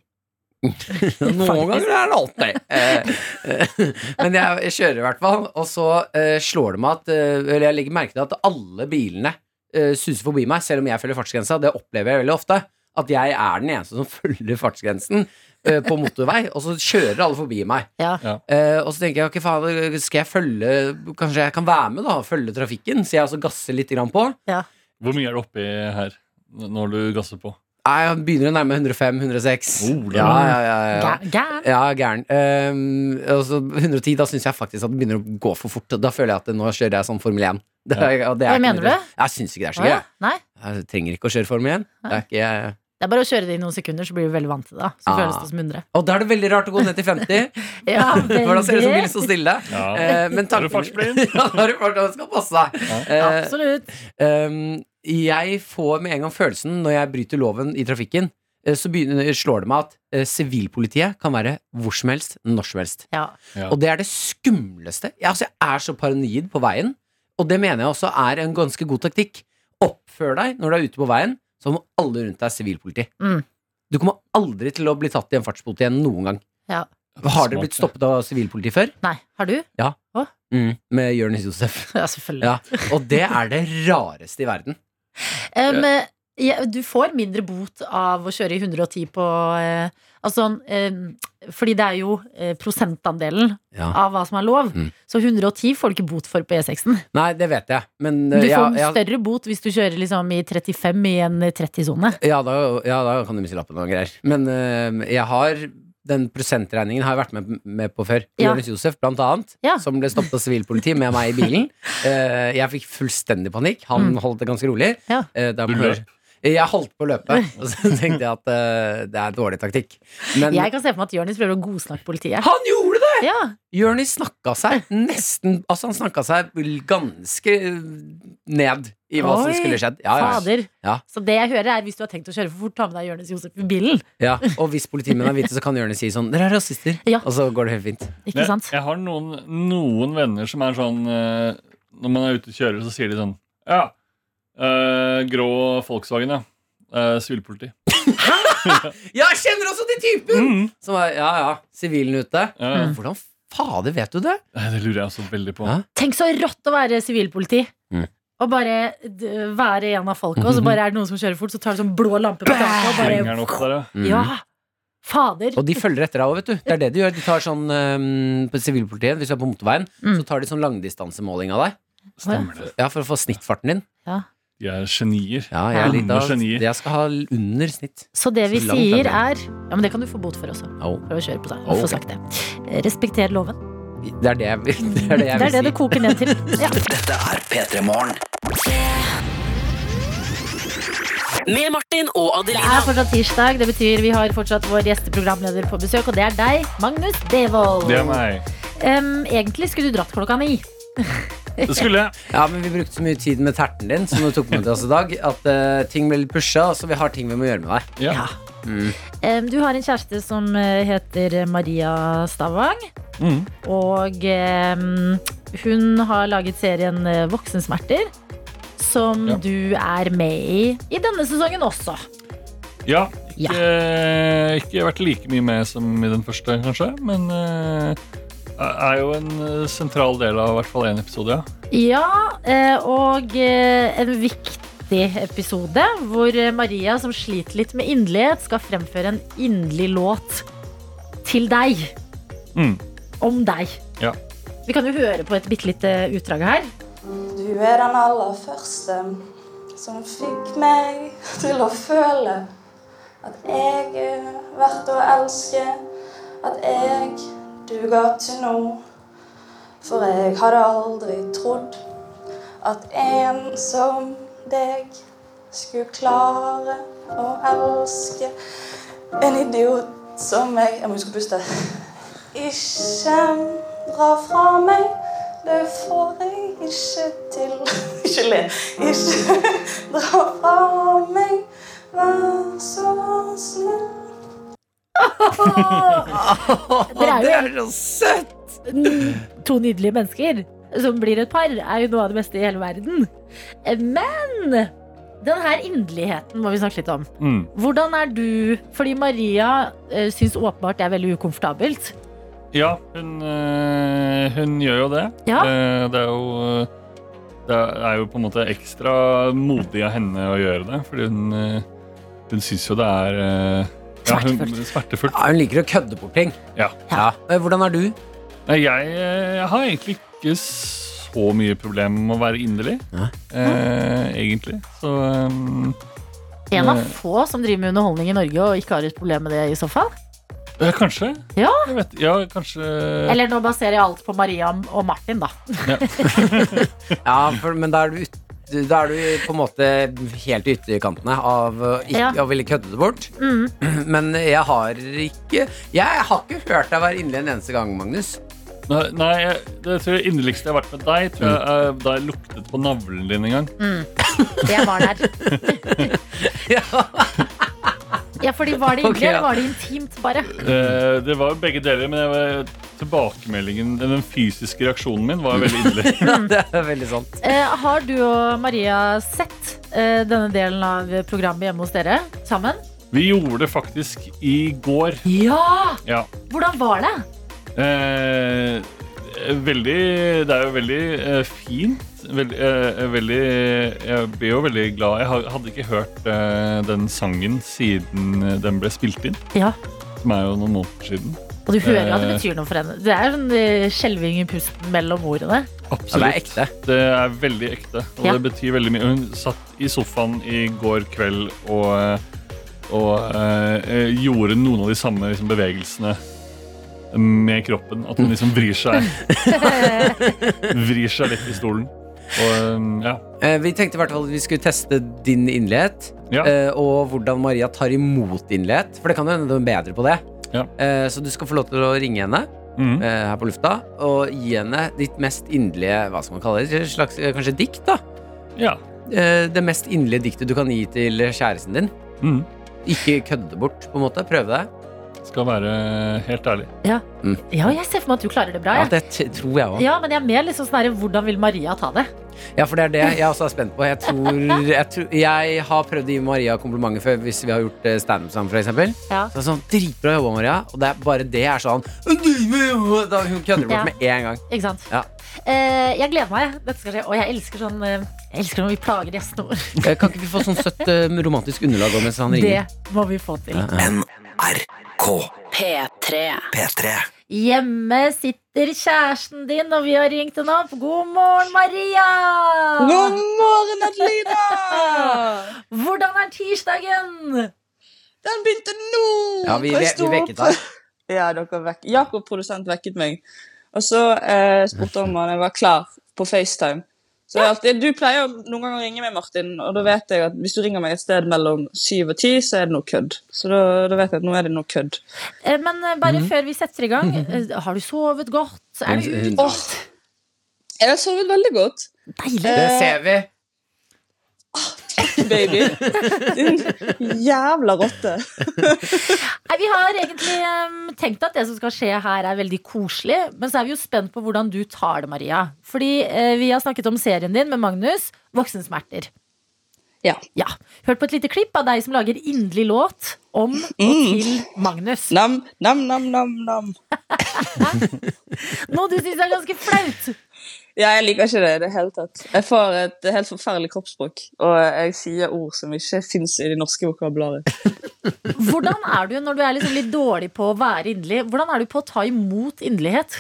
Speaker 3: Noen ganger er det alltid. Eh, eh, Men jeg, jeg kjører i hvert fall, og så eh, slår det meg at eh, Eller jeg legger merke til at alle bilene eh, suser forbi meg, selv om jeg følger fartsgrensa. Det opplever jeg veldig ofte. At jeg er den eneste som følger fartsgrensen eh, på motorvei, og så kjører alle forbi meg.
Speaker 2: Ja.
Speaker 7: Ja.
Speaker 3: Eh, og så tenker jeg ok, faen, skal jeg følge Kanskje jeg kan være med, da? og Følge trafikken? Så jeg også gasser litt grann på.
Speaker 7: Hvor mye er det oppi her n- når du gasser på?
Speaker 3: Nei, Jeg begynner å nærme 105-106.
Speaker 7: Oh, det er-
Speaker 3: ja, ja, ja, ja.
Speaker 2: Gæ- Gæren.
Speaker 3: Ja, gæren. Ehm, og så 110, da syns jeg faktisk at det begynner å gå for fort. Da føler jeg at nå kjører jeg sånn Formel 1. Det, er- og det er
Speaker 2: Hva
Speaker 3: ikke
Speaker 2: mener
Speaker 3: mye-
Speaker 2: du?
Speaker 3: Jeg syns ikke det er så
Speaker 2: Å, ja.
Speaker 3: gøy.
Speaker 2: Nei,
Speaker 3: Jeg trenger ikke å kjøre Formel 1. Det er ikke, jeg...
Speaker 2: det er bare å kjøre det i noen sekunder, så blir du veldig vant til det. Så
Speaker 3: Ah.
Speaker 2: føles det som 100.
Speaker 3: Og da er det veldig rart å gå ned til 50.
Speaker 2: Ja,
Speaker 3: Hvordan ser det ut som
Speaker 2: veldig.
Speaker 3: bilen står stille?
Speaker 7: Ja.
Speaker 3: Eh, men
Speaker 7: Er du
Speaker 3: tanken-
Speaker 7: fartsblind?
Speaker 3: ja, da er du fart, og skal passe deg. Eh,
Speaker 2: Absolutt.
Speaker 3: ehm, jeg får med en gang følelsen når jeg bryter loven i trafikken, eh, så begynner, slår det meg at eh, sivilpolitiet kan være hvor som helst, når som helst.
Speaker 2: Ja.
Speaker 3: Og det er det skumleste. Jeg, altså, jeg er så paranoid på veien, og det mener jeg også er en ganske god taktikk. Oppfør deg når du er ute på veien, som om alle rundt deg er sivilpoliti.
Speaker 2: Mm.
Speaker 3: Du kommer aldri til å bli tatt i en fartsbot igjen noen gang.
Speaker 2: Ja.
Speaker 3: Har dere blitt stoppet av sivilpoliti før?
Speaker 2: Nei, har du?
Speaker 3: Ja.
Speaker 2: Å?
Speaker 3: Mm, med Jonis Josef.
Speaker 2: Ja, selvfølgelig.
Speaker 3: Ja. Og det er det rareste i verden.
Speaker 2: Um, eh, ja, du får mindre bot av å kjøre i 110 på eh, Altså em, Fordi det er jo eh, prosentandelen
Speaker 3: Ja.
Speaker 2: av hva som er lov.
Speaker 3: Mm.
Speaker 2: Så 110 får du ikke bot for på E6-en.
Speaker 3: Nei, det vet jeg, men
Speaker 2: Du
Speaker 3: eh,
Speaker 2: får
Speaker 3: ja,
Speaker 2: en
Speaker 3: ja,
Speaker 2: større bot hvis du kjører liksom i 35 i en 30-sone.
Speaker 3: ja, da, ja, da kan du miste lappen og greier. Men eh, jeg har den prosentregningen har jeg vært med, med på før.
Speaker 2: Ja.
Speaker 3: Jonis Josef, blant annet,
Speaker 2: Ja.
Speaker 3: som ble stoppet av sivilpoliti med meg i bilen. Eh, jeg fikk fullstendig panikk. Han holdt det ganske rolig.
Speaker 2: Mm. Ja.
Speaker 3: Eh, da
Speaker 7: Du
Speaker 3: må-
Speaker 7: løp.
Speaker 3: Jeg holdt på å løpe, og så tenkte jeg at eh, det er dårlig taktikk. Men
Speaker 2: Jeg kan se for meg at Jonis prøver å godsnakke politiet.
Speaker 3: han gjorde det!
Speaker 2: Ja,
Speaker 3: Jonis snakka seg nesten Altså, han snakka seg ganske eh, ned i hva som
Speaker 2: Oi,
Speaker 3: skulle skjedd. Ja, Ah, ja, ja.
Speaker 2: Fader.
Speaker 3: Ja.
Speaker 2: Så det jeg hører, er hvis du har tenkt å kjøre for fort, ta med deg Jonis Josef i bilen.
Speaker 3: Ja, og hvis politimennene er hvite, så kan Jonis si sånn Dere er rasister.
Speaker 2: Ja.
Speaker 3: Og så går det helt fint.
Speaker 2: Ikke
Speaker 7: Men
Speaker 2: sant?
Speaker 7: Jeg, jeg har noen, noen venner som er sånn eh, Når man er ute og kjører, så sier de sånn Ja, eh, grå Volkswagen, ja. Eh, Sivilpoliti.
Speaker 3: Ja, jeg kjenner også til typen!
Speaker 7: Mm.
Speaker 3: Som er, ja, ja, sivilen ute. Mm.
Speaker 7: Ja, ja.
Speaker 3: Hvordan fader vet du det?
Speaker 7: Eh, Det lurer jeg også veldig på.
Speaker 3: Ja.
Speaker 2: Tenk så rått å være sivilpoliti.
Speaker 3: Mm.
Speaker 2: Og bare d være en av folka, og så bare er det noen som kjører fort, så tar du sånn blå lampe på taket og
Speaker 7: Henger den opp
Speaker 2: bare
Speaker 7: der, ja.
Speaker 3: Mm.
Speaker 2: Ja! Fader.
Speaker 3: Og de følger etter deg òg, vet du. Det er det de gjør. De tar sånn øhm, På sivilpolitiet, hvis du er på motorveien,
Speaker 2: Mm.
Speaker 3: så tar de sånn langdistansemåling av deg.
Speaker 7: Stemmer det.
Speaker 3: Ja, For å få snittfarten din.
Speaker 7: De er genier.
Speaker 3: Ja, jeg, er litt
Speaker 7: Onde
Speaker 3: av-
Speaker 2: Mm.
Speaker 7: genier.
Speaker 3: jeg skal ha under snitt.
Speaker 2: Så det vi
Speaker 3: Så langt
Speaker 2: sier
Speaker 3: er
Speaker 2: er Ja, men det kan du få bot for også.
Speaker 3: Au.
Speaker 2: Prøv å kjøre på deg.
Speaker 3: Ok.
Speaker 2: Få sagt det. Respekter loven.
Speaker 3: Det er det jeg vil, det er det
Speaker 2: Det
Speaker 3: jeg
Speaker 2: er
Speaker 3: vil
Speaker 2: det
Speaker 3: si.
Speaker 2: det koker ned til. Ja.
Speaker 4: Dette er P3 Morgen.
Speaker 10: Med Martin og
Speaker 2: Det
Speaker 10: Adelina.
Speaker 2: er fortsatt tirsdag. Det betyr vi har fortsatt vår gjesteprogramleder på besøk, og det er deg, Magnus Devold.
Speaker 7: Det er meg.
Speaker 2: Em, egentlig skulle du dratt klokka ni.
Speaker 7: Det skulle jeg.
Speaker 3: Ja, men vi brukte så mye tid med terten din Som du tok med til oss i dag At eh, ting ble litt pusha Så vi har ting vi må gjøre med deg
Speaker 7: Ja.
Speaker 2: Em, Du har en kjæreste som eh, heter Maria Stavang.
Speaker 7: Mm.
Speaker 2: Og em, hun har laget serien eh, Voksensmerter, som
Speaker 7: Ja.
Speaker 2: du er med i i denne sesongen også.
Speaker 7: ja. Ikke, ikke vært like mye med som i den første, kanskje, men eh, er jo en eh, sentral del av i hvert fall én episode, ja.
Speaker 2: Ja, eh, og eh, en viktig episode hvor eh, Maria, som sliter litt med inderlighet, skal fremføre en inderlig låt til deg.
Speaker 7: Mm.
Speaker 2: Om deg.
Speaker 7: Ja.
Speaker 2: Vi kan jo høre på et bitte lite utdrag her.
Speaker 11: Du er den aller første som fikk meg til å føle at jeg er verdt å elske, at jeg duger til nå. For jeg hadde aldri trodd at en som deg skulle klare å elske en idiot som meg Jeg må huske å puste. Ikke dra fra meg, det får jeg ikke til. Ikke le. Ikke dra fra meg, vær så snill.
Speaker 2: Dere er jo
Speaker 3: så søtt
Speaker 2: to nydelige mennesker som blir et par, er jo noe av det beste i hele verden. Eh, Men den her inderligheten må vi snakke litt om.
Speaker 7: Mm.
Speaker 2: Hvordan er du Fordi Maria uh, syns åpenbart det er veldig ukomfortabelt.
Speaker 7: Ja, hun, eh, hun gjør jo det.
Speaker 2: Ja.
Speaker 7: Eh, Det er jo eh, Det er jo på en måte ekstra modig av henne å gjøre det, fordi hun eh, Hun syns jo det er eh, ja, hun- Smertefullt.
Speaker 3: ja, Hun liker å kødde bort ting
Speaker 7: Ja.
Speaker 3: Eh, Hvordan er du?
Speaker 7: Nei, jeg, eh, jeg har egentlig ikke så mye problem med å være inderlig.
Speaker 3: Nei.
Speaker 7: Eh, egentlig. Så um,
Speaker 2: En av
Speaker 7: Eh.
Speaker 2: få som driver med underholdning i Norge og ikke har et problem med det i så fall.
Speaker 7: eh, Kanskje.
Speaker 2: Ja.
Speaker 7: Jeg vet, ja, kanskje
Speaker 2: Eller nå baserer jeg alt på Maria og Martin, da.
Speaker 3: Ja, for, men da er du, ut, da er du på en måte Helt i ytterkantene Av å ikke,
Speaker 2: Ja.
Speaker 3: å ville kødde det bort
Speaker 2: Mm.
Speaker 3: Men jeg har ikke Jeg har ikke hørt deg være inne en eneste gang, Magnus
Speaker 7: Nei, nei jeg, det tror jeg inderligste jeg har vært med deg, tror jeg eh, da jeg luktet på navlen din en gang.
Speaker 2: Jeg var der.
Speaker 3: Ja.
Speaker 2: Ja, fordi var det
Speaker 7: Ok,
Speaker 2: hyggelig,
Speaker 7: ja.
Speaker 2: eller var det intimt, bare?
Speaker 7: Eh, det var jo begge deler, men jeg var- tilbakemeldingen, den fysiske reaksjonen min, var veldig inderlig.
Speaker 3: det er veldig sant.
Speaker 2: Eh, har du og Maria sett eh, denne delen av programmet hjemme hos dere sammen?
Speaker 7: Vi gjorde det faktisk i går.
Speaker 2: Ja!
Speaker 7: Ja.
Speaker 2: Hvordan var det?
Speaker 7: Eh, veldig Det er jo veldig eh, fint. Veld, eh, veldig Jeg blir jo veldig glad. Jeg har- hadde ikke hørt eh, den sangen siden eh, den ble spilt inn.
Speaker 2: Ja.
Speaker 7: Som er jo noen måneder siden.
Speaker 2: Og du hører at det
Speaker 7: Eh,
Speaker 2: betyr noe for henne. Det er en eh, skjelving i pusten mellom ordene.
Speaker 7: Absolutt.
Speaker 3: det er
Speaker 7: ekte. Det er veldig ekte. Og
Speaker 2: Ja.
Speaker 7: det betyr veldig mye. Hun satt i sofaen i går kveld og, eh, og eh, eh, gjorde noen av de samme liksom, bevegelsene med kroppen. At hun liksom vrir seg Vrir seg litt i stolen. Og, eh, ja.
Speaker 3: Eh, Vi tenkte i hvert fall at vi skulle teste din innlighet. eh, Og hvordan Maria tar imot innlighet. For det kan jo hende du er bedre på det. Eh, Så du skal få lov til å ringe henne
Speaker 7: Mhm.
Speaker 3: eh, her på lufta og gi henne ditt mest inderlige Hva skal man kalle det? Et slags eh, kanskje dikt, da?
Speaker 7: Ja.
Speaker 3: Eh, Det mest inderlige diktet du kan gi til kjæresten din.
Speaker 7: Mhm.
Speaker 3: Ikke kødde det bort, på en måte. Prøve det.
Speaker 7: Skal være helt ærlig.
Speaker 2: Ja.
Speaker 3: Mm.
Speaker 2: ja, jeg ser for meg at du klarer det bra.
Speaker 3: Ja,
Speaker 2: jeg.
Speaker 3: det t- tror jeg òg.
Speaker 2: Ja, men jeg er mer liksom sånn her, hvordan vil Maria ta det?
Speaker 3: Ja, for det er det jeg også er spent på. Jeg, tror, jeg, tror, jeg har prøvd å gi Maria komplimenter før hvis vi har gjort eh, standup sammen. For eksempel.
Speaker 2: Ja.
Speaker 3: Så det er sånn, Dritbra jobba, Maria. Og det er bare det er sånn da Hun kødder bort
Speaker 2: Ja.
Speaker 3: med en gang.
Speaker 2: Ikke sant?
Speaker 3: Ja.
Speaker 2: Eh, jeg gleder meg. Dette skal skje. Og jeg elsker sånn eh, Jeg elsker når vi plager gjestene våre.
Speaker 3: Eh, Kan ikke vi få sånn søtt eh, romantisk underlag også mens han
Speaker 2: Det
Speaker 3: ringer?
Speaker 2: må vi få til.
Speaker 4: NRK
Speaker 2: P3.
Speaker 4: P3.
Speaker 2: Hjemme sitter kjæresten din, og vi har ringt henne opp. God morgen, Maria!
Speaker 12: God morgen, Adelina!
Speaker 2: Hvordan er tirsdagen?
Speaker 12: Den begynte nå!
Speaker 2: Ja, vi
Speaker 12: Kan jeg
Speaker 2: ve-
Speaker 12: stå
Speaker 2: vi vekket
Speaker 12: opp?
Speaker 2: deg.
Speaker 12: Ja, dere vekk. Jakob, produsent, vekket meg. Og så eh, spurte han om jeg var klar på FaceTime. Så jeg alltid, Du pleier jo noen ganger å ringe meg, Martin, og da vet jeg at hvis du ringer meg et sted mellom syv og ti, så er det noe kødd. Så da, da vet jeg at nå er det noe kødd.
Speaker 2: Eh, Men eh, bare
Speaker 12: Mhm.
Speaker 2: før vi setter i gang, eh, har du sovet godt? Er du
Speaker 12: Hun- hun-
Speaker 2: ute?
Speaker 12: Jeg har sovet veldig godt.
Speaker 2: Deilig.
Speaker 3: Det ser vi.
Speaker 12: Baby. Din jævla rotte.
Speaker 2: Nei, vi har egentlig em, tenkt at det som skal skje her er veldig koselig, men så er vi jo spent på hvordan du tar det, Maria. Fordi eh, vi har snakket om serien din med Magnus, Voksensmerter.
Speaker 12: Ja.
Speaker 2: Hørt på et lite klipp av deg som lager inderlig låt om og til Magnus.
Speaker 12: Nam, nam, nam, nam, nam.
Speaker 2: Noe du syns er ganske flaut.
Speaker 12: Ja, jeg liker ikke det i det hele tatt. Jeg får et helt forferdelig kroppsspråk, og jeg sier ord som ikke fins i det norske vokabularet.
Speaker 2: Hvordan er du når du er liksom litt dårlig på å være inderlig? Hvordan er du på å ta imot inderlighet?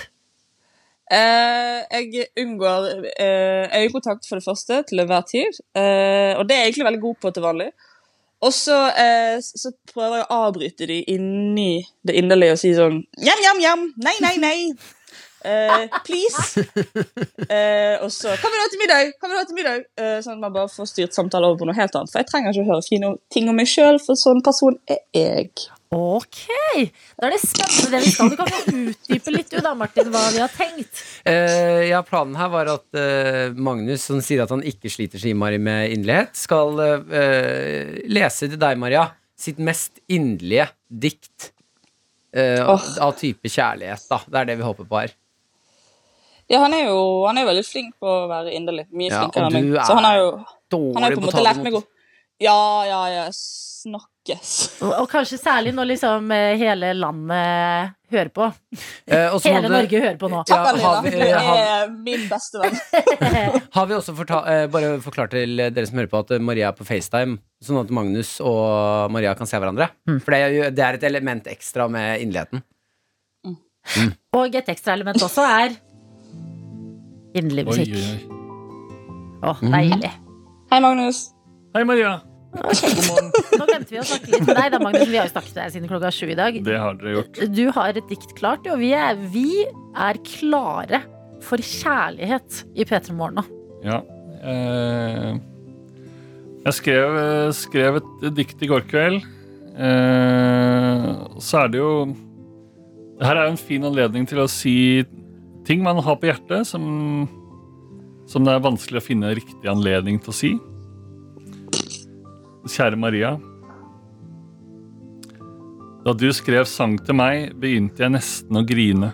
Speaker 12: Eh, jeg unngår eh, øyekontakt for det første, til enhver tid, eh, og det er jeg egentlig veldig god på til vanlig. Og så, eh, s- så prøver jeg å avbryte de inni det inderlige og si sånn Jam, jam, jam! Nei, nei, nei! Eh, please! Eh, og så Hva vil du ha til middag? Hva vil du ha til middag? Eh, sånn at man bare får styrt samtalen over på noe helt annet. For jeg trenger ikke å høre fine ting om meg sjøl, for sånn person er jeg.
Speaker 2: Ok, da er det spennende det vi skal. Du kan få utdype litt du da, Martin, hva vi har tenkt.
Speaker 3: Eh, ja, planen her var at eh, Magnus, som sier at han ikke sliter så innmari med inderlighet, skal eh, lese til deg, Maria, sitt mest inderlige dikt eh, av type kjærlighet. Da. Det er det vi håper på her.
Speaker 12: Ja, han er jo han er jo veldig flink på å være inderlig. Mye
Speaker 3: Ja,
Speaker 12: flinkere
Speaker 3: og
Speaker 12: enn meg.
Speaker 3: du
Speaker 12: Så han har jo,
Speaker 3: dårlig
Speaker 12: han har jo
Speaker 3: på
Speaker 12: på
Speaker 3: å
Speaker 12: en
Speaker 3: ta
Speaker 12: måte lært
Speaker 3: imot.
Speaker 12: meg å Ja, ja, ja. Snakkes.
Speaker 2: Og og kanskje særlig når liksom eh, hele landet hører på.
Speaker 3: Eh, og så må
Speaker 2: hele
Speaker 3: du-
Speaker 2: Norge hører på nå.
Speaker 3: Ja, har vi- eh, har-
Speaker 12: min beste venn.
Speaker 3: Har vi også forta eh, bare forklart til dere som hører på at eh, Maria er på FaceTime, sånn at Magnus og Maria kan se hverandre?
Speaker 2: Mm.
Speaker 3: For det er, jo, det er et element ekstra med innligheten.
Speaker 2: Og et ekstraelement også er inderlig musikk. Å,
Speaker 7: Mhm.
Speaker 2: deilig.
Speaker 12: Hei, Magnus.
Speaker 7: Hei, Maria.
Speaker 2: Nå glemte vi å snakke litt med deg, da, Magnus. Vi har jo snakket med deg siden klokka sju i dag.
Speaker 7: Det har dere gjort.
Speaker 2: Du har et dikt klart, du, og vi er, vi er klare for kjærlighet i P3 Morgen nå.
Speaker 7: Ja. Eh, jeg skrev, eh, skrev et dikt i går kveld. Eh, så er det jo Her er jo en fin anledning til å si ting man har på hjertet, som, som det er vanskelig å finne riktig anledning til å si. Kjære Maria. Da du skrev sang til meg, begynte jeg nesten å grine.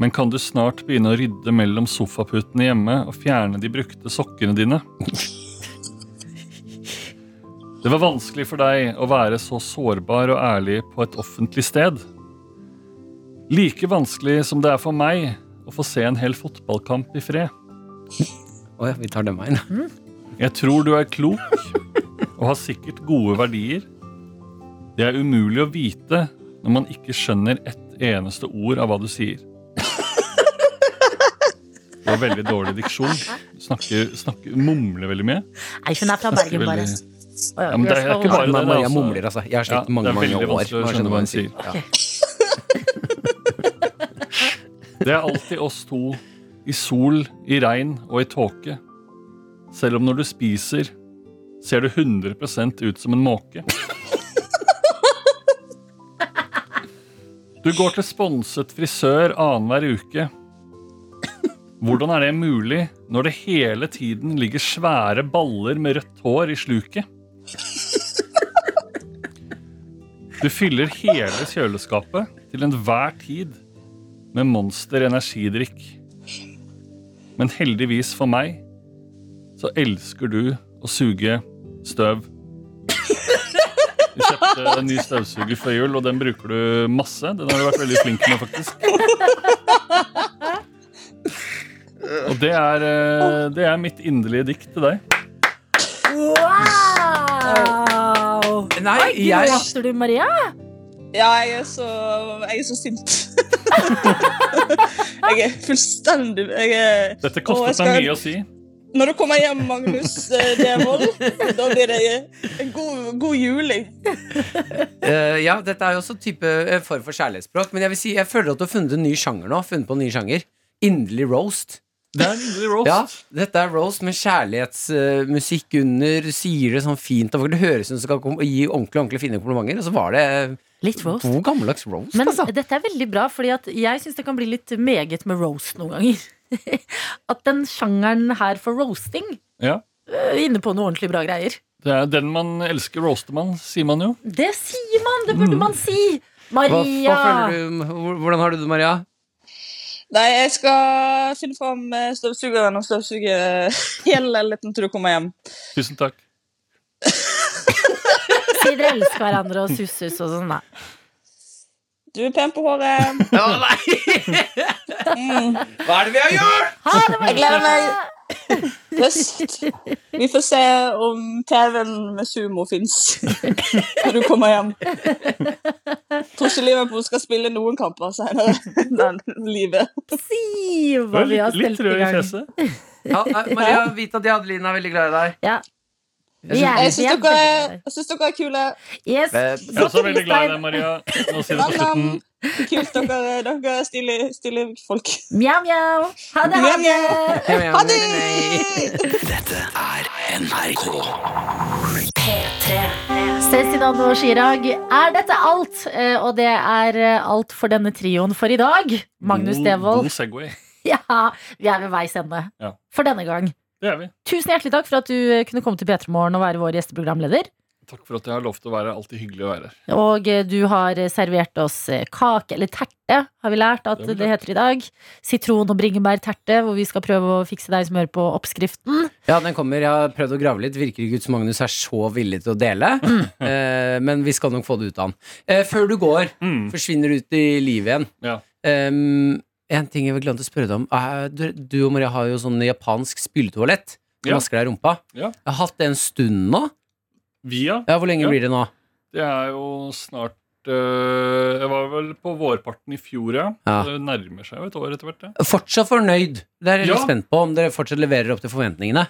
Speaker 7: Men kan du snart begynne å rydde mellom sofaputene hjemme og fjerne de brukte sokkene dine? Det var vanskelig for deg å være så sårbar og ærlig på et offentlig sted. Like vanskelig som det er for meg å få se en hel fotballkamp i fred.
Speaker 3: Å ja, vi tar den veien.
Speaker 7: Jeg tror du er klok og har sikkert gode verdier. Det er umulig å vite når man ikke skjønner ett eneste ord av hva du sier. Du har veldig dårlig diksjon. Snakker, snakker, mumler veldig mye.
Speaker 2: Nei, hun er fra
Speaker 7: Snakker
Speaker 2: Bergen, bare.
Speaker 7: veldig- Ja, men det er ikke bare det.
Speaker 3: Nei,
Speaker 7: det,
Speaker 3: Maria mumler, altså. Jeg har slitt mange,
Speaker 7: det er
Speaker 3: mange
Speaker 7: veldig
Speaker 3: år
Speaker 7: vanskelig
Speaker 3: med
Speaker 7: å
Speaker 3: å
Speaker 7: skjønne hva hun
Speaker 3: sier.
Speaker 7: sier. Det er alltid oss to. I sol, i regn og i tåke. Selv om når du spiser, ser du 100 ut som en måke. Du går til sponset frisør annenhver uke. Hvordan er det mulig når det hele tiden ligger svære baller med rødt hår i sluket? Du fyller hele kjøleskapet til enhver tid med Monster energidrikk. Men heldigvis for meg så elsker du å suge støv. Vi kjøpte en ny støvsuger før jul, og den bruker du masse. Den har du vært veldig flink med, faktisk. Og det er, eh, det er mitt inderlige dikt til deg.
Speaker 2: Wow!
Speaker 3: Nei,
Speaker 2: Oi,
Speaker 3: jeg-
Speaker 2: Gråter du, Maria?
Speaker 12: Ja, jeg er så, jeg er så sint. jeg er fullstendig jeg er, Å,
Speaker 7: Dette
Speaker 12: jeg
Speaker 7: kostet
Speaker 12: skal-
Speaker 7: meg mye å si.
Speaker 12: Når du kommer hjem, Magnus eh, Devold, da blir det en god, god jul. jeg.
Speaker 3: Eh, ja, dette er jo også type eh, form for kjærlighetsspråk, men jeg vil si, jeg føler at du har funnet en ny sjanger nå. Funnet på en ny sjanger. Inderlig roast.
Speaker 7: Det er inderlig roast.
Speaker 3: Ja, dette er roast med kjærlighetsmusikk under, sier det sånn fint og vakkert. Det høres ut som du skal kom- gi ordentlig, ordentlig fine komplimenter, og så var det
Speaker 2: Litt roast.
Speaker 3: god gammeldags roast. altså.
Speaker 2: Men eh, dette er veldig bra, fordi at jeg syns det kan bli litt meget med roast noen ganger. At den sjangeren her for roasting
Speaker 7: Ja.
Speaker 2: øh, er inne på noe ordentlig bra greier.
Speaker 7: Det er den man elsker roaster man, sier man jo.
Speaker 2: Det sier man! Det burde man si!
Speaker 3: Hva, hva
Speaker 2: Maria!
Speaker 3: føler du, hvordan har du det, Maria?
Speaker 12: Nei, jeg skal finne fram eh, støvsugeren og støvsuge hele liten til du kommer hjem.
Speaker 7: Tusen takk.
Speaker 2: Si dere elsker hverandre og sussus og sånn, da.
Speaker 12: Du er pen på håret.
Speaker 3: Å nei! Hva er det vi har gjort?!
Speaker 12: Jeg gleder meg. Først. Vi får se om TV-en med sumo fins når du kommer hjem. Tror ikke Liverpool skal spille noen kamper senere den livet.
Speaker 2: Si
Speaker 7: hva vi har Litt- litt stelt i rød i gang. fjeset.
Speaker 3: Ja, eh, Maria, vit at jeg og Adelina er veldig glad i deg.
Speaker 2: Vi er-
Speaker 12: Jeg
Speaker 2: vi
Speaker 12: syns
Speaker 2: er
Speaker 12: dere,
Speaker 2: veldig glad i
Speaker 12: jeg synes dere er kule.
Speaker 2: Yes.
Speaker 7: Jeg er også veldig glad i deg, Maria. Nå sier du på
Speaker 12: Nam-nam.
Speaker 7: slutten.
Speaker 12: Kult, dere, dere er stilige, stilige folk.
Speaker 2: Mjau, mjau. Ha det, ha det.
Speaker 12: Ha det!
Speaker 4: Dette er NRK.
Speaker 2: Cezinando og Chirag, er dette alt? Eh, Og det er eh, alt for denne trioen for i dag. Magnus
Speaker 7: God-
Speaker 2: Devold,
Speaker 7: God Segway.
Speaker 2: ja, vi er ved veis ende
Speaker 7: Ja,
Speaker 2: for denne gang.
Speaker 7: det er vi.
Speaker 2: Tusen hjertelig takk for at du eh, kunne komme til P3 Morgen og være vår gjesteprogramleder.
Speaker 7: Takk for at jeg har lov til å være alltid hyggelig å være her.
Speaker 2: Og eh, du har eh, servert oss eh, kake, eller terte, har vi lært at
Speaker 7: Det har vi
Speaker 2: det heter i dag. Sitron og bringebærterte, hvor vi skal prøve å fikse deg som hører på oppskriften.
Speaker 3: Ja, den kommer. Jeg har prøvd å grave litt. Virker ikke ut som Magnus er så villig til å dele.
Speaker 7: Mm.
Speaker 3: Eh, men vi skal nok få det ut av han. Eh, før du går,
Speaker 7: Mm.
Speaker 3: forsvinner ut i livet igjen.
Speaker 7: Ja.
Speaker 3: Em, en ting jeg glemte å spørre deg om. Eh, du, du og Maria har jo sånn japansk spyletoalett. Du
Speaker 7: Ja.
Speaker 3: vasker deg i rumpa.
Speaker 7: Ja.
Speaker 3: Jeg har hatt det en stund nå.
Speaker 7: Via.
Speaker 3: Ja, Hvor lenge
Speaker 7: Ja.
Speaker 3: blir det nå?
Speaker 7: Det er jo snart øh, Jeg var vel på vårparten i fjor, ja.
Speaker 3: Ja.
Speaker 7: Det nærmer seg jo et år etter hvert. Det.
Speaker 3: Fortsatt fornøyd. Det er jeg litt
Speaker 7: Ja.
Speaker 3: spent på om dere fortsatt leverer opp til forventningene.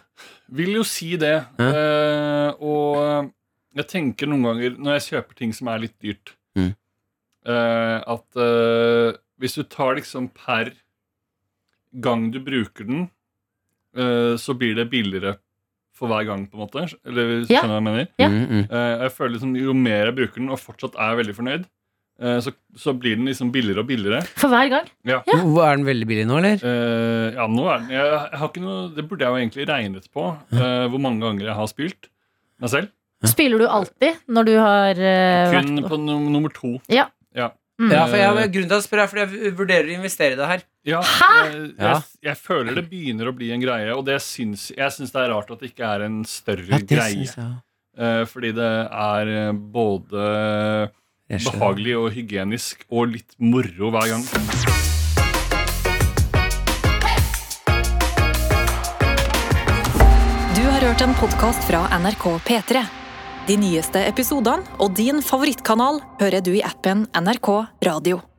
Speaker 7: Vil jo si det.
Speaker 3: Ja.
Speaker 7: Eh, og jeg tenker noen ganger, når jeg kjøper ting som er litt dyrt,
Speaker 3: Mhm.
Speaker 7: eh, at eh, hvis du tar liksom per gang du bruker den, eh, så blir det billigere for hver gang, på en måte. Eller skjønner du
Speaker 2: Ja.
Speaker 7: hva jeg mener?
Speaker 2: Ja.
Speaker 3: Mm, mm.
Speaker 7: Eh, jeg føler liksom Jo mer jeg bruker den, og fortsatt er veldig fornøyd, eh, så, så blir den liksom billigere og billigere.
Speaker 2: For hver gang.
Speaker 7: Ja.
Speaker 3: Hvor- Er den veldig billig nå, eller?
Speaker 7: Eh, ja, nå er den jeg, jeg har ikke noe, Det burde jeg jo egentlig regnet på, eh, hvor mange ganger jeg har spilt meg selv.
Speaker 2: Spiller du alltid når du har eh, vært
Speaker 7: Kun på num nummer to.
Speaker 2: Ja.
Speaker 7: Ja.
Speaker 2: Mm.
Speaker 3: Ja, for jeg, grunnen til at jeg spør, er fordi jeg vurderer å investere i det her.
Speaker 7: Ja, jeg,
Speaker 3: Ja.
Speaker 7: jeg, jeg føler det begynner å bli en greie, og det syns, jeg syns det er rart at det ikke er en større
Speaker 3: Ja, det
Speaker 7: greie.
Speaker 3: syns jeg også.
Speaker 7: Eh, fordi det er eh, både
Speaker 3: Jeg skjønner.
Speaker 7: behagelig og hygienisk og litt moro hver gang.
Speaker 1: Du har hørt en podkast fra NRK P3. De nyeste episodene og din favorittkanal hører du i appen NRK Radio.